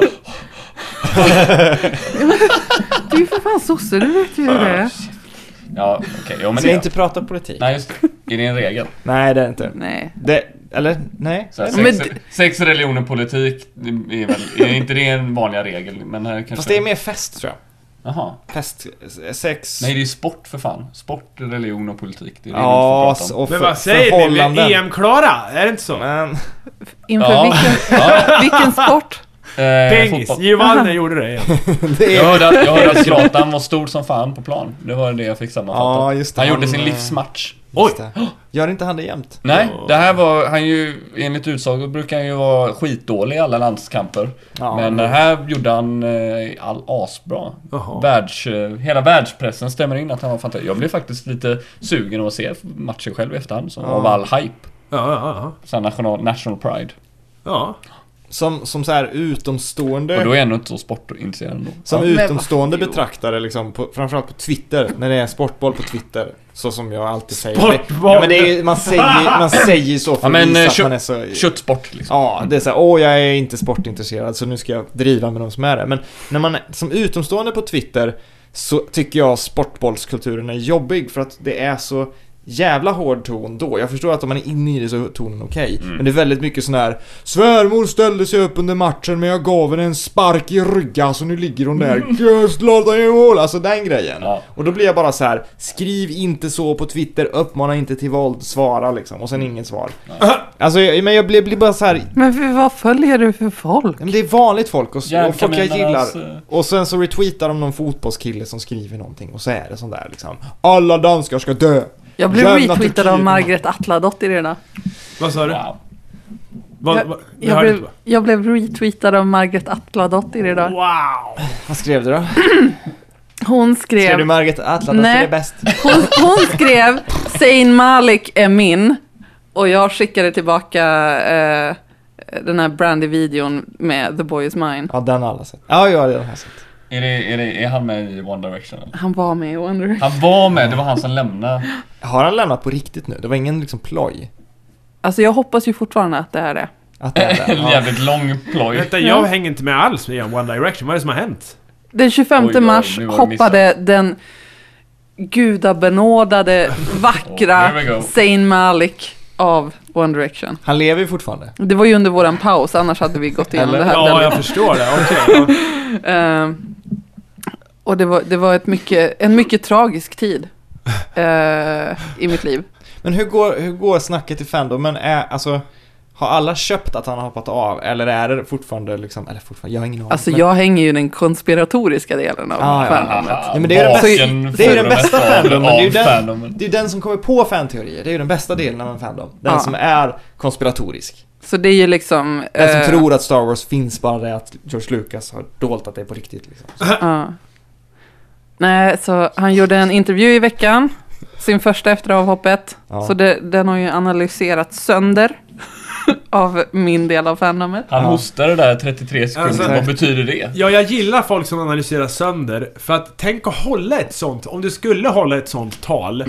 du är ju för fan sosse, du vet ju hur det är.
ja okej, jo men
Ska
det,
jag inte prata politik?
Nej just det. Är det en regel?
Nej, det är det inte.
Nej.
Det, eller nej?
Så här,
Men
sex, sex, religion och politik, det är väl, är inte det en vanlig regel? Men här kanske...
Fast det är mer fest tror jag.
Jaha.
Fest, eh, sex.
Nej det är ju sport för fan. Sport, religion och politik. Det är det
Ja,
vi får prata om.
och
Men
för,
vad säger ni? Vi
förhållanden.
är EM-klara, är det inte så?
Men,
Inför
Ja.
vilken,
Ja,
vilken sport?
eh,
Pengis!
fotboll.
Giovanni gjorde det igen.
det är,
Jag hörde, att, jag hörde att Zlatan var stor som fan på plan. Det var det jag fick sammanfattat.
Ja, just det.
han,
Han,
gjorde sin
eh,
livsmatch.
Oj!
gör inte han det jämt?
Nej,
Ja.
det här var han ju, enligt utsago brukar han ju vara skitdålig i alla landskamper.
Ja,
men det här gjorde han eh, all asbra.
Jaha.
Världs, eh, hela världspressen stämmer in att han var fantastisk. Jag blev faktiskt lite sugen av att se matchen själv i efterhand, så,
Ja.
av all hype.
Ja, ja,
Så här national, national pride.
ja.
Som, som så här utomstående
Och då är jag ändå inte så sportintresserad ändå.
Som
Men vad-
utomstående
jo.
betraktare liksom, på, framförallt på Twitter, när det är sportboll på Twitter. Så som jag alltid säger.
Sportboll!
Ja, men det är, ju- man säger man säger så för
Ja, men,
att visa
eh,
att
kö-
man är så...
Köttsport liksom.
Ja, det är såhär, åh jag är inte sportintresserad så nu ska jag driva med de som är det. Men när man är- som utomstående på Twitter så tycker jag sportbollskulturen är jobbig för att det är så jävla hård ton då. Jag förstår att om man är inne i det så är tonen okej.
Mm.
Men det är väldigt mycket sån här Svärmor ställde sig upp under matchen men jag gav henne en spark i ryggen så nu ligger hon där.
Mm.
Gud, slå dig i mål! Alltså den grejen.
Ja.
Och då blir jag bara så här: skriv inte så på Twitter, uppmana inte till våld, svara liksom. Och sen inget svar. Alltså, jag, men jag blir, blir bara så här.
Men för, vad följer du för folk?
men det är vanligt folk och, och folk jag gillar.
Järnkaminernas, eh,
Och sen så retweetar de någon fotbollskille som skriver någonting och så är det sån där liksom. Alla danskar ska dö!
Jag blev
Jävla
retweetad
Turkiet.
av Margret Atladottir redan.
Vad sa du?
Wow.
Vad, vad, det
Jag
hörde
blev,
inte, va?
jag blev retweetad av Margret Atladottir idag.
Wow!
Vad skrev du då?
Hon
Skrev du
skrev,
Margit Atlan
Nej.
Nej. är bäst?
hon, hon skrev Zayn Malik är min. Och jag skickade tillbaka eh, den här Brandy-videon med The Boy Is Mine.
Ja, den har alla sett. Ja, ja, den har jag sett.
Är, det, är, det, är han med i One Direction? eller?
Han var med i One Direction.
Han var med, det var han som lämnade.
Har han lämnat på riktigt nu? Det var ingen liksom ploj?
Alltså jag hoppas ju fortfarande att det här är.
Att det är
En
det? Ja.
jävligt lång ploj.
Vänta, jag hänger inte med alls med One Direction. Vad är det som har hänt?
Den 25
Oj, oj,
mars
nu har jag missat.
hoppade den gudabenådade,
Oh,
vackra
here we go.
Zayn Malik av One Direction.
Han lever ju fortfarande.
Det var ju under våran paus, annars hade vi gått igenom
Eller?
det här.
Ja, jag
väldigt-
förstår det. Okej. ja.
Ehm, och det var, det var ett mycket, en mycket tragisk tid eh, i mitt liv.
Men hur går, hur går snacket i Fandomen? Är, alltså, har alla köpt att han har hoppat av? Eller är det fortfarande liksom, eller fortfarande, jag har ingen aning.
Alltså
men-
jag hänger ju i den konspiratoriska delen av
Ah, ja.
fandomen.
Ja, men det är den bästa-
Baken
det är ju den
för
bästa fandomen, det är ju
av
den-
fandomen.
Det är ju den som kommer på fanteorier, det är ju den bästa delen av en fandom. Den
Ja.
som är konspiratorisk.
Så det är ju liksom...
Den som
eh,
tror att Star Wars finns, bara det att George Lucas har dolt att det är på riktigt liksom.
Ja. Nej, så han gjorde en intervju i veckan. Sin första efter avhoppet.
Ja.
Så det, den har ju analyserats sönder av min del av fandomet.
Han
Ja.
hostade där 33 sekunder,
Alltså-
vad betyder det?
Ja, jag gillar folk som analyserar sönder. För att tänk att hålla ett sånt, om du skulle hålla ett sånt tal.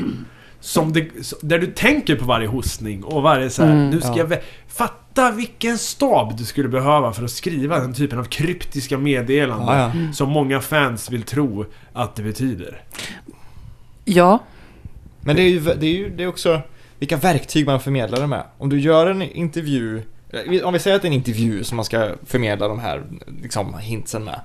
Som det, där du tänker på varje hostning och varje så här,
Mm,
nu ska
ja.
jag vä- Fatta vilken stab du skulle behöva för att skriva den typen av kryptiska meddelanden.
Ja, ja.
Som många fans vill tro att det betyder.
Ja,
Men det är ju, det är ju det är också vilka verktyg man förmedlar det med. Om du gör en intervju, eh, om vi säger att det är en intervju som man ska förmedla de här liksom, hintsen med.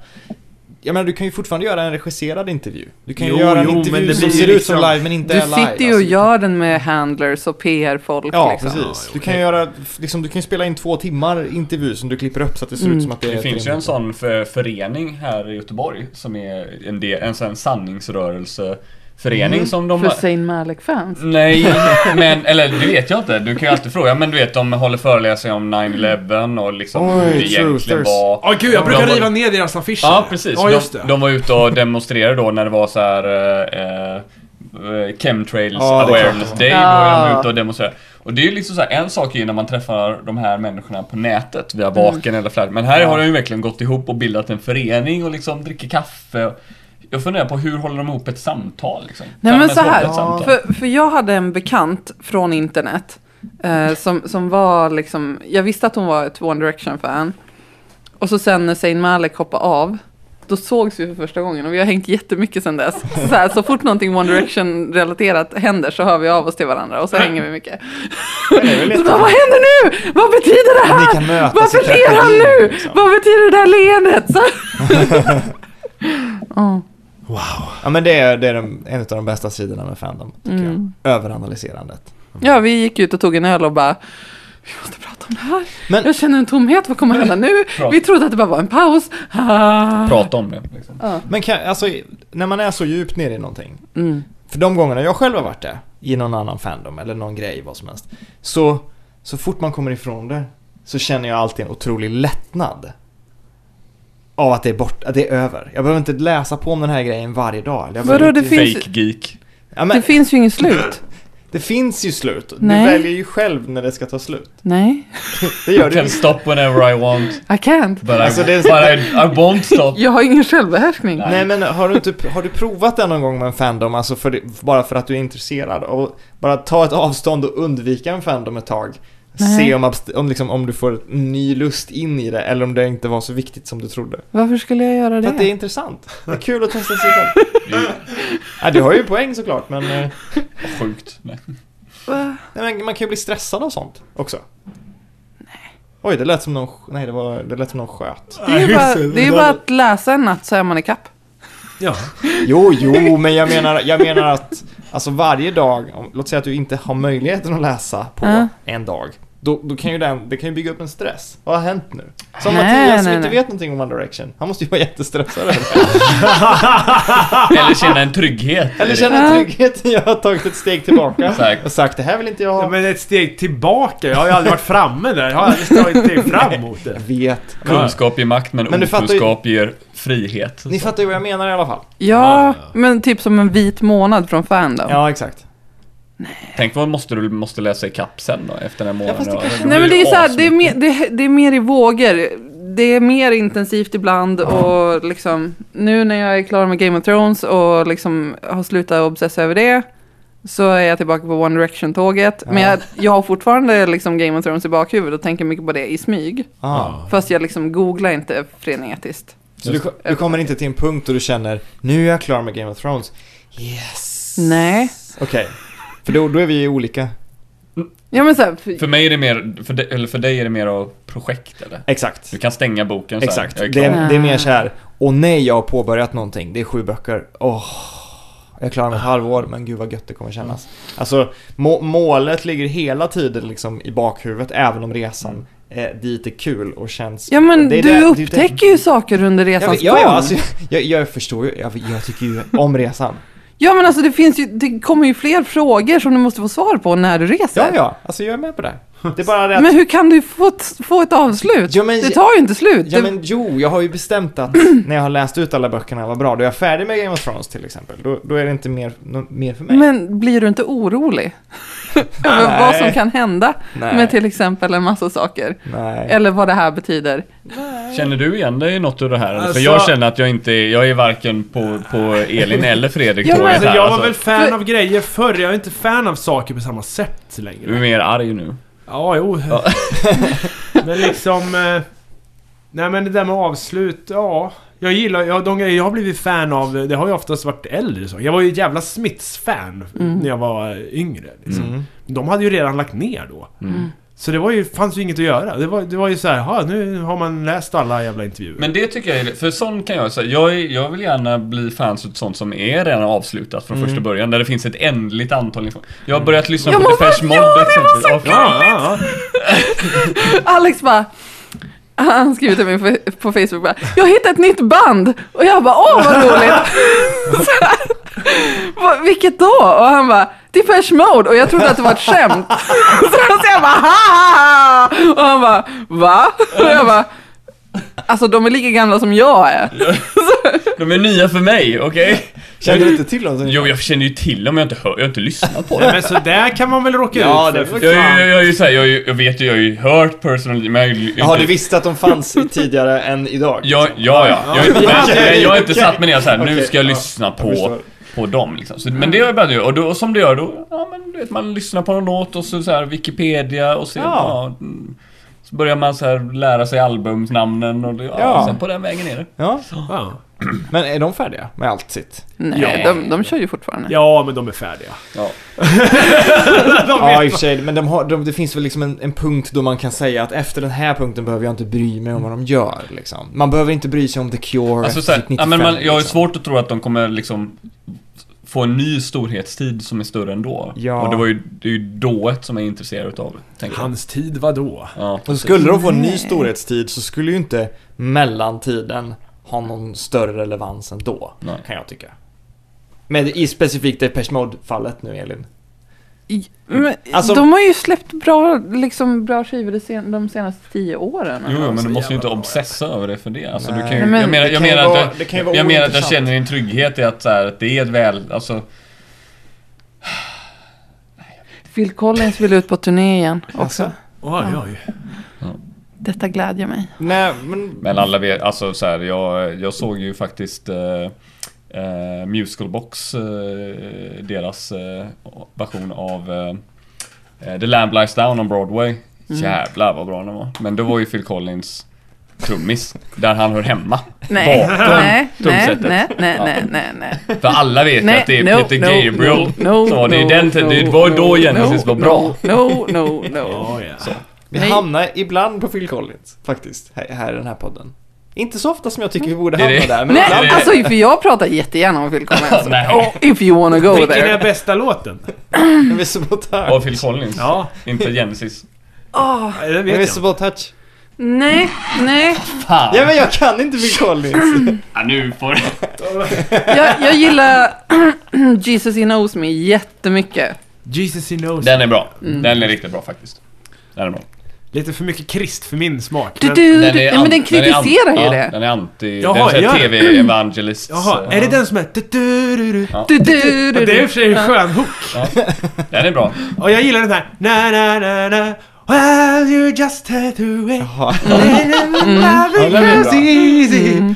Jag menar, du kan ju fortfarande göra en regisserad intervju. Du kan ju
Jo,
göra en
jo, men
intervju
det
som
blir
ser ut som
liksom-
live men inte
du
är live.
sitter ju och
alltså.
gör den med handlers och PR-folk.
Ja,
liksom.
precis. Du
okej.
kan ju göra, liksom, du kan ju spela in två timmar intervju som du klipper upp så att det ser
Mm.
ut som att det är
Det
ett
finns ju en
rimligt-
sån för, förening här i Göteborg som är en, del, en sån sanningsrörelseförening
Mm.
som de
För
har-
Zayn Malik-fans.
Nej, men eller det vet jag inte. Du kan ju alltid fråga. Men du vet, de håller föreläsningar om 9-11 och liksom
Oj,
hur det
true,
egentligen
true.
var.
Ja, gud, jag brukar
De var-
riva ner deras affischer.
Ja, precis.
Ja, just det.
de, de var ute och demonstrerade då när det var så här eh, eh, Chemtrails
Ja, det är klart
awareness
det
day. Då
Ja.
är de ute och demonstrerar. Och det är ju liksom så här, en sak är ju när man träffar de här människorna på nätet via
Mm.
Vaken eller Flärd. Men här
Ja.
har de ju verkligen gått ihop och bildat en förening och liksom dricker kaffe. Jag funderar på hur håller de ihop ett samtal liksom?
Nej
Kan
men
de
så
ens hålla
här,
ett samtal?
för, för jag hade en bekant från internet eh, som, som var liksom, jag visste att hon var ett One Direction-fan. Och så sen när Zayn Malik hoppade av, då sågs vi för första gången och vi har hängt jättemycket sedan dess. Så, här, så fort någonting One Direction-relaterat händer så hör vi av oss till varandra och så hänger vi mycket.
Det är väl
Så
lite-
bara, vad händer nu? Vad betyder det
Ni
här?
kan mötas
Varför
i
ler han
tragedin,
nu?
liksom.
Vad betyder det där leendet? Så, Ja.
Ja men det är, det är de, en av de bästa sidorna med Fandom, tycker
Mm.
jag. Överanalyserandet.
Ja, vi gick ut och tog en öl och bara vi måste prata om det här.
Men-
jag känner en tomhet, vad kommer hända nu?
Prata.
Vi trodde att det bara var en paus. Ah.
Prata om det liksom.
Men kan, alltså, när man är så djupt nere i någonting,
Mm.
För de gångerna jag själv har varit det, i någon annan fandom eller någon grej, vad som helst. Så, så fort man kommer ifrån det så känner jag alltid en otrolig lättnad. Av att det är bort, att det är över. Jag behöver inte läsa på om den här grejen varje dag. Jag behöver
Vadå, det
inte-
finns-
Fake geek.
ja, men,
Det finns ju inget slut.
det finns ju slut.
Nej.
Du väljer ju själv när det ska ta slut.
Nej,
Det gör
I
du ju.
can stop whenever I want.
I can't.
But,
Alltså,
I,
det är-
but I, I won't stop.
Jag har ingen självbehärskning.
Nej men har du, inte, har du provat det någon gång med en fandom, alltså för det, bara för att du är intresserad? Och bara ta ett avstånd och undvika en fandom ett tag.
Nej.
Se om, abst- om, liksom, om du får ny lust in i det eller om det inte var så viktigt som du trodde.
Varför skulle jag göra
För
det?
att det är intressant. Det är kul att testa sig själv. ja, du har ju poäng såklart men, eh,
Sjukt. Nej.
Va?
nej, men man kan ju bli stressad av sånt också. Nej. Oj, det lät som någon, sk- nej, det var, det lät som någon sköt.
Det är ju bara, det är ju bara att läsa en natt så är man ikapp.
Ja.
Jo, jo, men jag menar, jag menar att alltså varje dag, om, låt säga att du inte har möjligheten att läsa på
Ja.
en dag. Då, då kan ju den, det kan ju bygga upp en stress. Vad har hänt nu? Som
Nej,
Mattias som
nej,
inte
nej.
vet någonting om One Direction. Han måste ju vara jättestressad över det.
Eller känna en trygghet. i
Eller
det.
känner
Ja.
tryggheten, jag har tagit ett steg tillbaka
Exakt.
och sagt det här vill inte jag ha.
Men ett steg tillbaka. Jag har ju aldrig varit framme där. Jag har aldrig tagit ett steg fram mot det.
Jag vet.
Kunskap ger makt men,
Men du fattar ju-
okunskap ger frihet.
Ni fattar ju vad jag menar i alla fall.
Ja, men typ som en vit månad från Fandom.
Ja, exakt.
Tänk vad måste du måste läsa i kapp sen då efter den månaden.
fast det
då.
kanske-
Nej men det är så här,
asmycket.
det är, mer, det, det är mer i vågor. Det är mer intensivt ibland och liksom nu när jag är klar med Game of Thrones och liksom har slutat obsessa över det så är jag tillbaka på One Direction-tåget. Men
Ja.
jag, jag har fortfarande liksom Game of Thrones i bakhuvudet och tänker mycket på det i smyg.
Ah.
Fast jag liksom googlar inte frenetiskt.
Så du, du kommer inte till en punkt då du känner nu är jag klar med Game of Thrones. Yes.
Nej.
Okej. För då, då är vi ju olika.
Ja men så här,
För mig är det mer, för, dig- eller för dig är det mer av projekt eller?
Exakt.
Du kan stänga boken så här,
Exakt.
jag är
Det
klar.
är, det är mer så här. Åh nej, jag har påbörjat någonting. Det är sju böcker. Åh. jag är klar med ett halvår, men gud vad gött det kommer kännas. Alltså, må- målet ligger hela tiden liksom i bakhuvudet, även om resan eh, dit är kul och känns...
ja men
Det är
du
det- det är det-
upptäcker ju saker under
Jag,
resans
vet- ja, ja,
gång.
alltså, jag, jag förstår ju. Jag, jag tycker ju om resan.
Ja men alltså det finns ju, det kommer ju fler frågor som du måste få svar på när du reser.
Ja, ja. Alltså, jag är med på det. Det är bara det att...
Men hur kan du få ett, få ett avslut?
Ja, men-
det tar ju inte slut.
Ja
Det-
men jo, jag har ju bestämt att när jag har läst ut alla böckerna vad bra, då är jag färdig med Game of Thrones till exempel. Då, då är det inte mer, nå- mer för mig.
men blir du inte orolig? Över
Nej.
vad som kan hända
Nej.
med till exempel en massa saker?
Nej.
Eller vad det här betyder?
Känner du igen dig i något av det här?
Alltså-
För jag känner att jag inte är, jag är varken på, på Elin eller Fredrik
Ja, men-
tåget
Alltså,
här
jag var
alltså.
väl fan
För-
av grejer förr. Jag är inte fan av saker på samma sätt
Du är
längre.
mer arg nu.
Ja, jo.
Mm. Ja.
Men liksom... eh, Nej men det där med avslut, ja. Jag gillar, ja, de grejer jag har blivit fan av, det har ju oftast varit äldre så. Jag var ju ett jävla Smiths-fan när jag var yngre. Liksom.
Mm.
De hade ju redan lagt ner då.
Mm.
Så det var ju, fanns ju inget att göra. Det var, det var ju så här, "Ha, nu har man läst alla jävla intervjuer.
Men det tycker jag är, för sån kan jag säga, jag, är- jag vill gärna bli fans av sånt som är redan avslutat från första början, där det finns ett ändligt antal info. Jag har börjat lyssna
Mm. Jag
på
måste-
Depeche Mode
ja, det
exempelvis.
var så
Ja,
ja, ja, ja.
Alex bara... Han skrev till mig på- på Facebook bara, jag hittade ett nytt band! Och jag bara, åh vad roligt! Så här, "Va, Vilket då? Och han bara, Depeche Mode! Och jag trodde att det var ett skämt. Så jag bara, ha ha, ha Och han bara, va? Och jag bara, alltså de är lika gamla som jag är.
De är nya för mig, okej?
Känner du inte till dem?
Jo, jag känner ju till dem, jag har inte, hör, jag har inte lyssnat på dem.
Nej, men så där kan man väl råka
Ja,
ut
det
för.
får-
Jag, är ju- jag, är ju såhär, jag, är ju- jag vet ju, jag har ju hört personally, men jag har ju inte-
Jaha, du visste att de fanns i- tidigare än idag?
Ja, ja, ja. Jag,
Ja.
men, men jag har inte
Okej.
satt mig ner såhär, nu
Okej,
ska jag
ja.
lyssna
Jag
på,
förstår.
på dem liksom. så, Men det har jag börjat göra, och, då, och som det gör då, ja men du vet man lyssnar på någon låt och så, så här Wikipedia och ser, ja.
Ja.
mm. så börjar man så här lära sig albumsnamnen och det, ja,
Ja.
sen på den vägen är det.
Ja,
Ja.
men är de färdiga med allt sitt?
Nej,
Ja.
de, de kör ju fortfarande.
ja, men de är färdiga.
Ja.
Ja, i och för sig, men de har, de, det finns väl liksom en, en punkt då man kan säga att efter den här punkten behöver jag inte bry mig om vad de gör liksom. Man behöver inte bry sig om The Cure
Alltså,
efter
så här,
sitt
ja, men man, jag har ju
liksom.
svårt att tro att de kommer liksom få en ny storhetstid som är större än då.
Ja.
Och det, var ju, det är ju dået som jag är intresserad utav, tänker jag.
Hans tid var då.
Ja.
Och skulle de få en ny storhetstid så skulle ju inte mellantiden ha någon större relevans ändå,
Nej.
kan jag tycka. Men i specifikt Depeche Mode-fallet nu Elin.
I- Men,
Alltså-
de har ju släppt bra, liksom, bra skivor de sen- de senaste tio åren. alltså.
Jo, jo, men
så
du måste ju inte
jävla bra,
obsessa över det för det. Alltså, du
Nej.
kan
Nej,
ju,
men
jag menar,
det
jag
kan ju
menar
vara-
att
det kan ju
jag,
vara
jag, menar att jag
ointressant.
känner en trygghet i att, så här, att det är ett väl... Alltså,
Phil Collins vill ut på turné igen
Alltså,
också.
Oj, oj.
Detta glädjer mig.
Nej, men...
men alla vet, alltså så här, jag, jag såg ju faktiskt eh, eh, Musical Box, eh, deras eh, version av eh, eh, The Lamb Lies Down on Broadway
Mm.
Jävlar vad bra den var. Men då var ju Phil Collins trummis, där han hör hemma.
Nej,
Bakom
nej, nej,
trumsetet.
nej, nej,
Ja.
nej, nej, nej.
För alla vet ju att det är
no,
Peter
no,
Gabriel.
no, no,
så det är
no,
den tiden, det
no,
var ju
no,
då Genesis
no,
var bra.
No, no, no.
Ja, ja.
Vi
Nej.
hamnar ibland på Phil Collins, faktiskt, här, här i den här podden. Inte så ofta som jag tycker vi borde
Det är
hamna
det.
där, men
Nej,
ibland.
det-
alltså för jag pratar jättegärna om Phil Collins.
Nej.
Oh, If you wanna go
Vilken är
there.
bästa låten?
Invisible touch.
Och Phil Collins,
Ja,
inte Genesis.
Åh,
det vet jag.
Invisible touch.
Ah, nej, nej.
Fan!
Ja men jag kan inte Phil Collins.
Ja, nu får du...
Jag, jag gillar Jesus He Knows Me jättemycket.
Jesus He Knows.
Den är bra.
Mm.
Den är riktigt bra faktiskt. Den är bra.
Lite för mycket krist för min smak.
Du,
men-
du, du,
är
ja, men
an-
den
är an-
kritiserar ju
ja,
det.
Den är anti...
Jaha,
den är
ja.
såhär TV-evangelist.
Jaha, är det den som är... Du, du,
Du,
du, du.
du,
Ja,
du,
det är i och
du.
för sig en skön hook.
Den är bra.
Och jag gillar den här... Na, na, na, na. Well, you just had to wait.
Jaha. Mm. Ja, den är
Everything
bra.
was easy.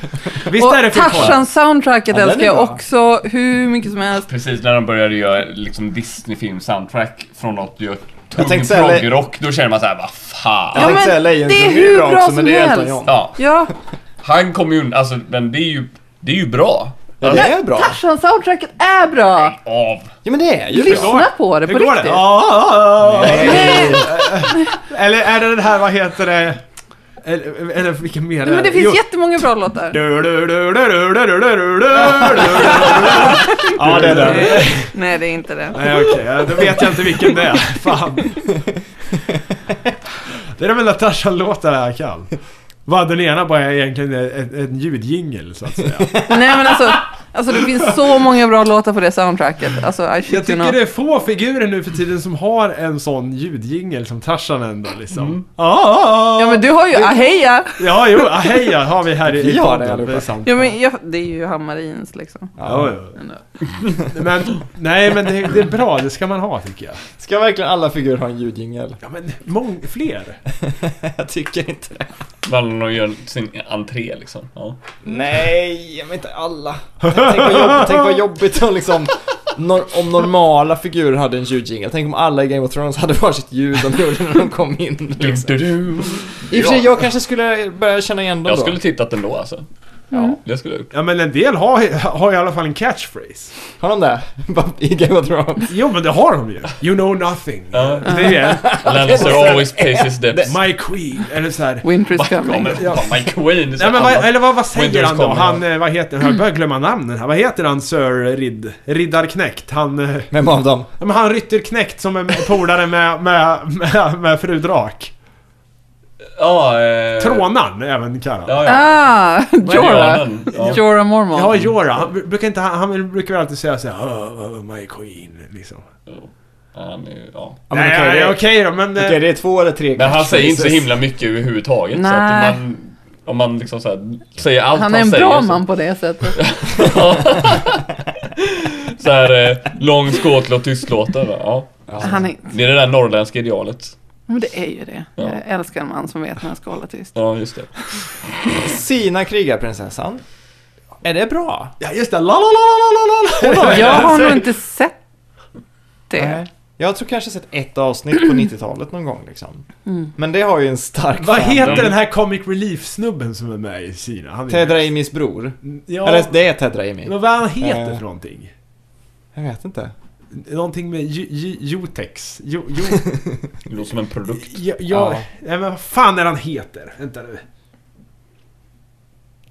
Visst
Och
är det Phil Collins?
Tarzan-soundtracket
Ja, den är
älskar jag
bra.
också hur mycket som helst.
Precis när de började göra liksom Disney-film-soundtrack från något gör
Jag
tung
tänkte säga-
proggrock, då känner man såhär, vad
Jag
Ja,
fan.
tänkte
men
säga Lejonkungen
det är hur bra
också, men
som
det är Elton
helst.
John.
Ja,
Ja,
han kommer ju undan, alltså den, det är ju, det är ju bra.
Ja, det är bra.
Tarzan-soundtracket är bra.
Av.
Ja men det är ju bra.
Lyssna på det på
Hur går det?
riktigt.
Ja, ja, ja.
Nej,
Eller är det den här, vad heter det? Eller, eller vilken mer?
men det
Jo.
finns jättemånga bra låtar.
Du, du, du, du, du, du, du, du, du, du.
Ja det är den.
Eh, Nej, det är inte det.
Nej okej, ja, då vet jag inte vilken det är. Fan. Det är de enda Tarzan-låtarna jag kan. Vad den ena bara är egentligen en, en ljudjingel så att säga.
Nej, men alltså, alltså det finns så många bra låtar på det soundtracket. Alltså, I
Jag
shit you
tycker
not.
det är få figurer nu för tiden som har en sån ljudjingel som Tarzan ändå liksom. Ah,
Ja, men du har ju Ah, Aheja.
Ja, jo, aheja har vi här i, i
Vi har det
podden.
allihopa.
Det är sant.
Ja, men jag, det är ju Hammarins liksom.
Ja, ja. Men, nej men det, det är bra, det ska man ha tycker jag.
Ska verkligen alla figurer ha en ljudjingel?
Ja men mång, fler.
Jag tycker inte det.
Vallen och gör sin entré liksom. Ja.
Nej, men inte alla. Tänk vad jobbigt, tänk vad jobbigt om liksom nor- om normala figurer hade en ljudjingel. Tänk om alla i Game of Thrones hade varsitt ljud de gjorde när de kom in.
Du,
Liksom.
du, du.
I och för sig, jag kanske skulle börja känna igen dem
Jag
då.
skulle tittat ändå alltså. Ja, det skulle jag gjort.
Ja men en del har, har i alla fall en catchphrase.
Har de det? I Game of Thrones?
Jo men det har de ju. You know nothing.
Ja.
Det är
Lannister always pays his debts.
My Queen. Eller så här.
Winter is
Ja,
coming.
men fan, My Queen.
Nej, men vad, eller vad, vad
Winter
säger
is
han då?
coming,
Han, eh, vad heter han? Jag börjar glömma namnen här. Vad heter han Sir Ridd? Riddarknekt? Han... eh,
Vem av dem?
ja, Men han Rytterknekt som är polare med, med, med, med fru Drak.
Ja, eh...
Trånaren även kallad.
Ja, ja.
Ah, Jorah.
Jordan, ja.
Jorah
Ja,
Mormont.
Jorah. Han br- brukar, inte, han, han brukar väl alltid säga såhär oh, oh, My Queen, liksom.
Ja, han är ju- ja.
Ja, men
Nej,
okej,
okej
det-
då, men... eh,
Okej, det är två eller tre
Men han säger inte så
catchphrases.
himla mycket överhuvudtaget. Så
Nej.
att man, om man liksom så här, säger allt han,
Han är en
säger.
bra
så-
man på det sättet.
Så här, eh, lång skåtlåt, tystlåtar. va? Ja.
Han är,
Det är det där norrländska idealet.
men det är ju det. Jag älskar en man som vet när han ska hålla tyst.
Ja, just det.
Sina krigarprinsessan. Är det bra?
Ja, just det. La, la, la, la, la, la, la.
Jag har nog inte sett det.
Nej. Jag tror kanske jag sett ett avsnitt på 90-talet någon gång liksom.
Mm.
Men det har ju en stark
Vad
fandom.
heter den här Comic Relief-snubben som är med i Kina? Han är Mm,
Ted Raimis bror.
Ja,
Eller det är Ted Raimi.
men vad han heter
Eh.
för någonting?
Jag vet inte.
Någonting med Ju- Ju- Jutex? Jo, jo,
Det låter som en produkt.
ja, ja.
Ja.
Nej, men vad fan är han heter? Vänta nu.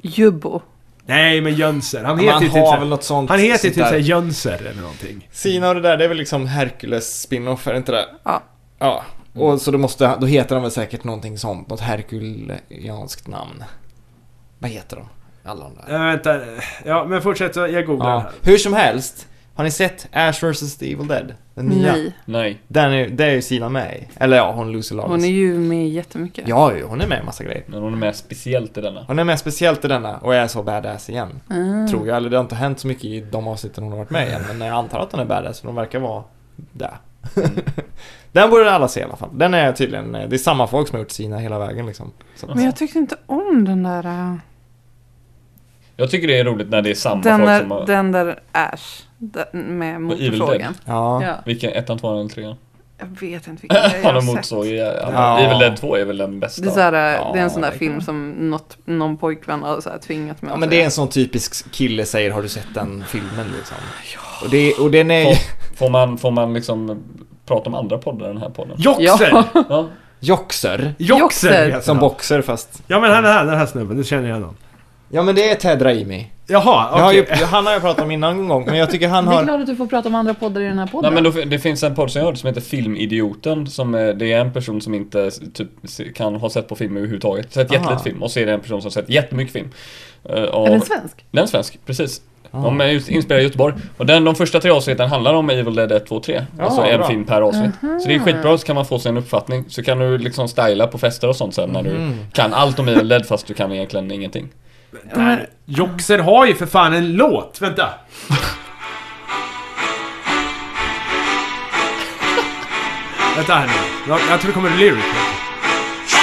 Jubbo.
Nej, men Jönser. Han heter
Man
ju typ
har väl
såhär-
något sånt.
Han heter ju
sånt
typ
där.
såhär Jönser eller någonting.
Sina och det där, det är väl liksom Hercules spin-off, är det inte det?
Ja.
Ja.
Mm.
Och så då måste, då heter de väl säkert någonting sånt, något herkulianskt namn. Vad heter de? Alla de där.
Äh, vänta. Ja, men fortsätt. så Jag googlar
Ja.
här.
Hur som helst, har ni sett Ash vs. The Evil Dead? Den nya?
Nej.
Nej.
Den är, det är ju Sina med i. Eller ja, hon Lucy Lawless.
Hon är ju med jättemycket.
alltså. Ja, ju, hon är med i massa grejer.
Men hon är med speciellt i denna.
Hon är med speciellt i denna och är så badass igen.
Ah.
Tror jag, eller det har inte hänt så mycket i de avsnitten hon har varit med igen. Men jag antar att hon är badass för de verkar vara där. Mm. den borde alla se i alla fall. Den är tydligen, det är samma folk som har gjort sina hela vägen liksom. Så att,
Men jag tyckte inte om den där... äh,
Jag tycker det är roligt när det är samma
Den
folk som
där,
har...
den där Ash. den Med
Evil
motorsågen.
ja.
Ja.
Vilken? Ettan, tvåan eller trean?
Jag vet inte vilken det är jag
Han har
har
motorsåg
sett.
i
Ja.
ja. Evil Dead 2 är väl den bästa.
Det är, så här, äh,
Ja,
det är en sån där
verkligen.
film som något, någon pojkvän har så här tvingat mig
Ja
att
men
se.
det är en sån typisk kille säger har du sett den filmen liksom. Och, det, och den är
Får, får, man, får man liksom prata om andra poddar i den här podden?
Joxer!
Ja.
Ja.
Joxer.
Joxer.
Joxer heter
Som
han.
boxer fast.
Ja men han är här, den här snubben, nu känner jag honom.
Ja men det är Ted Raimi.
Jaha,
Jag har
okej.
ju, han har jag pratat om innan en gång men jag tycker han
Det är
har...
klart att du får prata om andra poddar i den här
Nej
podden.
men då, det finns en podd som jag hörde som heter Filmidioten som är, det är en person som inte s- typ, se- kan ha sett på film överhuvudtaget. Sett
Aha.
jättelite film och så är det en person som har sett jättemycket film. Eh,
Är
och,
den svensk?
den är svensk, precis.
Ah.
De är just- inspelade i Göteborg. Och den, de första tre avsnitten handlar om Evil Dead 1, 2, 3.
Ja,
alltså en
Ah, bra.
film per avsnitt. Så det är skitbra, så kan man få sig en uppfattning. Så kan du liksom styla på fester och sånt sen när du
Mm.
kan allt om Evil Dead fast du kan egentligen ingenting.
Där. Joxer har ju för fan en låt, vänta. vänta här nu. Jag, jag tror det kommer en lyric.
Johnson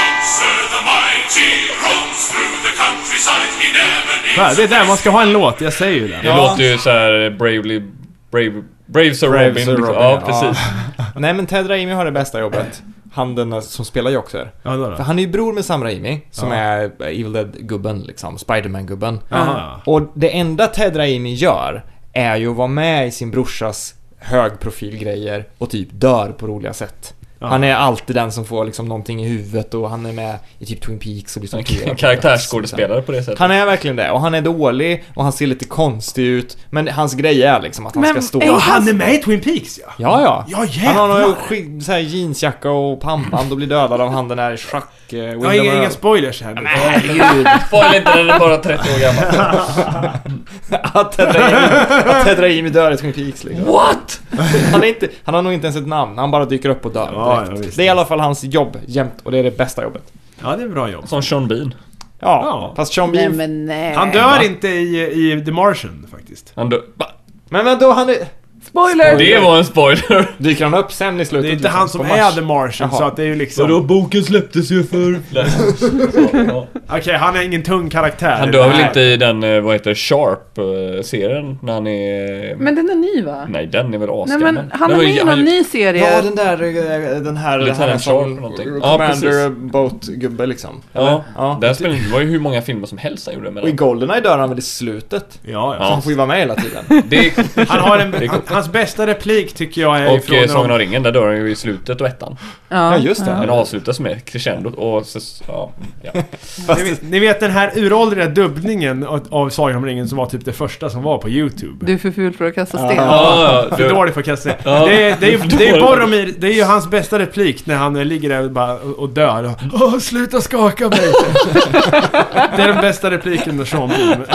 the mighty roams through the countryside. He never needs.
Där, det är där man ska ha en låt, jag säger ju det.
Det låter ju så här eh, Bravely... Brave, Brave Sir
Brave
Robin.
Sir
liksom.
Robin,
Ja,
ja.
precis.
Nej men Ted Raimi har det bästa jobbet. Han den där som spelar Joxer.
Ja, då,
För
då.
han är ju bror med Sam Raimi som
Ja.
är Evil Dead-gubben liksom. Spiderman-gubben.
Jaha, ja.
Och det enda Ted Raimi gör är ju att vara med i sin brorsas högprofilgrejer och typ dör på roliga sätt.
Ja.
Han är alltid den som får liksom någonting i huvudet och han är med i typ Twin Peaks och blir torterad.
En karaktärsskådespelare på det sättet.
Han är verkligen det och han är dålig och han ser lite konstig ut men hans grej är liksom att han
Men
ska stå...
är
ja, han är med i Twin Peaks ja.
Ja, ja.
Ja, jävlar.
han har någon sk- så här jeansjacka och pamband och blir dödad av han den här schack... Eh,
Jag har
William
inga,
Earl.
inga spoilers här nu.
Herregud.
Spoil inte den är bara 30 år gammal.
Att Ted Raimi- att Ted Raimi dör i Twin Peaks liksom.
What?
Han, är inte, han har nog inte ens ett namn, han bara dyker upp och dör
Ja,
direkt.
ja, visst.
Det är i alla fall hans jobb jämt och det är det bästa jobbet.
Ja, det är bra jobb.
Som Sean Bean.
Ja,
Ja.
fast Sean
Nej
Bean...
men nej.
Han dör inte i, i The Martian faktiskt.
Han dö- Va?
Men vänta, han är...
Spoiler!
Det var en spoiler.
Dyker han upp sen i slutet?
Det är inte
liksom,
han som
på Mars?
är The Martian,
Jaha.
så att det är ju liksom...
boken släpptes ju för...
Okej, han är ingen tung karaktär.
Han
Det
dör
här-
väl inte i den, eh, vad heter det, Sharp-serien när han är...
Men den är ny va?
Nej, den är väl
Nej
asgammal.
men han är
var
med
ju-
i
han
någon
ju-
ny
Ja,
serie.
den där... eh, Den här...
Lieutenant
han är
Sharp
som
eller någonting. Ja,
Commander Boat-gubbe liksom.
Ja,
Ja.
Där spelade, det var ju hur många filmer som helst han gjorde med
Och i
den.
Goldeneye dör han väl i slutet?
Ja,
Så
ja.
han får ju vara med hela tiden.
Det är,
Han har en, han, hans bästa replik tycker jag är
och
ifrån
eh,
när de-
Sagan om ringen, där dör han ju i slutet och ettan.
Ja, just det.
Den avslutas med crescendot och så, ja, ja.
Ni vet, ni vet den här uråldriga dubbningen av, av Sagan om ringen som var typ det första som var på YouTube.
Du är för ful för att kasta sten.
Ja, ja,
För
du-
dålig för Kasse. Det,
Ja.
är- det, är- det är
Dålig.
Boromir, det är ju hans bästa replik när han eh, ligger där och, bara, och och dör. Åh, sluta skaka mig! det är den bästa repliken med Sean Bean.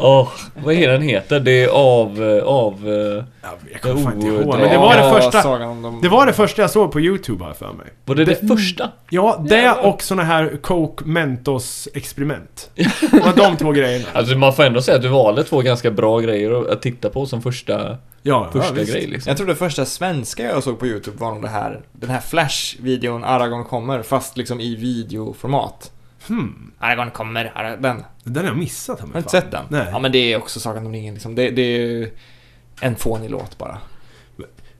Åh, vad är den heter? Det är av, eh, av... eh,
Jag kommer fan inte ihåg.
Oh,
Men det var det
Ja,
första,
Sagan om de-
det var det första jag såg på YouTube här för mig.
Var det det första?
Ja, det och såna här Coke Mentos experiment. Det var de två grejerna.
Alltså man får ändå säga att du valde två ganska bra grejer att titta på som första,
Ja, ja,
första
visst.
grej liksom.
Jag tror det första svenska jag såg på YouTube var nog det här, den här Flash-videon Aragorn kommer, fast liksom i videoformat.
Hmm.
Aragorn kommer, Ara- den.
Den har jag missat. Har
Har du inte sett den?
Nej.
Ja men det är också Sagan om ringen liksom, det, det är ju en fånig låt bara.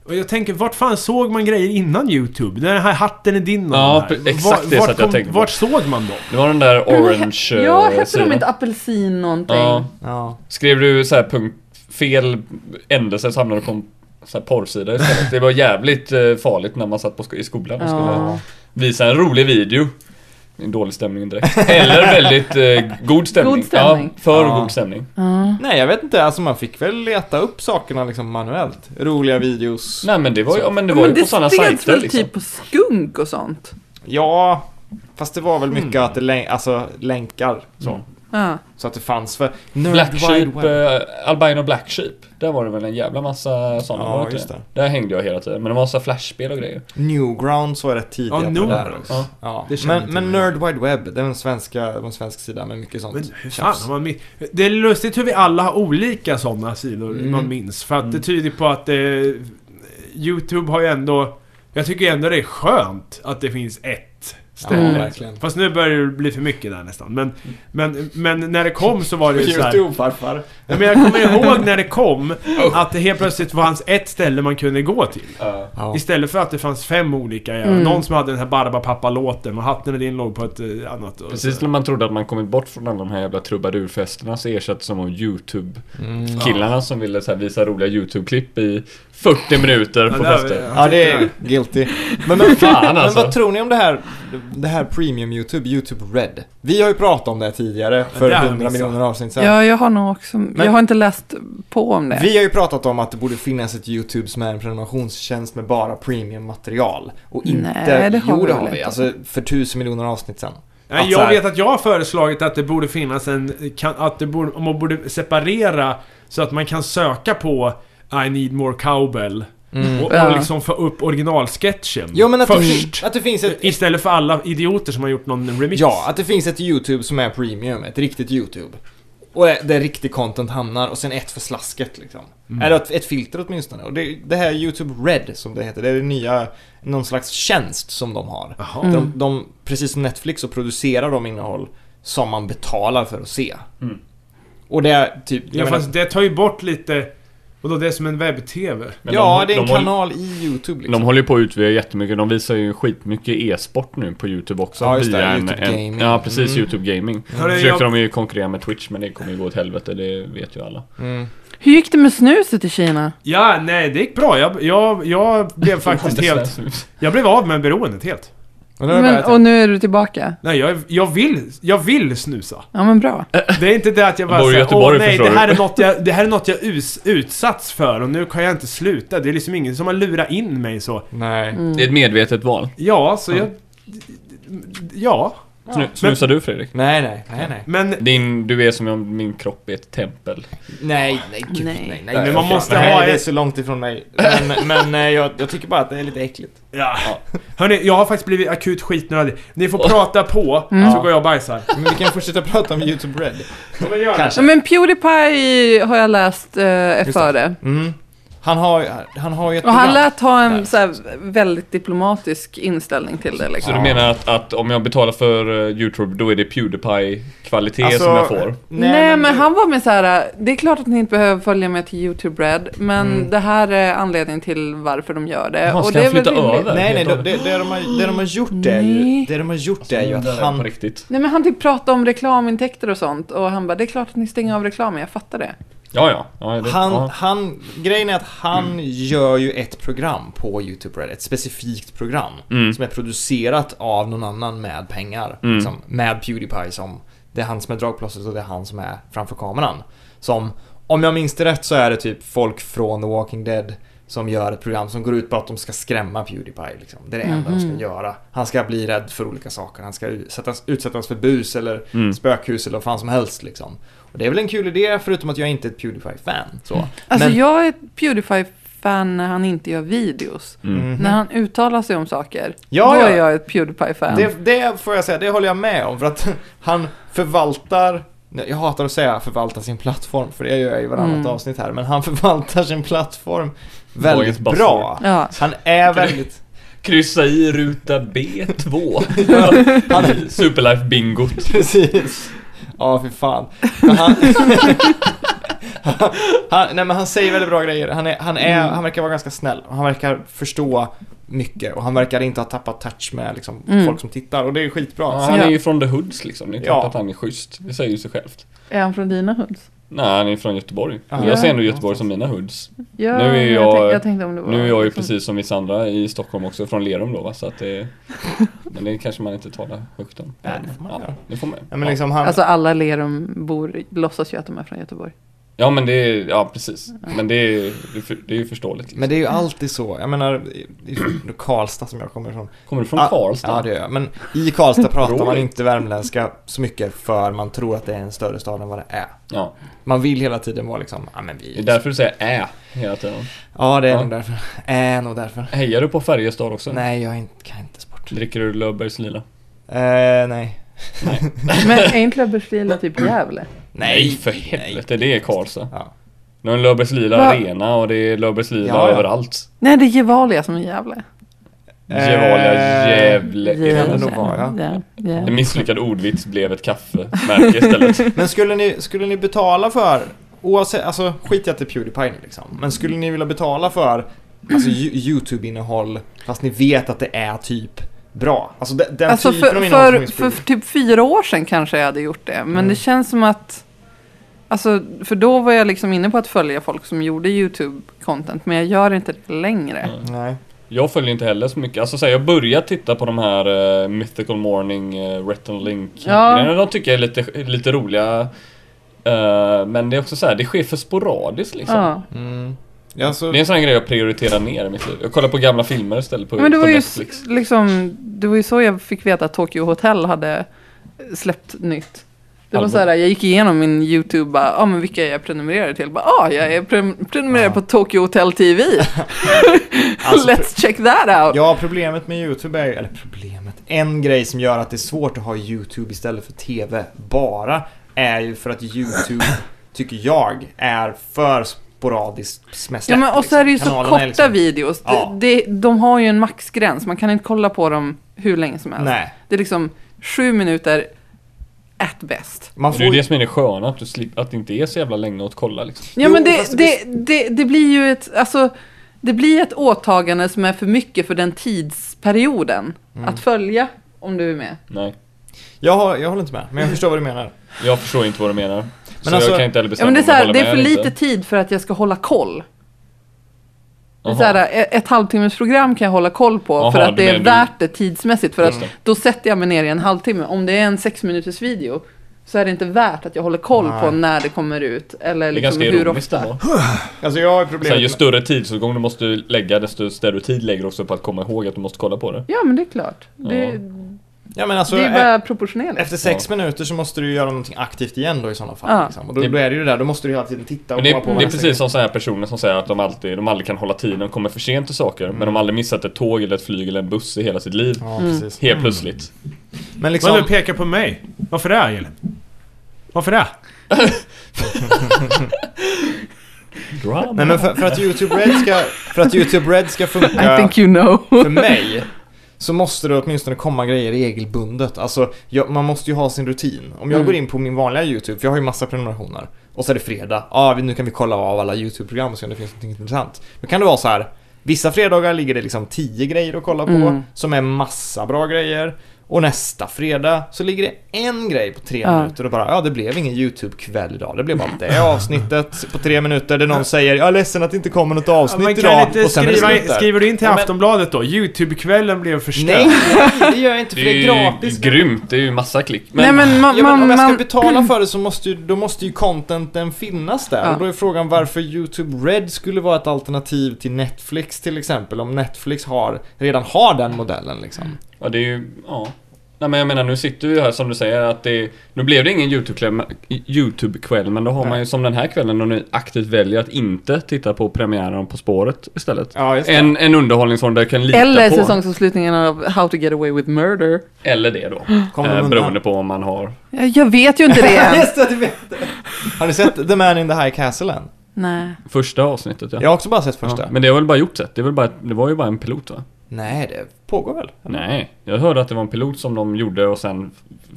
Och jag tänker, vart fan såg man grejer innan YouTube? Den här hatten är din och
Ja,
den här.
pre- exakt det
vart
satt jag tänkte på.
Vart såg man dem?
Det var den där orange eh,
Ja, hette de
sidan.
inte apelsin någonting?
Ja.
Ja.
Skrev du så här punkt, fel ändelse så hamnade du på en så här porrsida istället. Det var jävligt eh, farligt när man satt på sk- i skolan och skulle
Ja.
visa en rolig video. Det är En dålig stämning direkt. Eller väldigt eh, god stämning.
God stämning.
Ja, för
Ja.
god stämning.
Ja.
Nej jag vet inte, alltså man fick väl leta upp sakerna liksom manuellt. Roliga videos.
Nej men det var ju, ja, men det var
Men
ju
det
på sådana
spreds
sajter
väl
liksom.
typ på skunk och sånt?
Ja, fast det var väl mycket att det län- alltså, länkar så.
Hmm. Mm.
Ja.
Så att det fanns för... Nerd
Black
Wide
Sheep,
Web.
eh, Albino Black Sheep. Där var det väl en jävla massa sådana,
Ja,
var inte
just
Där hängde jag hela tiden, men det var massa flashspel och grejer.
Newgrounds var rätt tidiga
Ja,
på det där
Nordens.
också.
Ja.
Ja.
Det känner
Men,
inte
men
jag.
Nerd Wide Web, det är en, svenska, det var en svensk sida med mycket sånt.
Men hur fan
tjafs.
har man min- Det är lustigt hur vi alla har olika sådana sidor
Mm.
man minns. För att det tyder på att eh, YouTube har ju ändå... Jag tycker ändå det är skönt att det finns ett
ja,
ställe.
verkligen. Mm.
Fast nu börjar det bli för mycket där nästan. Men, men, men när det kom så var det ju såhär...
Youtube-farfar.
Men jag kommer ihåg när det kom att det helt plötsligt fanns ett ställe man kunde gå till.
Ja.
Istället för att det fanns fem olika. Ja.
Mm.
Någon som hade den här Barbapapa-låten och Hatten och din låg på ett eh, annat. och
Precis
så.
när man trodde att man kommit bort från alla de här jävla trubadurfesterna så ersattes de av
Mm,
YouTube-killarna som ville så här visa roliga YouTube-klipp i 40 minuter på
där-
fester.
Ja, det är guilty. Men, men,
Fan,
men
alltså.
vad tror ni om det här, det här Premium YouTube, YouTube Red? Vi har ju pratat om det här tidigare för
det har vi
100
missat.
miljoner avsnitt sedan.
Ja, jag har nog också... jag har inte läst på om det.
Vi har ju pratat om att det borde finnas ett YouTube som är en prenumerationstjänst med bara premiummaterial. Och inte...
Nej, det har
jo,
vi
det
väl
har vi.
inte.
Alltså, för tusen miljoner avsnitt sen.
Nej,
Att så
jag
Alltså-
här-
vet att jag har föreslagit att det borde finnas en... Kan, att det borde, om man borde separera så att man kan söka på I need more cowbell.
Mm.
Och, och
Ja.
liksom få upp originalsketchen
Jo, men att,
först.
Det, att det finns ett...
Istället för alla idioter som har gjort någon remix.
Ja, att det finns ett YouTube som är premium, ett riktigt YouTube. Och där där riktig content hamnar och sen ett för slasket liksom.
Mm.
Eller ett, ett filter åtminstone. Och det, det här YouTube Red som det heter, det är det nya, någon slags tjänst som de har.
Jaha.
Där
Mm.
De, de, precis som Netflix så producerar de innehåll som man betalar för att se.
Mm.
Och det är typ... jag
Ja,
menar-
fast det tar ju bort lite... Och då det är som en webb-tv.
Men
ja,
de-
det är en
de håll-
kanal i YouTube liksom.
De håller ju på att utvidga jättemycket. De visar ju skitmycket e-sport nu på YouTube också.
Ja, just det.
via
YouTube Gaming.
Ja, precis.
Mm.
YouTube Gaming.
Hörru,
Försökte
jag-
de ju konkurrera med Twitch, men det kommer ju gå åt helvete. Det vet ju alla.
Mm.
Hur gick det med snuset i Kina?
Ja, nej det gick bra. Jag, jag, jag blev faktiskt helt... Jag blev av med beroendet helt.
Och nu har jag
Men,
börjat-
och nu är du tillbaka?
Nej, jag, jag vill... Jag vill snusa.
Ja, men bra.
Det är inte det att jag bara
bor i
säger åh
Göteborg,
nej,
förstår
det här,
du."
är något jag, det här är något jag us, utsatts för och nu kan jag inte sluta. Det är liksom ingen som har lurat in mig så.
Nej.
Det är ett medvetet val.
Ja, så jag... Ja.
Snu, snusar du Fredrik?
Nej, nej, nej, nej.
Men,
Din, du är som om min kropp är ett tempel.
Nej, Ah, nej, gud,
Nej.
nej, nej,
Men man måste
nej,
ha
det är
ett-
så långt ifrån mig. Men, men eh, jag, jag tycker bara att det är lite äckligt.
ja. Hörni, jag har faktiskt blivit akut skitnödig. Ni får prata på, så går jag och bajsar.
Men vi kan fortsätta prata om YouTube Red.
Men gör det.
Kanske.
Ja, men Pewdiepie har jag läst eh, är för det.
Mm. Han har, han har ju ett
Och han
program.
lät ha en så här, väldigt diplomatisk inställning till det.
Så
Liksom.
du menar att, att om jag betalar för eh, YouTube, då är det Pewdiepie-kvalitet
Alltså,
som jag får?
Nej, men, han var med så här, det är klart att ni inte behöver följa med till YouTube Red, men det här är anledningen till varför de gör det.
Mm. Jaha, ska
det
han flytta
rimligt.
över?
Nej, nej, det, det, det, de har, det de har gjort är ju,
Nej.
det de har gjort är ju
Där
att
är Alltså, det på
han...
riktigt.
Nej men han typ pratade om reklamintäkter och sånt och han bara, det är klart att ni stänger av reklamen, jag fattar det.
Ja, ja. ja, det,
Han,
ja.
han, grejen är att han
Mm.
gör ju ett program på YouTube Red, ett specifikt program
Mm.
som är producerat av någon annan med pengar.
Mm.
Liksom, med Pewdiepie som, det är han som är dragplåstret och det är han som är framför kameran. Som, om jag minns det rätt så är det typ folk från The Walking Dead som gör ett program som går ut på att de ska skrämma Pewdiepie. Liksom. Det är det enda de ska göra. Han ska bli rädd för olika saker. Han ska utsättas, utsättas för bus eller
Mm.
spökhus eller vad fan som helst. Liksom. Och det är väl en kul idé förutom att jag inte är ett Pewdiepie-fan. Så.
Alltså
Men-
jag är ett Pewdiepie-fan när han inte gör videos.
Mhm.
När han uttalar sig om saker,
Mhm. Ja,
då
ja.
är jag ett Pewdiepie-fan.
Det, det får jag säga, det håller jag med om för att han förvaltar nej, jag hatar att säga förvalta sin plattform för det gör jag i varannat
Mm.
avsnitt här men han förvaltar sin plattform väldigt
Dagens
bra.
Ja.
Han är väldigt...
Kryssa i ruta B2. Superlife-bingot.
Precis. Ja, fy fan. Men han, han, nej, men han säger väldigt bra grejer. Han, är, han, är,
Mm.
han verkar vara ganska snäll. Han verkar förstå mycket och han verkar inte ha tappat touch med liksom,
Mm.
folk som tittar och det är skitbra.
Ja,
Sen-
han är ju från The Hoods liksom. Det är inte
Ja.
att han är schysst. Det säger ju sig självt.
Är han från dina hoods?
Nej, han är från Göteborg.
Ja.
Jag ser ändå Göteborg som mina hoods.
Ja,
Nu är
men
jag-
tänk- jag tänkte om det var
Nu är jag ju
liksom-
precis som vissa andra i Stockholm också, från Lerum då va, så att det... Men det kanske man inte talar högt om.
Nej, det får man göra.
ja, det får man.
Ja, men liksom, han,
Alltså alla Lerumbor låtsas ju att de är från Göteborg.
Ja men det är, ja precis. Men det är, det är för- det är ju förståeligt. Liksom.
Men det är ju alltid så. Jag menar, i- i Karlstad som jag kommer ifrån.
Kommer du från
Ah,
Karlstad?
Ja, det gör jag. Men i Karlstad pratar man
Roligt.
inte värmländska så mycket för man tror att det är en större stad än vad det är.
Ja.
Man vill hela tiden vara liksom, ja men
Det är
vi...
därför du säger ä hela tiden.
Ja, det är
Ja.
nog därför. Är nog därför.
Hejar du på Färjestad också?
Nej, jag är inte, kan inte sport.
Dricker du Löfbergs lila?
Eh, nej.
Men är inte Löfbergslila typ Gävle?
Nej,
för helvete, det är Karlstad.
Ja.
Nu är en Löfbergs lila
Va?
arena och det är Löfbergs lila
Ja, ja.
överallt.
Nej, det är Gevalia som är Gävle.
Gevalia,
Eh,
Gävle.
kan det nog vara, ja.
ja.
En misslyckad ordvits blev ett kaffemärke istället.
Men skulle ni, skulle ni betala för oavsett, alltså skit i att det är Pewdiepie nu liksom. Men skulle ni vilja betala för alltså, Yo- YouTube-innehåll fast ni vet att det är typ bra? Alltså de- den
Alltså
typen av
för,
innehåll som Mm.
för,
finns på
för,
YouTube.
typ fyra år sedan kanske jag hade gjort det. Men det känns som att... Alltså, för då var jag liksom inne på att följa folk som gjorde YouTube-content. Men jag gör inte det längre.
Nej.
Jag följer inte heller så mycket. Alltså så här, jag börjar titta på de här eh, Mythical Morning, uh, Retin Link
Ja.
grejerna. De tycker jag är lite, lite roliga. Eh, men det är också så här, det sker för sporadiskt liksom.
Ja.
Mm. Ja, alltså,
Det är en sån här grej jag prioriterar ner i mitt liv. Jag kollar på gamla filmer istället på,
Men det
på
var ju
Netflix.
s- liksom... Det var ju så jag fick veta att Tokyo Hotel hade eh, släppt nytt. Det var
Album.
så här, jag gick igenom min YouTube, bara, ah, men vilka är jag prenumererad till? Bara, ah, jag är pre- prenumererad på Tokyo Hotel TV.
Alltså,
Let's check that out.
ja, problemet med YouTube är ju, eller problemet, en grej som gör att det är svårt att ha YouTube istället för TV bara är ju för att YouTube, tycker jag, är för sporadiskt med
Ja, men
släpp,
och så är det ju
liksom.
så
Kanalerna
korta
är liksom-
videos.
Ja.
De, de, de har ju en maxgräns. Man kan inte kolla på dem hur länge som helst.
Nej.
Det är liksom sju minuter at bäst.
Man
Och
får
Det är ju
ju-
det som är det sköna, att, du slip, att det inte är så jävla länge att kolla liksom.
Ja,
Jo,
men
fast
det,
det
det, det, det blir ju ett... Alltså, det blir ett åtagande som är för mycket för den tidsperioden
Mm.
att följa, om du är med.
Nej.
jag, har- jag håller inte med, men jag förstår vad du menar.
Jag förstår inte vad du menar. så
alltså-
jag kan inte heller
Ja,
bestämma
men det, är
om
så
jag
här,
håller
det är
med liksom.
för
eller
lite
inte.
tid för att jag ska hålla koll. Det är
Jaha.
Så här, eh, ett, ett halvtimmesprogram kan jag hålla koll på
Jaha,
för att
du
det är
menar-
värt det tidsmässigt. För att
Just det.
då sätter jag mig ner i en halvtimme. Om det är en sex minuters video så är det inte värt att jag håller koll på när det kommer ut. Eller
Det är
liksom
ganska
hur
ironiskt
ofta.
ändå.
Alltså jag har
Så
problem
här, ju större tidsåtgång du måste lägga, desto större tid lägger du också på att komma ihåg att du måste kolla på det.
Ja men det är klart. Det,
Ja.
Ja men alltså,
det är
e-
bara proportionerligt.
efter sex minuter så måste du ju göra någonting aktivt igen då i sådana fall.
Ja.
Liksom. Och då,
Det-
då är det ju det där, då måste du hela tiden titta och
Men det,
komma på vad
det är
nästa
precis som sådana här personer som säger att de aldrig, de aldrig kan hålla tiden, de kommer för sent till saker, men de har aldrig missat ett tåg eller ett flyg eller en buss i hela sitt liv.
grej- Ja,
Mm.
precis.
Helt plötsligt.
Men liksom,
Vad du pekar på mig? Varför det, Elin? Varför
Alltså,
det?
Drama.
nej men för, för att YouTube Red ska, för att YouTube Red ska
I
funka
think you know.
för mig så måste det åtminstone komma grejer regelbundet. Alltså, jag, man måste ju ha sin rutin. Om jag går in på min vanliga YouTube, för jag har ju massa prenumerationer. Och så är det fredag. Ja, vi nu kan vi kolla av alla YouTube-program och se om det finns något intressant. Då kan det vara så här. Vissa fredagar ligger det liksom 10 grejer att kolla på,
Mm.
som är massa bra grejer. Och nästa fredag så ligger det en grej på tre
Ja.
minuter och bara ja, det blev ingen YouTube-kväll idag. Det blev bara det avsnittet på tre minuter där någon säger jag är ledsen att det inte kommer något avsnitt
Men kan
idag.
inte
och sen är det slut
skriva,
där.
skriver du in till
Ja, men-
Aftonbladet då? Youtube-kvällen blev förstörd.
Nej, nej, det gör jag inte för
det är
det
ju
är gratis.
grymt, det är ju massa klick. Men,
Nej men man...
Ja, men om
man,
jag ska
man
betala för det så måste ju, då måste ju contenten finnas där.
Ja.
Och då är frågan varför YouTube Red skulle vara ett alternativ till Netflix till exempel. Om Netflix har, redan har den modellen
Mm.
liksom.
ja, det är ju, ja. Nej men jag menar nu sitter vi ju här som du säger att det Nu blev det ingen YouTube-kväll, YouTube-kväll men då har
Nej.
man ju som den här kvällen då ni aktivt väljer att inte titta på premiären På spåret istället.
Ja, just det.
En, en underhållningsform där du kan lita
eller
på.
säsongsavslutningen av How to get away with murder.
Eller det då.
Kommer de
Eh,
undan?
beroende på om man har
Jag, jag vet ju inte det än.
Just det, du vet det. Har ni sett The Man in the High Castle än?
Nej.
första avsnittet ja.
Jag har också bara sett första.
Ja, men det har väl bara gjort sett? Det, är väl bara, det var ju bara en pilot va?
Nej, det pågår väl?
Nej, jag hörde att det var en pilot som de gjorde och sen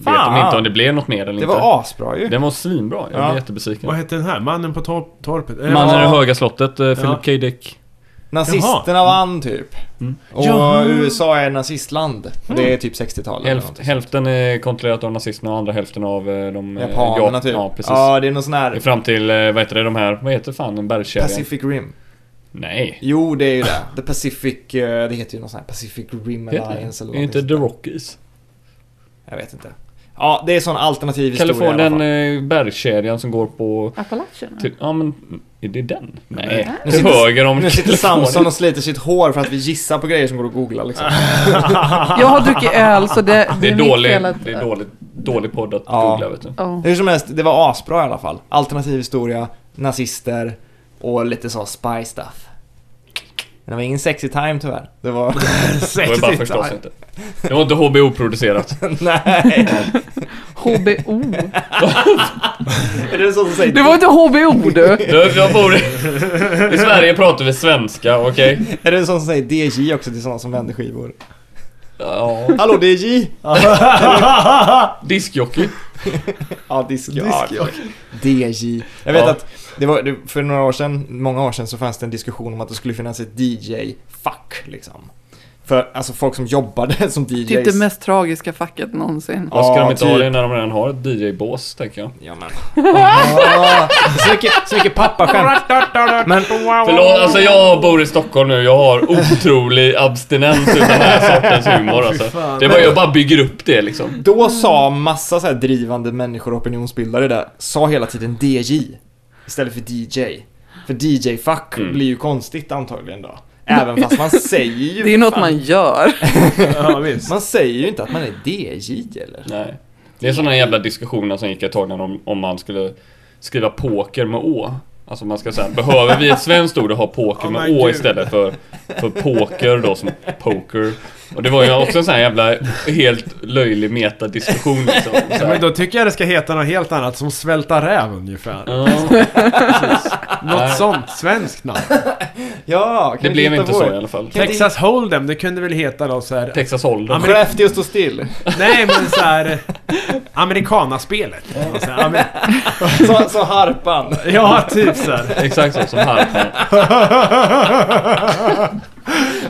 Fan!
vet de inte om det blev något mer eller
Det
inte.
var asbra ju.
Den var svinbra, jag blev
Ja.
jättebesviken.
Vad hette den här? Mannen på tor- torpet? Eh,
Mannen i det
ja.
höga slottet, eh, Philip K. Dick.
Nazisterna vann typ.
Mm.
Och
Jaha.
USA är ett nazistland. Och
Mm.
det är typ 60-talet. eller
Hälf,
någonting.
hälften är kontrollerat av nazisterna och andra hälften av eh, de... eh,
Japanerna
Jap-
typ.
Ja, precis.
Ja, det är någon sån
Det är
här
Fram till, eh, vad heter det, de här, vad heter fan en bergskedja?
Pacific Rim.
Nej.
Jo, det är ju det. The Pacific, eh, det heter ju någon sån här Pacific Rim
Heter det?
Alliance eller
Är inte
någonting.
The Rockies?
Jag vet inte. Ja, det är sån alternativ historia i alla
Kalifornien,
fall.
eh, bergskedjan som går på...
Appalacherna?
Till, ja men, är det den? Nej.
Nu
Till
sitter-
höger om
Nu sitter
eh, Kalifornien.
Samson och sliter sitt hår för att vi gissar på grejer som går att googla liksom.
Jag har druckit öl så det, det,
Det är,
mitt
dålig,
fel att-
det är dålig, dålig podd att
Ja.
googla vet du.
Ja.
Hur som helst, det var asbra i alla fall. Alternativ historia, nazister och lite så spy stuff. Men det var ingen sexy time tyvärr. Det var...
Det var ju bara förstås inte. Det var inte HBO-producerat.
Nej!
HBO.
Är det så som säger?
Det var inte HBO du.
Du, jag bor i... I Sverige pratar vi svenska, okej?
Är det sån som säger DJ också till såna som vänder skivor?
Ja.
Hallå DJ!
Diskjockey.
Ja, disk. Ja, DJ. Jag vet
Ja.
att Det var, det, för några år sedan, många år sedan så fanns det en diskussion om att det skulle finnas ett DJ-fack liksom. För alltså folk som jobbade som DJs.
Typ det mest tragiska facket någonsin.
Vad ska
Ja,
de inte ha
typ.
det när de redan har ett DJ-bås, tänker jag.
Ja men. Åh, så mycket, så mycket pappaskämt. Men
Förlåt, alltså jag bor i Stockholm nu, jag har otrolig abstinens utav den här sortens humor alltså.
fan.
Det är bara, jag bara bygger upp det liksom.
då sa massa så här drivande människor och opinionsbildare där, sa hela tiden DJ istället för DJ. För DJ-fack
Mm.
blir ju konstigt antagligen då. Även fast man säger ju
Det är ju något
fan-
man gör.
Ja, visst.
Man säger ju inte att man är DJ eller?
Nej. Det är sådana jävla diskussioner som gick ett tag när de, om man skulle skriva poker med å. Alltså man ska säga, behöver vi ett svenskt ord och ha poker
Oh
med
my
å
God.
istället för, för poker då som poker. Och det var ju också en sån här jävla helt löjlig metadiskussion liksom. Så
Ja, men
här.
då tycker jag det ska heta något helt annat, som Svälta räv ungefär.
Ja,
Något sånt svenskt namn.
Ja, kan
det
du
blev
hitta
inte
på
så
det?
i alla fall.
Texas Hold'em, det kunde väl heta då så här.
Texas Hold'em.
men-
Skellefteå står still.
Nej men så här. Amerikanaspelet. Så här, amer-
Så, så harpan.
Ja, typ så här.
Exakt så som harpan.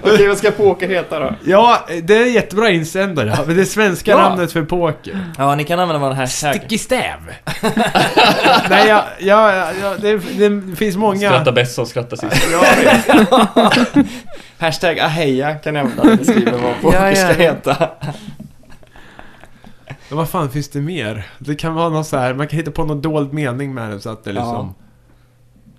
Okej, vad ska poker heta då?
Ja, det är jättebra insändare. Men det svenska
Ja.
namnet för poker.
Ja, ni kan använda vår hashtag.
Sticky stäv. Nej, jag, jag, jag, det, det finns många.
Skratta bäst som skrattar sist.
Hashtag aheja kan ni använda när ni skriver vad poker
Ja, ja,
ska
ja.
heta.
Ja, vad fan finns det mer? Det kan vara något så här, man kan hitta på någon dold mening med det så att det liksom...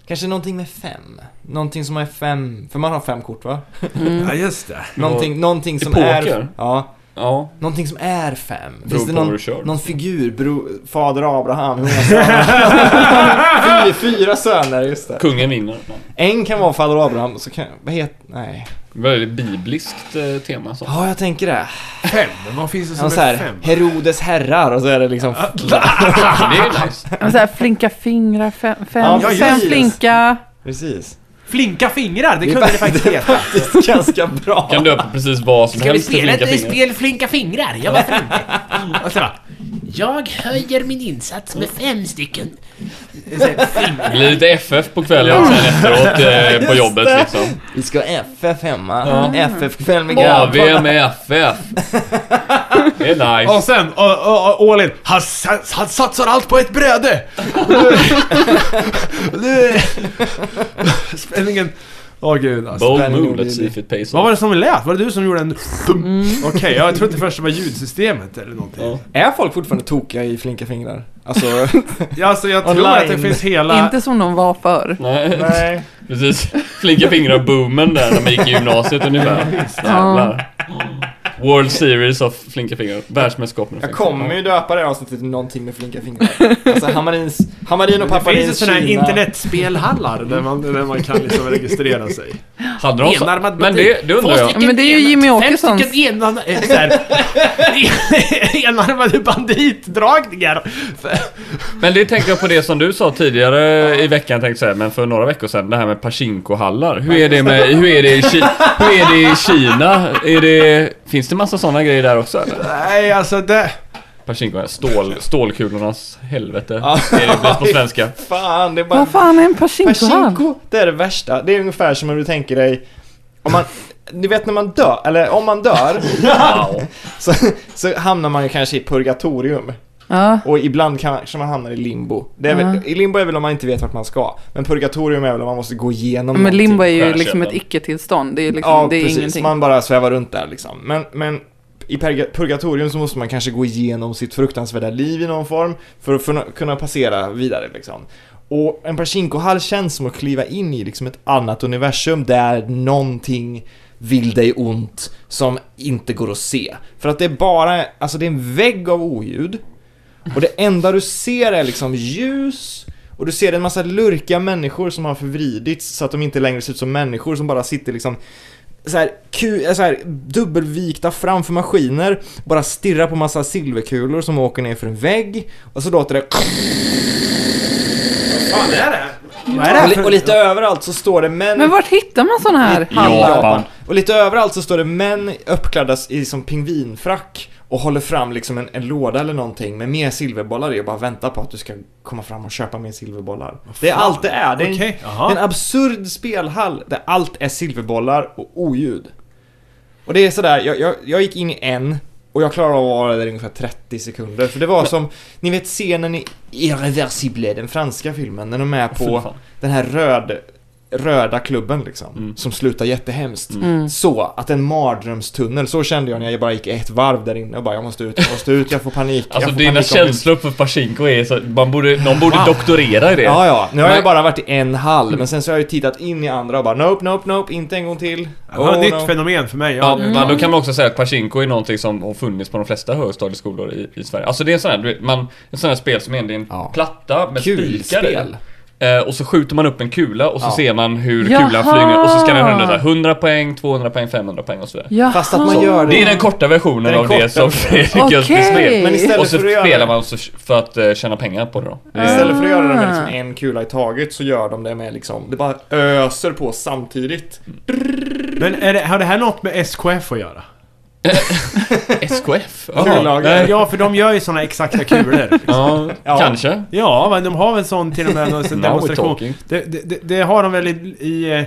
Kanske någonting med fem. Någonting som är fem, för man har fem kort va? Mm.
Ja, just det.
Någonting, någonting
I
som
poker?
är... Ja.
Ja,
Någonting som är fem.
Beror
Finns det
på vad
någon,
du kör.
någon figur? Bro, fader Abraham, hur många söner? Fy- Fyra söner, just det.
kungen vinner.
En kan vara fader Abraham, så kan... Vad heter... Nej.
Väldigt bibliskt eh, tema så.
Ja, jag tänker det.
Fem, vad finns det som
Han så
är
här,
fem?
Herodes herrar och så är det liksom...
Det är ju nice.
Men Så här, flinka fingrar, fem,
Ja,
fem,
precis.
fem flinka.
Precis.
Flinka fingrar, det
Det är
kunde det faktiskt
det är
heta.
faktiskt ganska bra.
Kan döpa precis vad som helst till Flinka fingrar.
Flinka fingrar? Jag var framme. Och så bara, jag höjer min insats med fem stycken. Så här, fingrar.
Det blir lite FF på kvällen sen efteråt eh, på jobbet liksom.
Vi ska ha FF hemma. FF-kväll med grabbarna.
AV med FF. Det är nice.
Och sen, och, och, och, all in. Han, sats- han satsar allt på ett bröde! Nu- Spänningen... Åh gud alltså.
Bold
spänning
move,
och
let's see if it pays
Vad var
off.
det som lät? Var det du som gjorde en...
Mm.
Okej, jag trodde först det var ljudsystemet eller någonting.
Ja.
Är folk fortfarande tokiga i flinka fingrar? Alltså...
Ja, alltså jag tror
Online.
att det finns hela...
Inte som de var förr.
Nej, precis. Flinka fingrar-boomen där när man gick i gymnasiet ungefär. Jävlar. World Series of flinka fingrar. Världsmästerskapen.
Jag kommer ju döpa det här avsnittet till någonting med flinka fingrar. Alltså Hammarins, Hammarin och
Det finns ju
Paparins
sådana här
Kina.
internetspelhallar där man, där man kan liksom registrera sig.
Hade de så?
Enarmad
Men
typ
bandit.
det, det undrar jag.
Ja, men det är ju Jimmy Åkessons.
Fem stycken enan- eh, så här, enarmade banditdragningar.
Men det tänker jag på det som du sa tidigare i veckan, tänkte jag säga, men för några veckor sedan, det här med Pachinko-hallar. Hur är det med, hur är det i, Ki- hur är det i Kina? Är det, finns det massa sådana grejer där också eller?
Nej, alltså det...
Pachinko, stål, stålkulornas helvete. Är det blir på svenska?
Fan, det är bara...
Vad fan är en pachinkohall?
Pachinko, det är det värsta. Det är ungefär som om du tänker dig... Om man... Ni vet när man dör, eller om man dör,
Wow.
så, så hamnar man ju kanske i purgatorium.
Ja.
Och ibland kanske man hamnar i limbo. Det är väl,
Ja.
i limbo är väl om man inte vet vart man ska. Men purgatorium är väl om man måste gå igenom
Men limbo är ju
Skärköpen.
liksom ett icke-tillstånd. Det är, liksom,
Ja,
det är
precis.
ingenting.
Man bara svävar runt där liksom. Men, men i purga- purgatorium så måste man kanske gå igenom sitt fruktansvärda liv i någon form för att kunna- kunna passera vidare liksom. Och en Pachinko-hall känns som att kliva in i liksom ett annat universum där någonting vill dig ont som inte går att se. För att det är bara, alltså det är en vägg av oljud. Och det enda du ser är liksom ljus och du ser en massa lurkiga människor som har förvridits så att de inte längre ser ut som människor som bara sitter liksom så här, ku, äh, så här dubbelvikta framför maskiner, bara stirrar på massa silverkulor som åker ner för en vägg och så låter det
Vad är det? Vad är det
och, li,
för-
och lite överallt så står det män
Men vart hittar man sån här
Ja.
hallar?
Och lite överallt så står det män uppklädda i som pingvinfrack och håller fram liksom en, en låda eller någonting med mer silverbollar i och bara väntar på att du ska komma fram och köpa mer silverbollar. Det är allt det är. Det är en,
Okej, jaha.
en absurd spelhall där allt är silverbollar och oljud. Och det är sådär, jag, jag, jag gick in i en och jag klarade av att vara där i ungefär 30 sekunder. För det var som, ni vet scenen i Irreversible, den franska filmen, när de är
Fy
på
fan.
den här röd, röda klubben liksom.
Mm.
Som slutar jättehemskt.
Mm.
Så att en mardrömstunnel, så kände jag när jag bara gick ett varv där inne och bara jag måste ut, jag måste ut, jag får panik.
Alltså
jag får
dina
panikångest."
känslor för Pachinko är så att man borde, någon borde doktorera i det.
Ja, ja. Nu har
Men-
jag bara varit i en
Mm.
hall, men sen så har jag ju tittat in i andra och bara nope, nope, nope, inte en gång till.
Det var
Oh,
ett nytt
no.
fenomen för mig.
Ja,
Ja.
men då kan man också säga att Pachinko är någonting som har funnits på de flesta högstadieskolor i, i Sverige. Alltså det är en sån här, du vet, man, en sån här spel som egentligen är en
Ja.
platta med spikar i.
Kulspel.
Eh, och så skjuter man upp en kula och så
Ja.
ser man hur
Jaha!
kulan flyger och så ska den runda så här 100 poäng, 200 poäng, 500 poäng och så vidare.
Jaha.
Fast att man gör
Det är den korta versionen
Den
av det
korta
som Fredrik
Okej.
Jönsson spel.
Men istället
Och så
för att göra
spelar man så, för att eh, tjäna pengar på det då. Eh, Det är-
Istället för att göra det med
Ah.
liksom en kula i taget så gör de det med liksom, det bara öser på samtidigt.
Men är det, har det här något med SKF att göra?
SKF?
Kullager.
nej.
Ja, för de gör ju sådana exakta kulor.
Ja,
Ja.
kanske.
Ja, men de har väl sån till och med någon sån
Now we're
demonstration.
talking.
Det, det, det, det har de väl i, i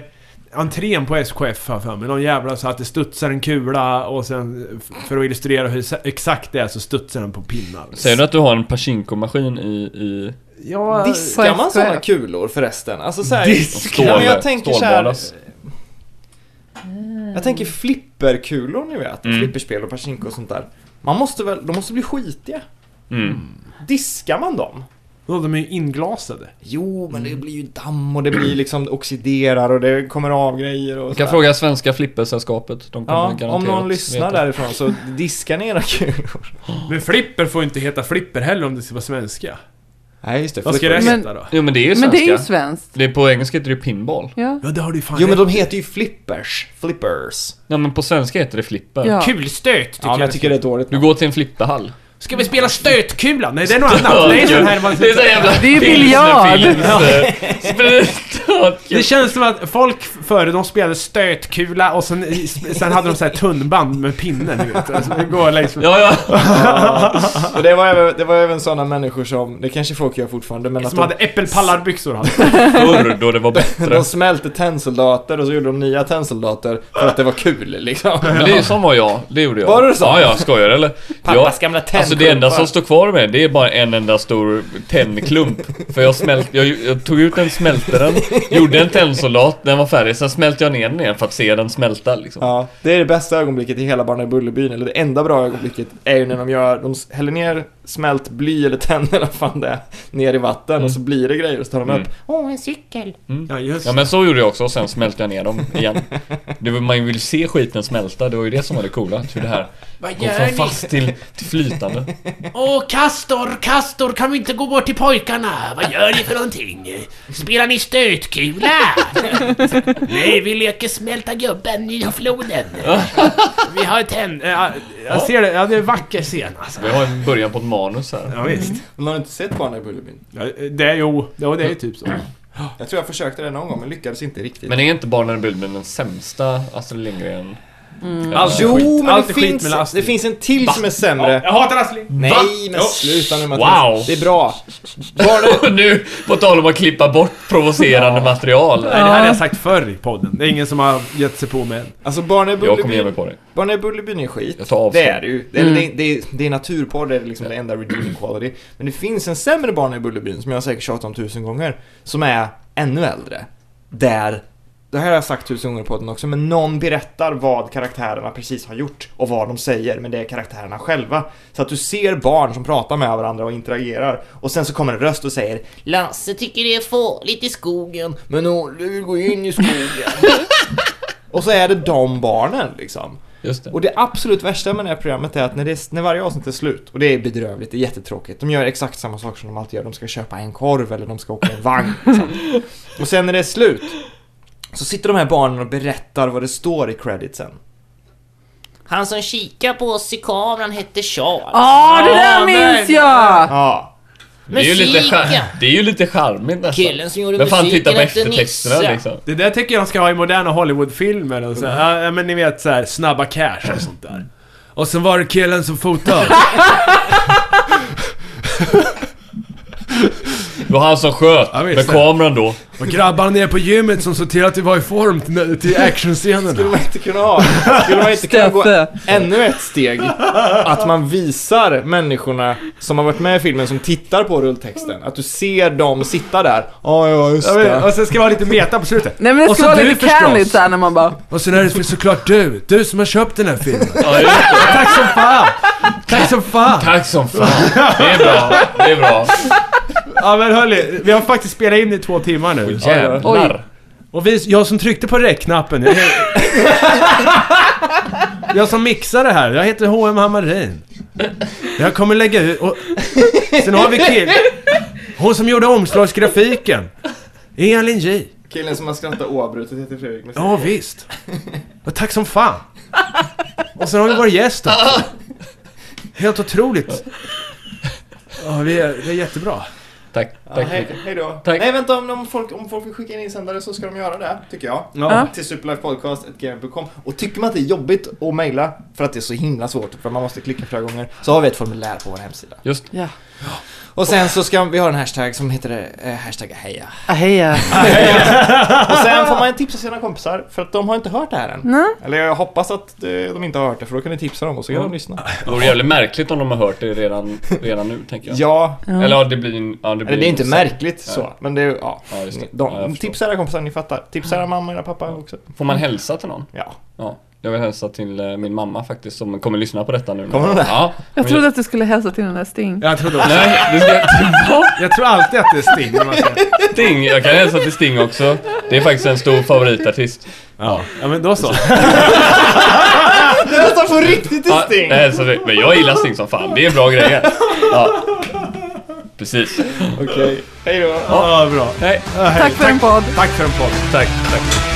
eh, entrén på SKF här för mig. Någon jävla så att det studsar en kula och sen f- för att illustrera hur sa- exakt det är så studsar den på pinnar.
Säger du att du har en Pachinko-maskin i, i...
Ja,
Diskar
På
man
SKF?
sådana kulor förresten? Alltså så här,
Diskar?
Ja, men jag tänker så här,
Stålbadas.
Jag tänker flipperkulor ni vet,
Mm.
flipperspel och Pachinko och sånt där. Man måste väl, de måste bli skitiga.
Mm.
Diskar man dem?
då, de är ju inglasade.
Jo, men det blir ju damm och det blir liksom det oxiderar och det kommer av grejer och
Jag kan
sådär.
fråga Svenska Flippersällskapet. De kommer
Ja,
garanterat
om någon lyssnar
veta.
därifrån så diska ni era kulor.
Men flipper får ju inte heta flipper heller om det ska vara svenska.
Nej, just det.
Vad ska
flipper.
det
Men-
heta då?
Jo men det är ju
Men
svenska.
det är ju svenskt.
Det är på engelska heter det ju pinball.
Ja.
Ja, det har du ju fan
Jo, men
rätt
de heter ju flippers. Flippers.
Nej men på svenska heter det flipper.
Ja.
i. Kulstöt tycker
Ja, men jag tycker det är ett dåligt
Du
namn.
går till en flipperhall.
Ska vi spela stötkula? Nej, det är något annat. Det är sån här man...
Det är så jävla...
Det är ju biljard.
biljard!
Det känns som att folk före de spelade stötkula och sen, sen hade de så här tunnband med pinnen, du vet. Alltså, det går liksom...
Ja, ja.
Och det var, även, det var även sådana människor som, det kanske folk gör fortfarande, men att
Som
de,
hade äppelpallarbyxor hade.
Förr då det var bättre.
de smälte tennsoldater och så gjorde de nya tennsoldater för att det var kul liksom.
Men det är som var jag, det gjorde jag.
Var det så?
Ja, ja, skojar du, eller? Jag,
gamla
alltså det enda som står kvar med det är bara en enda stor tennklump. För jag smält, jag, jag tog ut den, smälte den, gjorde en tennsoldat, den var färdig, sen smälte jag ner den igen för att se den smälta liksom.
Ja, det är det bästa ögonblicket i hela Barnen i Bullerbyn, eller det enda bra ögonblicket är ju när de gör, de häller ner smält bly eller tenn eller vad fan det är, ner i vatten och så blir det grejer och så tar de
Mm.
upp.
Åh, en cykel.
Ja, just
Ja men så gjorde jag också och sen smälte jag ner dem igen. Det var, man vill se skiten smälta, det var ju det som var det coola. Hur det här
Vad
går från fast till, till flytande.
Åh, Kastor, Kastor, kan vi inte gå bort till pojkarna? Vad gör ni för någonting? Spelar ni stötkula? Nej, vi leker smälta gubben i floden. Vi har tänd... Eh, Ja, jag ser det. Ja, det är en vacker scen alltså.
Vi har en början på ett manus här.
Ja, visst.
Men har du inte sett Barnen i Bullerbyn?
Ja, det är jo. Ja, det är ju typ
Mm.
så.
Jag tror jag försökte det någon gång men lyckades inte riktigt.
Men är inte Barnen i Bullerbyn den sämsta Astrid Lindgren? Mm.
Allt
jo,
skit.
men
Allt är
det
skit
finns,
med Astrid.
det finns en till som är sämre.
Jag hatar Astrid.
Nej men
Oh.
sluta nu
Wow.
Mattias. Det är bra. Barnen,
Och nu, på tal om att klippa bort provocerande material.
Nej, det här har jag sagt förr i podden. Det är ingen som har gett sig på mig än.
alltså barnen i
Jag kommer ge mig
Bullerbyn,
på det.
barnen i Bullerbyn är skit.
Jag Mm. tar avstånd.
Det är det ju. Det är, det, är- det, är, det är naturporr, det är liksom det enda redeeming quality. Men det finns en sämre barnen i Bullerbyn som jag säkert tjatat om tusen gånger. Som är ännu äldre. Där, det här har jag sagt tusen gånger på podden också, men någon berättar vad karaktärerna precis har gjort och vad de säger, men det är karaktärerna själva. Så att du ser barn som pratar med varandra och interagerar och sen så kommer en röst och säger Lasse tycker det är farligt i skogen, men Olle vill gå in i skogen. och så är det de barnen liksom.
Just det.
Och det absolut värsta med det här programmet är att när, det är, när varje avsnitt är slut, och det är bedrövligt, det är jättetråkigt. De gör exakt samma saker som de alltid gör. De ska köpa en korv eller de ska åka en vagn. Liksom. Och sen när det är slut, så sitter de här barnen och berättar vad det står i creditsen.
Han som kikar på oss i kameran hette Charles.
Ja, det där minns jag!
Ja.
Det är ju lite,
Musiken.
char- det är ju lite charmigt nästan.
Killen som gjorde
Vem fan
musiken
tittar på
hette
eftertexterna
Nisse.
liksom?
Det där tycker jag de ska ha i moderna Hollywoodfilmer och så här, ja men ni vet så här, snabba cash och sånt där. Och sen var det killen som fotade.
Det var han som sköt
Ja, visst.
med kameran då.
Och grabbarna nere på gymmet som såg till att vi var i form till- till
Skulle
actionscenerna.
man inte kunna ha? Skulle man inte kunna gå
Steffe.
ännu ett steg? Att man visar människorna som har varit med i filmen, som tittar på rulltexten. Att du ser dem sitta där. alltså, Ja, ja, just
Ja, men-
det.
Och sen ska det vara lite meta på slutet.
Nej men det
Och
ska
så
vara
du
lite
förstås.
candigt såhär när man bara...
Och sen är det såklart du. Du som har köpt den här filmen.
Ja, just det.
Tack som fan! Tack som fan!
Tack som fan. Det är bra. Det är bra.
Ja men hörni, vi har faktiskt spelat in i två timmar nu.
Jävlar.
Och vi, jag som tryckte på räckknappen. Jag, jag som mixar det här. Jag heter H.M. Hammarin. Jag kommer lägga ut... Och, sen har vi kill... Hon som gjorde omslagsgrafiken. Elin J.
Killen som har skrattat oavbrutet heter Fredrik. men-
Ja visst. Och tack som fan. Och sen har vi vår gäst också. Helt otroligt. Ja, vi är, vi är jättebra.
Tack. Tack.
Hej, hej då.
Tack.
Nej vänta, om, om, folk, om folk vill skicka in insändare så ska de göra det, tycker jag.
Ja.
Till superlifepodcast.gm.com Och tycker man att det är jobbigt att mejla för att det är så himla svårt, för man måste klicka flera gånger, så har vi ett formulär på vår hemsida.
Just
Ja.
Och sen så ska vi ha en hashtag som heter eh, hashtag heja.
Ah, heja.
Och sen får man tipsa sina kompisar, för att de har inte hört det här än.
Nej.
Eller jag hoppas att eh, de inte har hört det, för då kan ni tipsa dem och så kan de lyssna.
Det vore jävligt märkligt om de har hört det redan, redan nu, tänker jag.
Ja,
Eller ja, det blir en... Ja, det blir
eller det är inte
en-
märkligt så, men det är, ja.
Ja, just det.
De,
Ja, jag förstår.
tipsa era kompisar, ni fattar. Tipsa era mamma, era pappa också.
Får man hälsa till någon?
Ja.
Ja. Jag vill hälsa till eh, min mamma faktiskt, som kommer lyssna på detta nu.
Kommer hon det?
Ja.
Jag trodde att du skulle hälsa till den där Sting.
Jag tror, också,
Nej, det ska... Vad?
jag tror alltid att det är Sting. när man säger-
Sting! Jag kan hälsa till Sting också. Det är faktiskt en stor favoritartist.
Ja, ja men då så.
Det är nästan på riktigt till
Ja,
Sting!
nej, så det- men jag gillar Sting som fan. Det är bra grejer. Ja. Precis.
Okej, hej då.
Ja, bra.
Nej,
Tack för en podd.
Tack för en podd.
tack. tack.